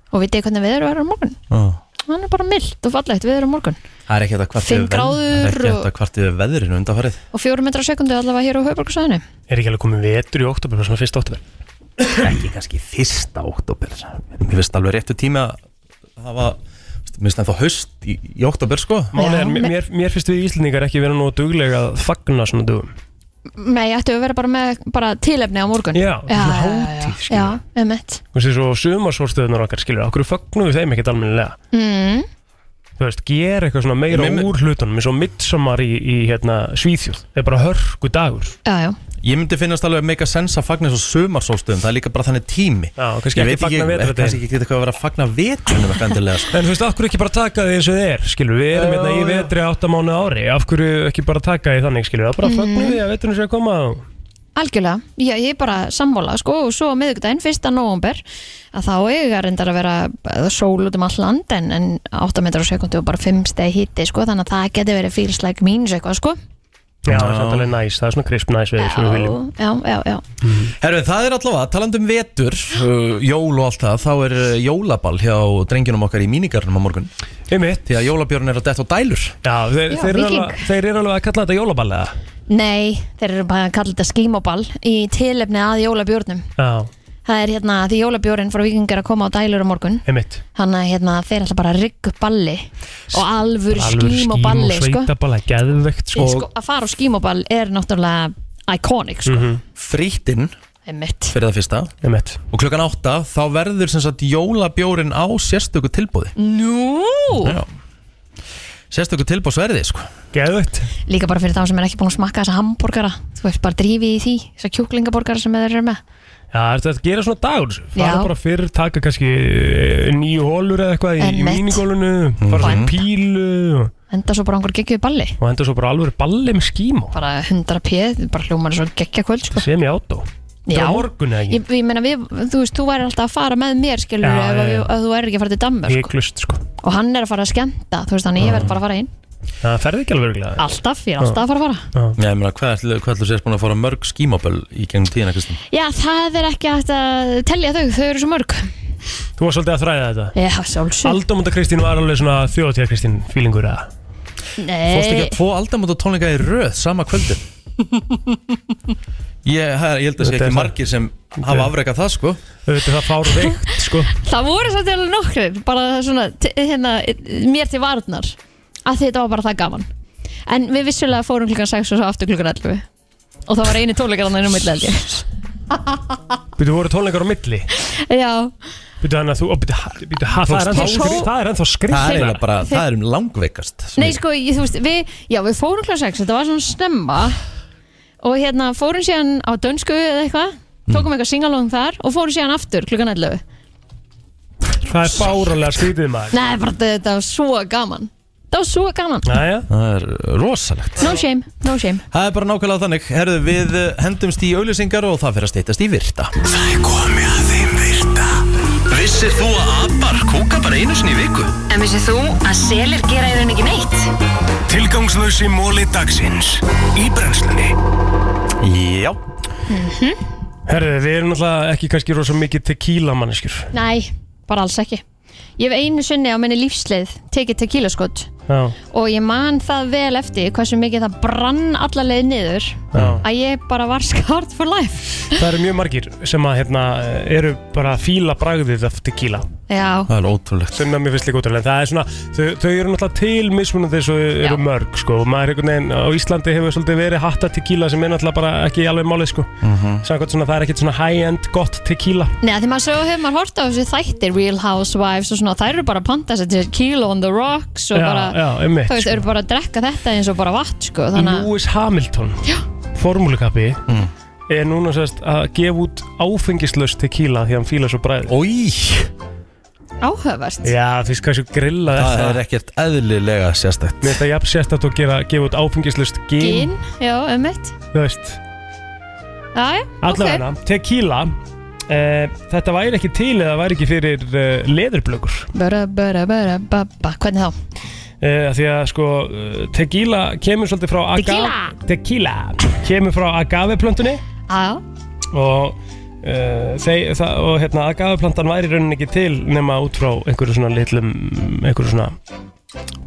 Speaker 2: Og vitið þið hvernig veður verður á morgun?
Speaker 1: Ó.
Speaker 2: hann er bara mildt og fallegt við erum morgun
Speaker 1: Það er ekki hægt að kvarta yfir
Speaker 2: Fimm gráður
Speaker 1: veðrinu- það er ekki
Speaker 2: og-
Speaker 1: hægt að kvarta yfir veðrinu undanfarið
Speaker 2: og 4 metrar sekundu allavega hér á Hauðborgarsæðinu
Speaker 3: Er ekki alveg komið vetur í oktober, svona fyrst oktober?
Speaker 1: Ekki kannski fyrsta oktober Mér finnst alveg réttu tími að hafa Mér finnst ennþá haust í, í oktober sko
Speaker 3: Málið er, mér, mér finnst við Íslendingar ekki vera nú duglega að fagna svona dugum
Speaker 2: Nei, ættu að vera bara með bara tilefni á morgun
Speaker 3: Já,
Speaker 2: já,
Speaker 3: svona
Speaker 2: hátíð
Speaker 3: sko.
Speaker 2: Já, um eitt
Speaker 3: Þú veist, svo sumarsólstöðunar okkar skilur Okkur fagnum við þeim ekkert almennilega
Speaker 2: mm.
Speaker 3: Þú veist, gera eitthvað svona meira
Speaker 1: Mér-
Speaker 3: úr hlutunum eins og midsommar í, í hérna, Svíþjóð Það er bara hörku dagur
Speaker 2: Já, já
Speaker 1: Ég myndi finnast alveg mega sens að fagna svo sumarsólstöðum Það er líka bara þannig tími
Speaker 3: Já, kannski
Speaker 1: Ég
Speaker 3: ekki
Speaker 1: veit
Speaker 3: fagna vetrardegi.
Speaker 1: Kannski ekki eitthvað að vera að fagna vetrunum ekki endilega sko.
Speaker 3: En þú veist, af hverju ekki bara taka því eins og þið er, skilur Við erum hérna í vetri áttamánu ári Af hverju ekki bara taka því þannig, skilur Það bara
Speaker 2: Mhm.
Speaker 3: fagnum við að veturinn sé að koma og-
Speaker 2: Algjörlega, já, ég er bara sammála sko, og svo á miðvikudaginn, 1. november að þá eiga reyndar að vera eh, sól út um all land en, en 8 metrar á sekundu og bara 5 stegi hitti sko, þannig að það geti verið feels like mínus eitthvað sko.
Speaker 3: Já, það er samt alveg næs, það er svona krisp næs við sem við viljum
Speaker 2: já, já, já
Speaker 1: Herru, það er allavega, talandi um vetur uh, Jól og allt það, þá er uh, jólaball hjá drengjunum okkar í mínigarnum á morgun
Speaker 3: Einmitt
Speaker 1: Því að jólabjörn er að detta á dælur
Speaker 3: Já,
Speaker 2: Já,
Speaker 3: þeir,
Speaker 2: þeir eru Víking. alveg-
Speaker 3: þeir eru alveg að kalla þetta jólaballega
Speaker 2: Nei, þeir eru bara að kalla þetta skímoball í tilefni að jólabjórnum
Speaker 3: Já,
Speaker 2: það er hérna því jólabjórin frá vikingar að koma á dælur á morgun
Speaker 3: einmitt
Speaker 2: þannig að hérna, þeir ætla bara að rigga upp balli og alvöru
Speaker 3: Alvöru
Speaker 2: skímoballi sko.
Speaker 3: sveitaballa, geðvegt sko.
Speaker 2: sko, að fara á skímoball er náttúrulega iconic
Speaker 3: Mhm.
Speaker 2: sko.
Speaker 1: Frýttinn
Speaker 2: Einmitt.
Speaker 1: fyrir það fyrsta
Speaker 3: Einmitt.
Speaker 1: og klukkan átta þá verður sem sagt jólabjórin á sérstöku tilbúði
Speaker 2: Nú
Speaker 1: Já. sérstöku tilbúðsverði sko.
Speaker 3: geðvegt
Speaker 2: Líka bara fyrir þá sem er ekki búin að smakka þessa hambúrgara Þú veist bara drífið í því Þessa kjúklingabúrgara sem þeir eru með
Speaker 3: Já, þetta þetta gera svona dagur þessu.
Speaker 2: Já.
Speaker 3: Fara bara fyrr, taka kannski eh, nýju hólur eða eitthvað í, í
Speaker 2: Einmitt. Mhm.
Speaker 3: mínigólunu Fara svona í pílu og-
Speaker 2: Enda svo bara einhver geggjuð balli
Speaker 3: Og enda svo bara alveg balli með skímó
Speaker 2: Bara 100 pið, bara hljómar svo geggja kvöld sko.
Speaker 3: Sem ég átó
Speaker 2: Já.
Speaker 3: á morgun eða ekki
Speaker 2: Ég, ég meina við, þú veist, þú væri alltaf að fara með mér skilur
Speaker 3: Já,
Speaker 2: ef,
Speaker 3: já,
Speaker 2: að
Speaker 3: já.
Speaker 2: við- ef þú er ekki að fara til Danmörk
Speaker 3: Ég klust sko
Speaker 2: Og hann er að fara að skemmta, þú veist, þannig ég verð bara að fara inn
Speaker 3: Það ferði ekki alveg örugglega.
Speaker 2: Alltaf, ég er alltaf að fara að fara
Speaker 1: Já, ég meina, hvað ætlu- hvað ætlum sér búin að fara mörg skímaböll í gengum tíðina, Kristinn?
Speaker 2: Já, það er ekki hægt að telja þau, þau eru svo mörg
Speaker 3: Þú var svolítið að þræða þetta
Speaker 2: Já, sjálfsög
Speaker 3: Aldamóta Kristín var alveg svona þjóðtíða Kristín fílingur eða
Speaker 1: Fórst ekki
Speaker 2: Nei,
Speaker 1: að tvo aldamóta tónleika í röð sama
Speaker 2: [LAUGHS]
Speaker 1: kvöldin? ég, það- ég held að sé
Speaker 3: Þetta er
Speaker 1: ekki
Speaker 3: það.
Speaker 1: margir sem hafa afrekað það sko
Speaker 3: Þetta það fár veikt sko
Speaker 2: það voru svolítið alveg nokkrir bara svona, t- hérna, mér til varnar að þetta var bara það gaman en við vissulega fórum klukkan 6 og svo aftur klukkan 11 og það var eini tónleikar hann ennum milli held ég
Speaker 3: Býtu voru tónleikar á milli
Speaker 2: [LAUGHS] já,
Speaker 3: Býtu hann að þú og býtu, ha- býtu, ha, það, er ennþá
Speaker 1: Tókst
Speaker 3: skri,
Speaker 1: þá-
Speaker 3: það er ennþá skrifna
Speaker 1: Það er eiginlega bara,
Speaker 2: Þeir-
Speaker 1: það er um langveikast
Speaker 2: nei sko, ég, þú veist við, já, við fórum klukkan 6, þetta var svona snemma og hérna fórum síðan á dönsku eða eitthvað tókum eitthvað singalong þar og fórum síðan aftur klukkan 11
Speaker 3: Það er fáralega skrítið maður
Speaker 2: nei, bara þetta var svo gaman það var svo gaman,
Speaker 3: Næja
Speaker 1: Það er rosalegt
Speaker 2: no shame, no shame
Speaker 1: Það er bara nákvæmlega þannig, herðu við eh, hendumst í auðlýsingar og það fyrir að steytast í virta Það er komið að þeim virta Vissir þú að abar kúka bara einu sinni í viku?
Speaker 10: En vissið þú að selir gera í raun ekki neitt?
Speaker 11: Tilgangslösi móli dagsins Í brennslunni
Speaker 1: Já
Speaker 3: Herðu, við erum náttúrulega ekki kannski rosa mikið tequila manneskjur
Speaker 2: Nei, bara alls ekki Ég hef einu sinni á minni lífsleið tekið tequila skot
Speaker 3: Já,
Speaker 2: og ég man það vel eftir hversu mikið það brann alla leið niður
Speaker 3: já
Speaker 1: Mm.
Speaker 2: að ég bara var [LAUGHS] skart for life
Speaker 3: Það eru mjög margir sem að hérna eru bara að fíla bragðið af tequila
Speaker 2: Já,
Speaker 1: Það er ótrúlegt
Speaker 3: sem að mér finnst líka útrúlega en það er svona, þau, þau eru náttúrulega til mismunandi svo eru
Speaker 2: Já.
Speaker 3: mörg sko og maður einhvern veginn á Íslandi hefur svolítið verið hatta tequila sem er náttúrulega bara ekki alveg málið sko
Speaker 1: Mhm.
Speaker 3: Samkvæmt svona það er ekkert svona high-end gott tequila
Speaker 2: neða því maður svo hefur maður hort á þessu þættir Real Housewives og svona, þær eru bara að panta sér til tequila on the rocks og
Speaker 3: Já,
Speaker 2: bara,
Speaker 3: já, einmitt,
Speaker 2: þú veist,
Speaker 3: sko.
Speaker 2: eru bara að drekka þetta eins og bara vatn, sko, þannig að
Speaker 3: Lewis Hamilton formúlukappi
Speaker 1: Mm.
Speaker 3: er núna sérst að gefa út áfengislaust tequila því að hann fíla svo bræðið
Speaker 1: Ói,
Speaker 2: áhöfast
Speaker 3: Já, þú veist hversu grillað er
Speaker 1: það
Speaker 3: það
Speaker 1: er ekkert eðlilega sérstætt
Speaker 3: Mér finnst það jafn sérstætt að gera, gefa út áfengislaust gin,
Speaker 2: Gin, já, ömmit
Speaker 3: þú veist
Speaker 2: Já, já, ok
Speaker 3: Allavegna, tequila Uh, þetta væri ekki til eða væri ekki fyrir uh, leðurblökur
Speaker 2: Bara, bara, bara, ba, ba, hvernig þá?
Speaker 3: uh, því að sko uh, tequila kemur svolítið frá aga-
Speaker 2: Tequila.
Speaker 3: tequila kemur frá agaveplöntunni
Speaker 2: Já,
Speaker 3: og Uh, þeir, það, og hérna agaveplantan væri í rauninni ekki til nema út frá einhverju svona litlum einhverju svona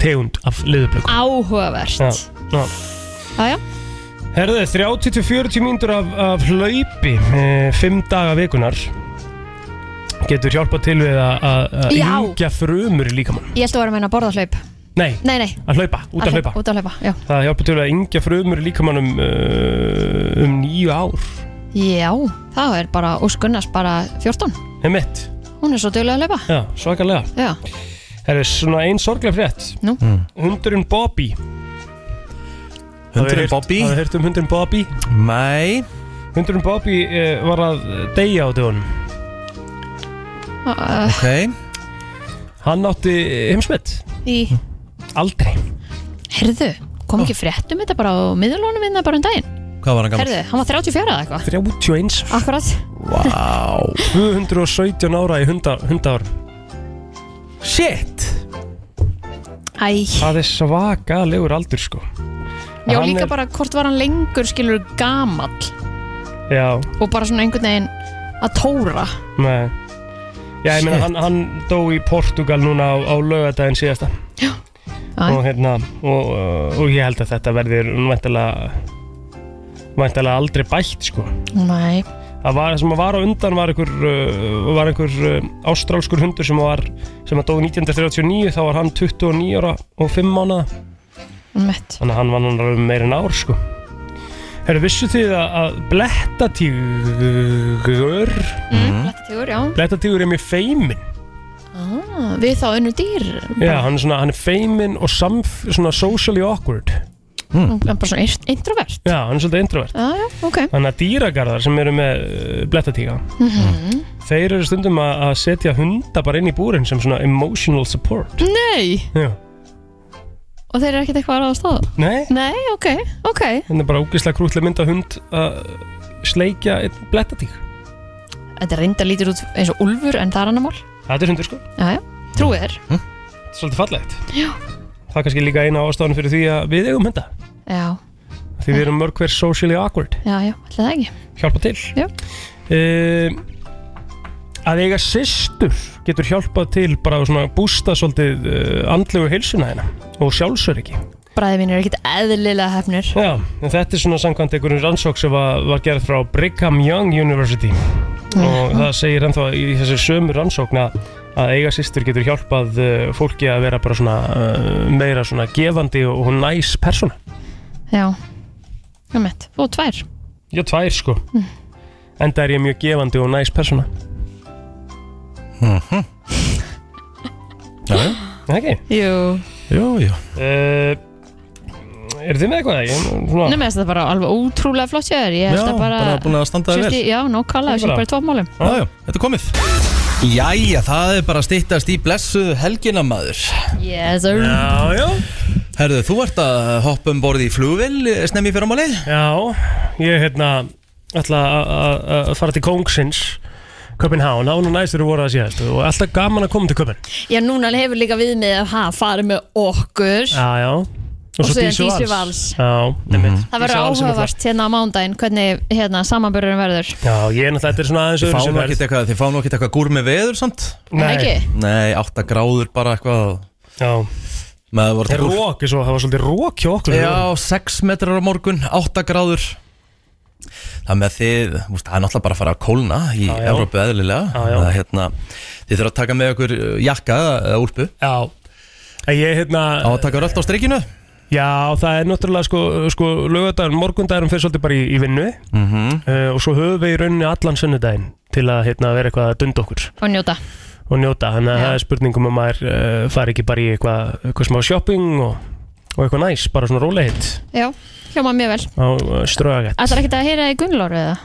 Speaker 3: tegund af liðublöku
Speaker 2: Áhugavert
Speaker 3: Já, já.
Speaker 2: Jájá,
Speaker 3: Herðu, 30-40 mínútur af, af hlaupi 5 daga vikunar getur hjálpað til við að- að að
Speaker 2: Já.
Speaker 3: yngja frumur í líkamann
Speaker 2: ég held að vera að meina borðahlaup
Speaker 3: Nei,
Speaker 2: Nei, nei,
Speaker 3: að hlaupa, út að hlaupa
Speaker 2: Út að hlaupa, já
Speaker 3: Það hjálpar til við að yngja frumur í líkamann um, uh, um nýju ár
Speaker 2: Já, það er bara úskunnast bara 14
Speaker 3: Heimitt,
Speaker 2: Hún er svo duglega að hlaupa
Speaker 3: já, svakalega
Speaker 2: Já,
Speaker 3: Það er svona ein sorglega frétt
Speaker 2: Nú?
Speaker 1: Mm.
Speaker 3: Hundurinn Bobby
Speaker 1: Hundurinn
Speaker 3: Hafið heyrt-
Speaker 1: Bobby?
Speaker 3: Hafið heyrt um hundurinn Bobby?
Speaker 1: Nei
Speaker 3: Hundurinn Bobby uh, var að deyja á dögunum
Speaker 2: uh,
Speaker 1: Ok
Speaker 3: Hann átti heimsmet
Speaker 2: í
Speaker 3: Aldrei
Speaker 2: Herðu, kom ekki fréttum þetta bara á miðurlónum minna bara um daginn
Speaker 1: Hvað var hann gammal?
Speaker 2: Herðu, hann var 34 eða eitthvað
Speaker 3: 31
Speaker 2: Akkurat,
Speaker 1: Vá
Speaker 3: 217 ára í hunda, hundar Shit
Speaker 2: æ
Speaker 3: Það er svakalegur aldur sko
Speaker 2: Já,
Speaker 3: Hann
Speaker 2: líka
Speaker 3: er-
Speaker 2: bara hvort var hann lengur skilur gamall
Speaker 3: Já,
Speaker 2: og bara svona einhvern veginn að tóra
Speaker 3: nei Já, ég meina
Speaker 2: Shit.
Speaker 3: hann, hann dó í Portugal núna á, á lögadaginn síðasta
Speaker 2: Æ.
Speaker 3: og hérna og, uh, og ég held að þetta verður væntalega væntalega aldrei bætt sko
Speaker 2: Nei,
Speaker 3: það var, sem var á undan var einhver, uh, var einhver uh, ástrálskur hundur sem var sem að dó 1939 þá var hann 29 ára og 5 mánuða
Speaker 2: mitt
Speaker 3: þannig að hann var hann alveg meira en ár sko Herru, vissu þið að, að blettatígur Mhm.
Speaker 2: Tígur, Mm, já
Speaker 3: blettatígur er mjög feimin
Speaker 2: ah, Við þá önnu dýr
Speaker 3: Já, hann er, svona, hann er feimin og samf, svona socially awkward
Speaker 2: Hann er bara svona int- introvert
Speaker 3: Já, hann er svolítið introvert
Speaker 2: Já, já, ok
Speaker 3: Þannig að dýragarðar sem eru með uh, blettatíga
Speaker 2: Mhm.
Speaker 3: þeir eru stundum að að setja hunda bara inn í búrin sem svona emotional support
Speaker 2: Nei,
Speaker 3: Já,
Speaker 2: og þeir eru ekkert eitthvað að staða
Speaker 3: nei,
Speaker 2: Nei, ok, ok
Speaker 3: þetta er bara ógeðslega krútlega mynd að hund að sleikja einn blettatíg
Speaker 2: Þetta reynda lítur út eins og úlfur en það er annar mál
Speaker 3: Þetta er hundur sko,
Speaker 2: Já, já, trúið þér
Speaker 3: svolítið fallegt
Speaker 2: Já,
Speaker 3: Það er kannski líka eina ástafan fyrir því að við eigum hunda
Speaker 2: já,
Speaker 3: Því við erum mörg hver socially awkward
Speaker 2: já, já, ætli það ekki
Speaker 3: Hjálpa til
Speaker 2: Já.
Speaker 3: um, Að eiga systur getur hjálpað til bara að svona bústa svolítið uh, andlegu heilsuna hérna og sjálfsöryggi
Speaker 2: Bræði mín er ekkert eðlilega hefnir
Speaker 3: Já, en þetta er svona samkvæmt einhverjum rannsók sem var, var gerð frá Brigham Young University og það segir ennþá í þessu sömu rannsókn að að eiga sýstur getur hjálpað uh, fólki að vera bara svona uh, meira svona gefandi og og næs persóna
Speaker 2: Já, það mitt, og tvær
Speaker 3: Já, tvær sko Enda er ég mjög gefandi og næs persóna Mhm. Já, já Ekki?
Speaker 2: Jú,
Speaker 1: Jú, jú
Speaker 3: Uh, er þið með eitthvað? Ég, svona,
Speaker 2: nema þess að þetta bara alveg ótrúlega flott hjá þér Ég
Speaker 1: Já,
Speaker 2: held að bara
Speaker 1: bara búin að standa þig
Speaker 2: Sjösti-
Speaker 1: vel.
Speaker 2: Já, nákvæmlega, þessi
Speaker 1: Bara.
Speaker 2: bara í tópmálum
Speaker 1: Jájá, þetta er komið Jæja, það er bara að styttast í blessuðu helgina maður
Speaker 2: Yes, sir
Speaker 3: já
Speaker 1: Herðu, þú ert að hoppa um borði í flugvill snemmi í fyrramáli
Speaker 3: Já, ég hérna ætla að- að- að fara til Kongsins Köpenháun, án og næstur voru að síðast og alltaf gaman að koma til Köpen
Speaker 2: Já, núna hefur líka við með að ha, farið með okkur
Speaker 3: Já, já
Speaker 2: Og síðan Dísu Vals.
Speaker 3: Já, nefnir
Speaker 2: Það verður áhugavert hérna á mándaginn hvernig hérna samanbörðurinn verður
Speaker 3: Já, ég er náttúrulega, þetta er svona aðeins
Speaker 1: Þið fá
Speaker 3: öðruvísi
Speaker 1: nú
Speaker 3: ferð.
Speaker 1: ekkert eitthvað, þið fá nú ekkert eitthvað gúr með veður samt
Speaker 2: Nei. Ekki?
Speaker 1: Nei, 8 gráður bara eitthvað
Speaker 3: Já
Speaker 1: Maður
Speaker 3: Það er
Speaker 1: voru
Speaker 3: rók, eins og það var svolítið rók hjá okkur
Speaker 1: Já, 6 metrar á morgun, 8 gráður Það með þið, úst, það er náttúrulega bara að fara að kólna í
Speaker 3: Já, já.
Speaker 1: Evrópu eðlilega
Speaker 3: Já, já.
Speaker 1: Það, hérna, Þið þurfa að taka með okkur uh, jakka eða úlpu
Speaker 3: Já En ég hérna
Speaker 1: Á að taka rölt á streikinu
Speaker 3: Já, það er náttúrulega sko, sko lögadagurinn, morgundagurinn fyrir svolítið bara í, í vinnu
Speaker 1: Mhm.
Speaker 3: uh, og svo höfum við í rauninni allan sunnudaginn til að hérna, vera eitthvað að dunda okkur
Speaker 2: og njóta
Speaker 3: og njóta, þannig að það er spurningum að maður uh, fari ekki bara í eitthvað, eitthvað smá shopping og, og eitthvað næs, bara svona róleitt
Speaker 2: Já, hljóma mjög vel
Speaker 3: á uh, ströðagett.
Speaker 2: Ætlar ekkert að heyra í Gunnlóru eða?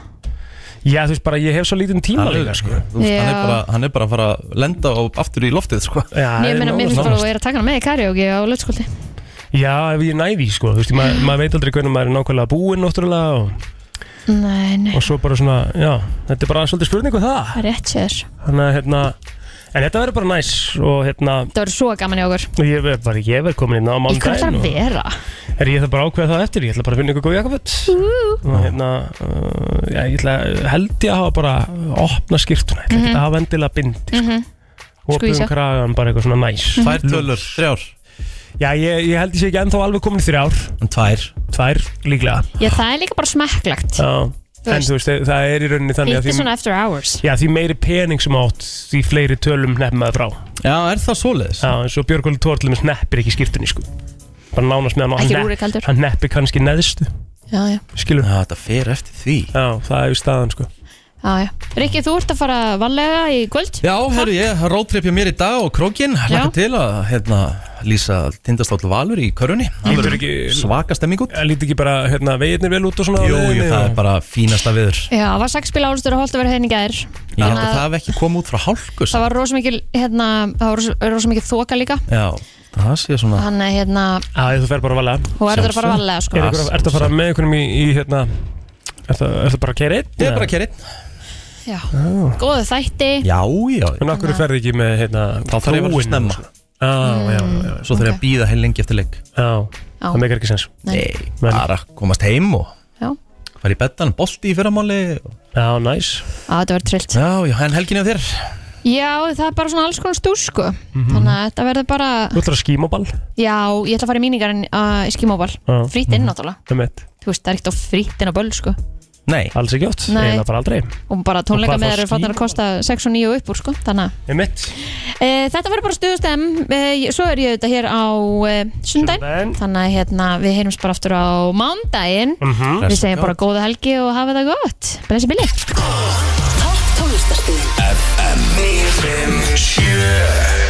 Speaker 3: Já, þú veist bara, ég hef svo lítinn tíma líka, sko.
Speaker 1: Þú veist, hann, er
Speaker 2: Já.
Speaker 1: bara, hann er bara að fara að lenda og aftur í loftið sko.
Speaker 3: Já,
Speaker 2: Ég meina, mér finnst bara að þú er að taka hana með í karaoke á lögskóldi
Speaker 3: Já, ef ég næði, sko, þú veist, ma- maður veit aldrei hvernig maður er nákvæmlega búinn, náttúrulega, og,
Speaker 2: Nei, nei,
Speaker 3: og svo bara svona, já, þetta er bara svolítið spurning um það.
Speaker 2: það er rétt sér
Speaker 3: Þannig að, hérna, En þetta verður bara næs og hérna
Speaker 2: Það verður svo gaman í okkur
Speaker 3: Ég verð bara, ég verð komin inn á
Speaker 2: Í hvað
Speaker 3: mándaginn
Speaker 2: ætlar að vera?
Speaker 3: Er ég það bara að ákveða það eftir, ég ætla bara að finna ykkur góð jakkaföt Og hérna, uh, já, ég ætla held ég að hafa bara opna skýrtuna Ég ætla ekki
Speaker 2: Mhm.
Speaker 3: að hafa endilega bind
Speaker 2: Mhm.
Speaker 3: Opið
Speaker 2: Skvísa.
Speaker 3: um kragan, bara eitthvað svona næs
Speaker 2: Mhm. Tvær
Speaker 1: tölur, þrjár
Speaker 3: Já, ég, ég held ég sé ekki ennþá alveg komin í þrjár
Speaker 1: En tvær
Speaker 3: Tvær, líklega
Speaker 2: Já, það er líka bara smekklegt
Speaker 3: Já,
Speaker 2: Þú
Speaker 3: en
Speaker 2: veist.
Speaker 3: þú veist, það- það er í rauninni þannig
Speaker 2: Hitt er svona eftir hours
Speaker 3: Já, því meiri pening sem átt, því fleiri tölum nefn maður frá
Speaker 1: Já, er það svoleiðis?
Speaker 3: Já, eins og Björgóli Tórlum neppir ekki skýrtunni, sko Bara nánast með hann og
Speaker 2: Ekki
Speaker 3: hann
Speaker 2: rúrik heldur.
Speaker 3: Hann neppir kannski neðstu,
Speaker 2: Já, já,
Speaker 3: skilur
Speaker 1: Já, þetta fer eftir því
Speaker 3: Já, það er staðan, sko
Speaker 2: já, já Rikki, þú ert að fara valega í kvöld
Speaker 1: Já, herru, ég rótreipja mér í dag og krókin Laka til að hérna, lýsa tindastóll Valur í körunni Það
Speaker 3: Lítur
Speaker 1: verður
Speaker 3: ekki-
Speaker 1: Svaka stemming út
Speaker 3: Lítið ekki bara, hérna, veginir vel út og svona á
Speaker 1: Jú, jú,
Speaker 3: leiðinni
Speaker 1: það
Speaker 3: og-
Speaker 1: er bara fínasta viður
Speaker 2: Já, það var sexbíl álustur að hérna holta verið henni gæðir
Speaker 1: Ég held að það hef ekki komið út frá hálku sko.
Speaker 2: Það var rosa mikil, hérna, það var rosa- rosa mikil þoka líka
Speaker 1: Já, það sé svona
Speaker 2: Hann er hérna,
Speaker 3: Já, þú fer bara valega
Speaker 2: Þú verður að fara varlega, sko.
Speaker 3: Er ykkur- Ertu að fara með einhverjum í, í hérna Er það bara að kæra einn?
Speaker 1: Ég er bara að keyra einn
Speaker 2: já, góðu þætti
Speaker 1: Já, já
Speaker 3: En okkur ferði ekki með, hérna
Speaker 1: Þá þarf ég að vera
Speaker 3: trúin og
Speaker 1: snemma
Speaker 3: svona? Já,
Speaker 2: Mm.
Speaker 3: já, já, já
Speaker 1: Svo þarf ég að býða heil lengi eftir leik
Speaker 3: Já, það meikar ekki sens
Speaker 1: Nei, bara komast heim og
Speaker 2: Já.
Speaker 1: fara í bettan, bolti í fyrramáli
Speaker 3: Já, næs
Speaker 2: Á, þetta verður trillt
Speaker 1: Já, já, en helginni af þér
Speaker 2: Já, það er bara svona alls konar stúr, sko Þannig að þetta verður bara
Speaker 3: Þú ætlar að skíma á ball
Speaker 2: Já, ég ætla að fara í míningar uh, í skímóbal
Speaker 3: Já. Mhm.
Speaker 2: Frýtt inn, náttúrulega
Speaker 3: Það með
Speaker 2: Þú veist, það er ekkert á frýtt inn á böll, sko
Speaker 1: Nei
Speaker 3: Alls ekki átt
Speaker 2: Nei.
Speaker 3: Eða bara aldrei
Speaker 2: Og bara tónleika
Speaker 3: Og hvað
Speaker 2: með þeir
Speaker 3: þá
Speaker 2: eru fattin að
Speaker 3: skímóbal?
Speaker 2: kosta 6 og 9 upp úr, sko Þannig að
Speaker 3: Það með
Speaker 2: E, þetta verður bara stuðustem e, Svo er ég auðvitað hér á e, sundaginn Þannig að hérna, við heyrums bara aftur á mándaginn
Speaker 9: Mhm.
Speaker 2: Við segjum bara góða helgi og hafa það gott Blessi Billy
Speaker 9: Tónlistarstöðin FM 957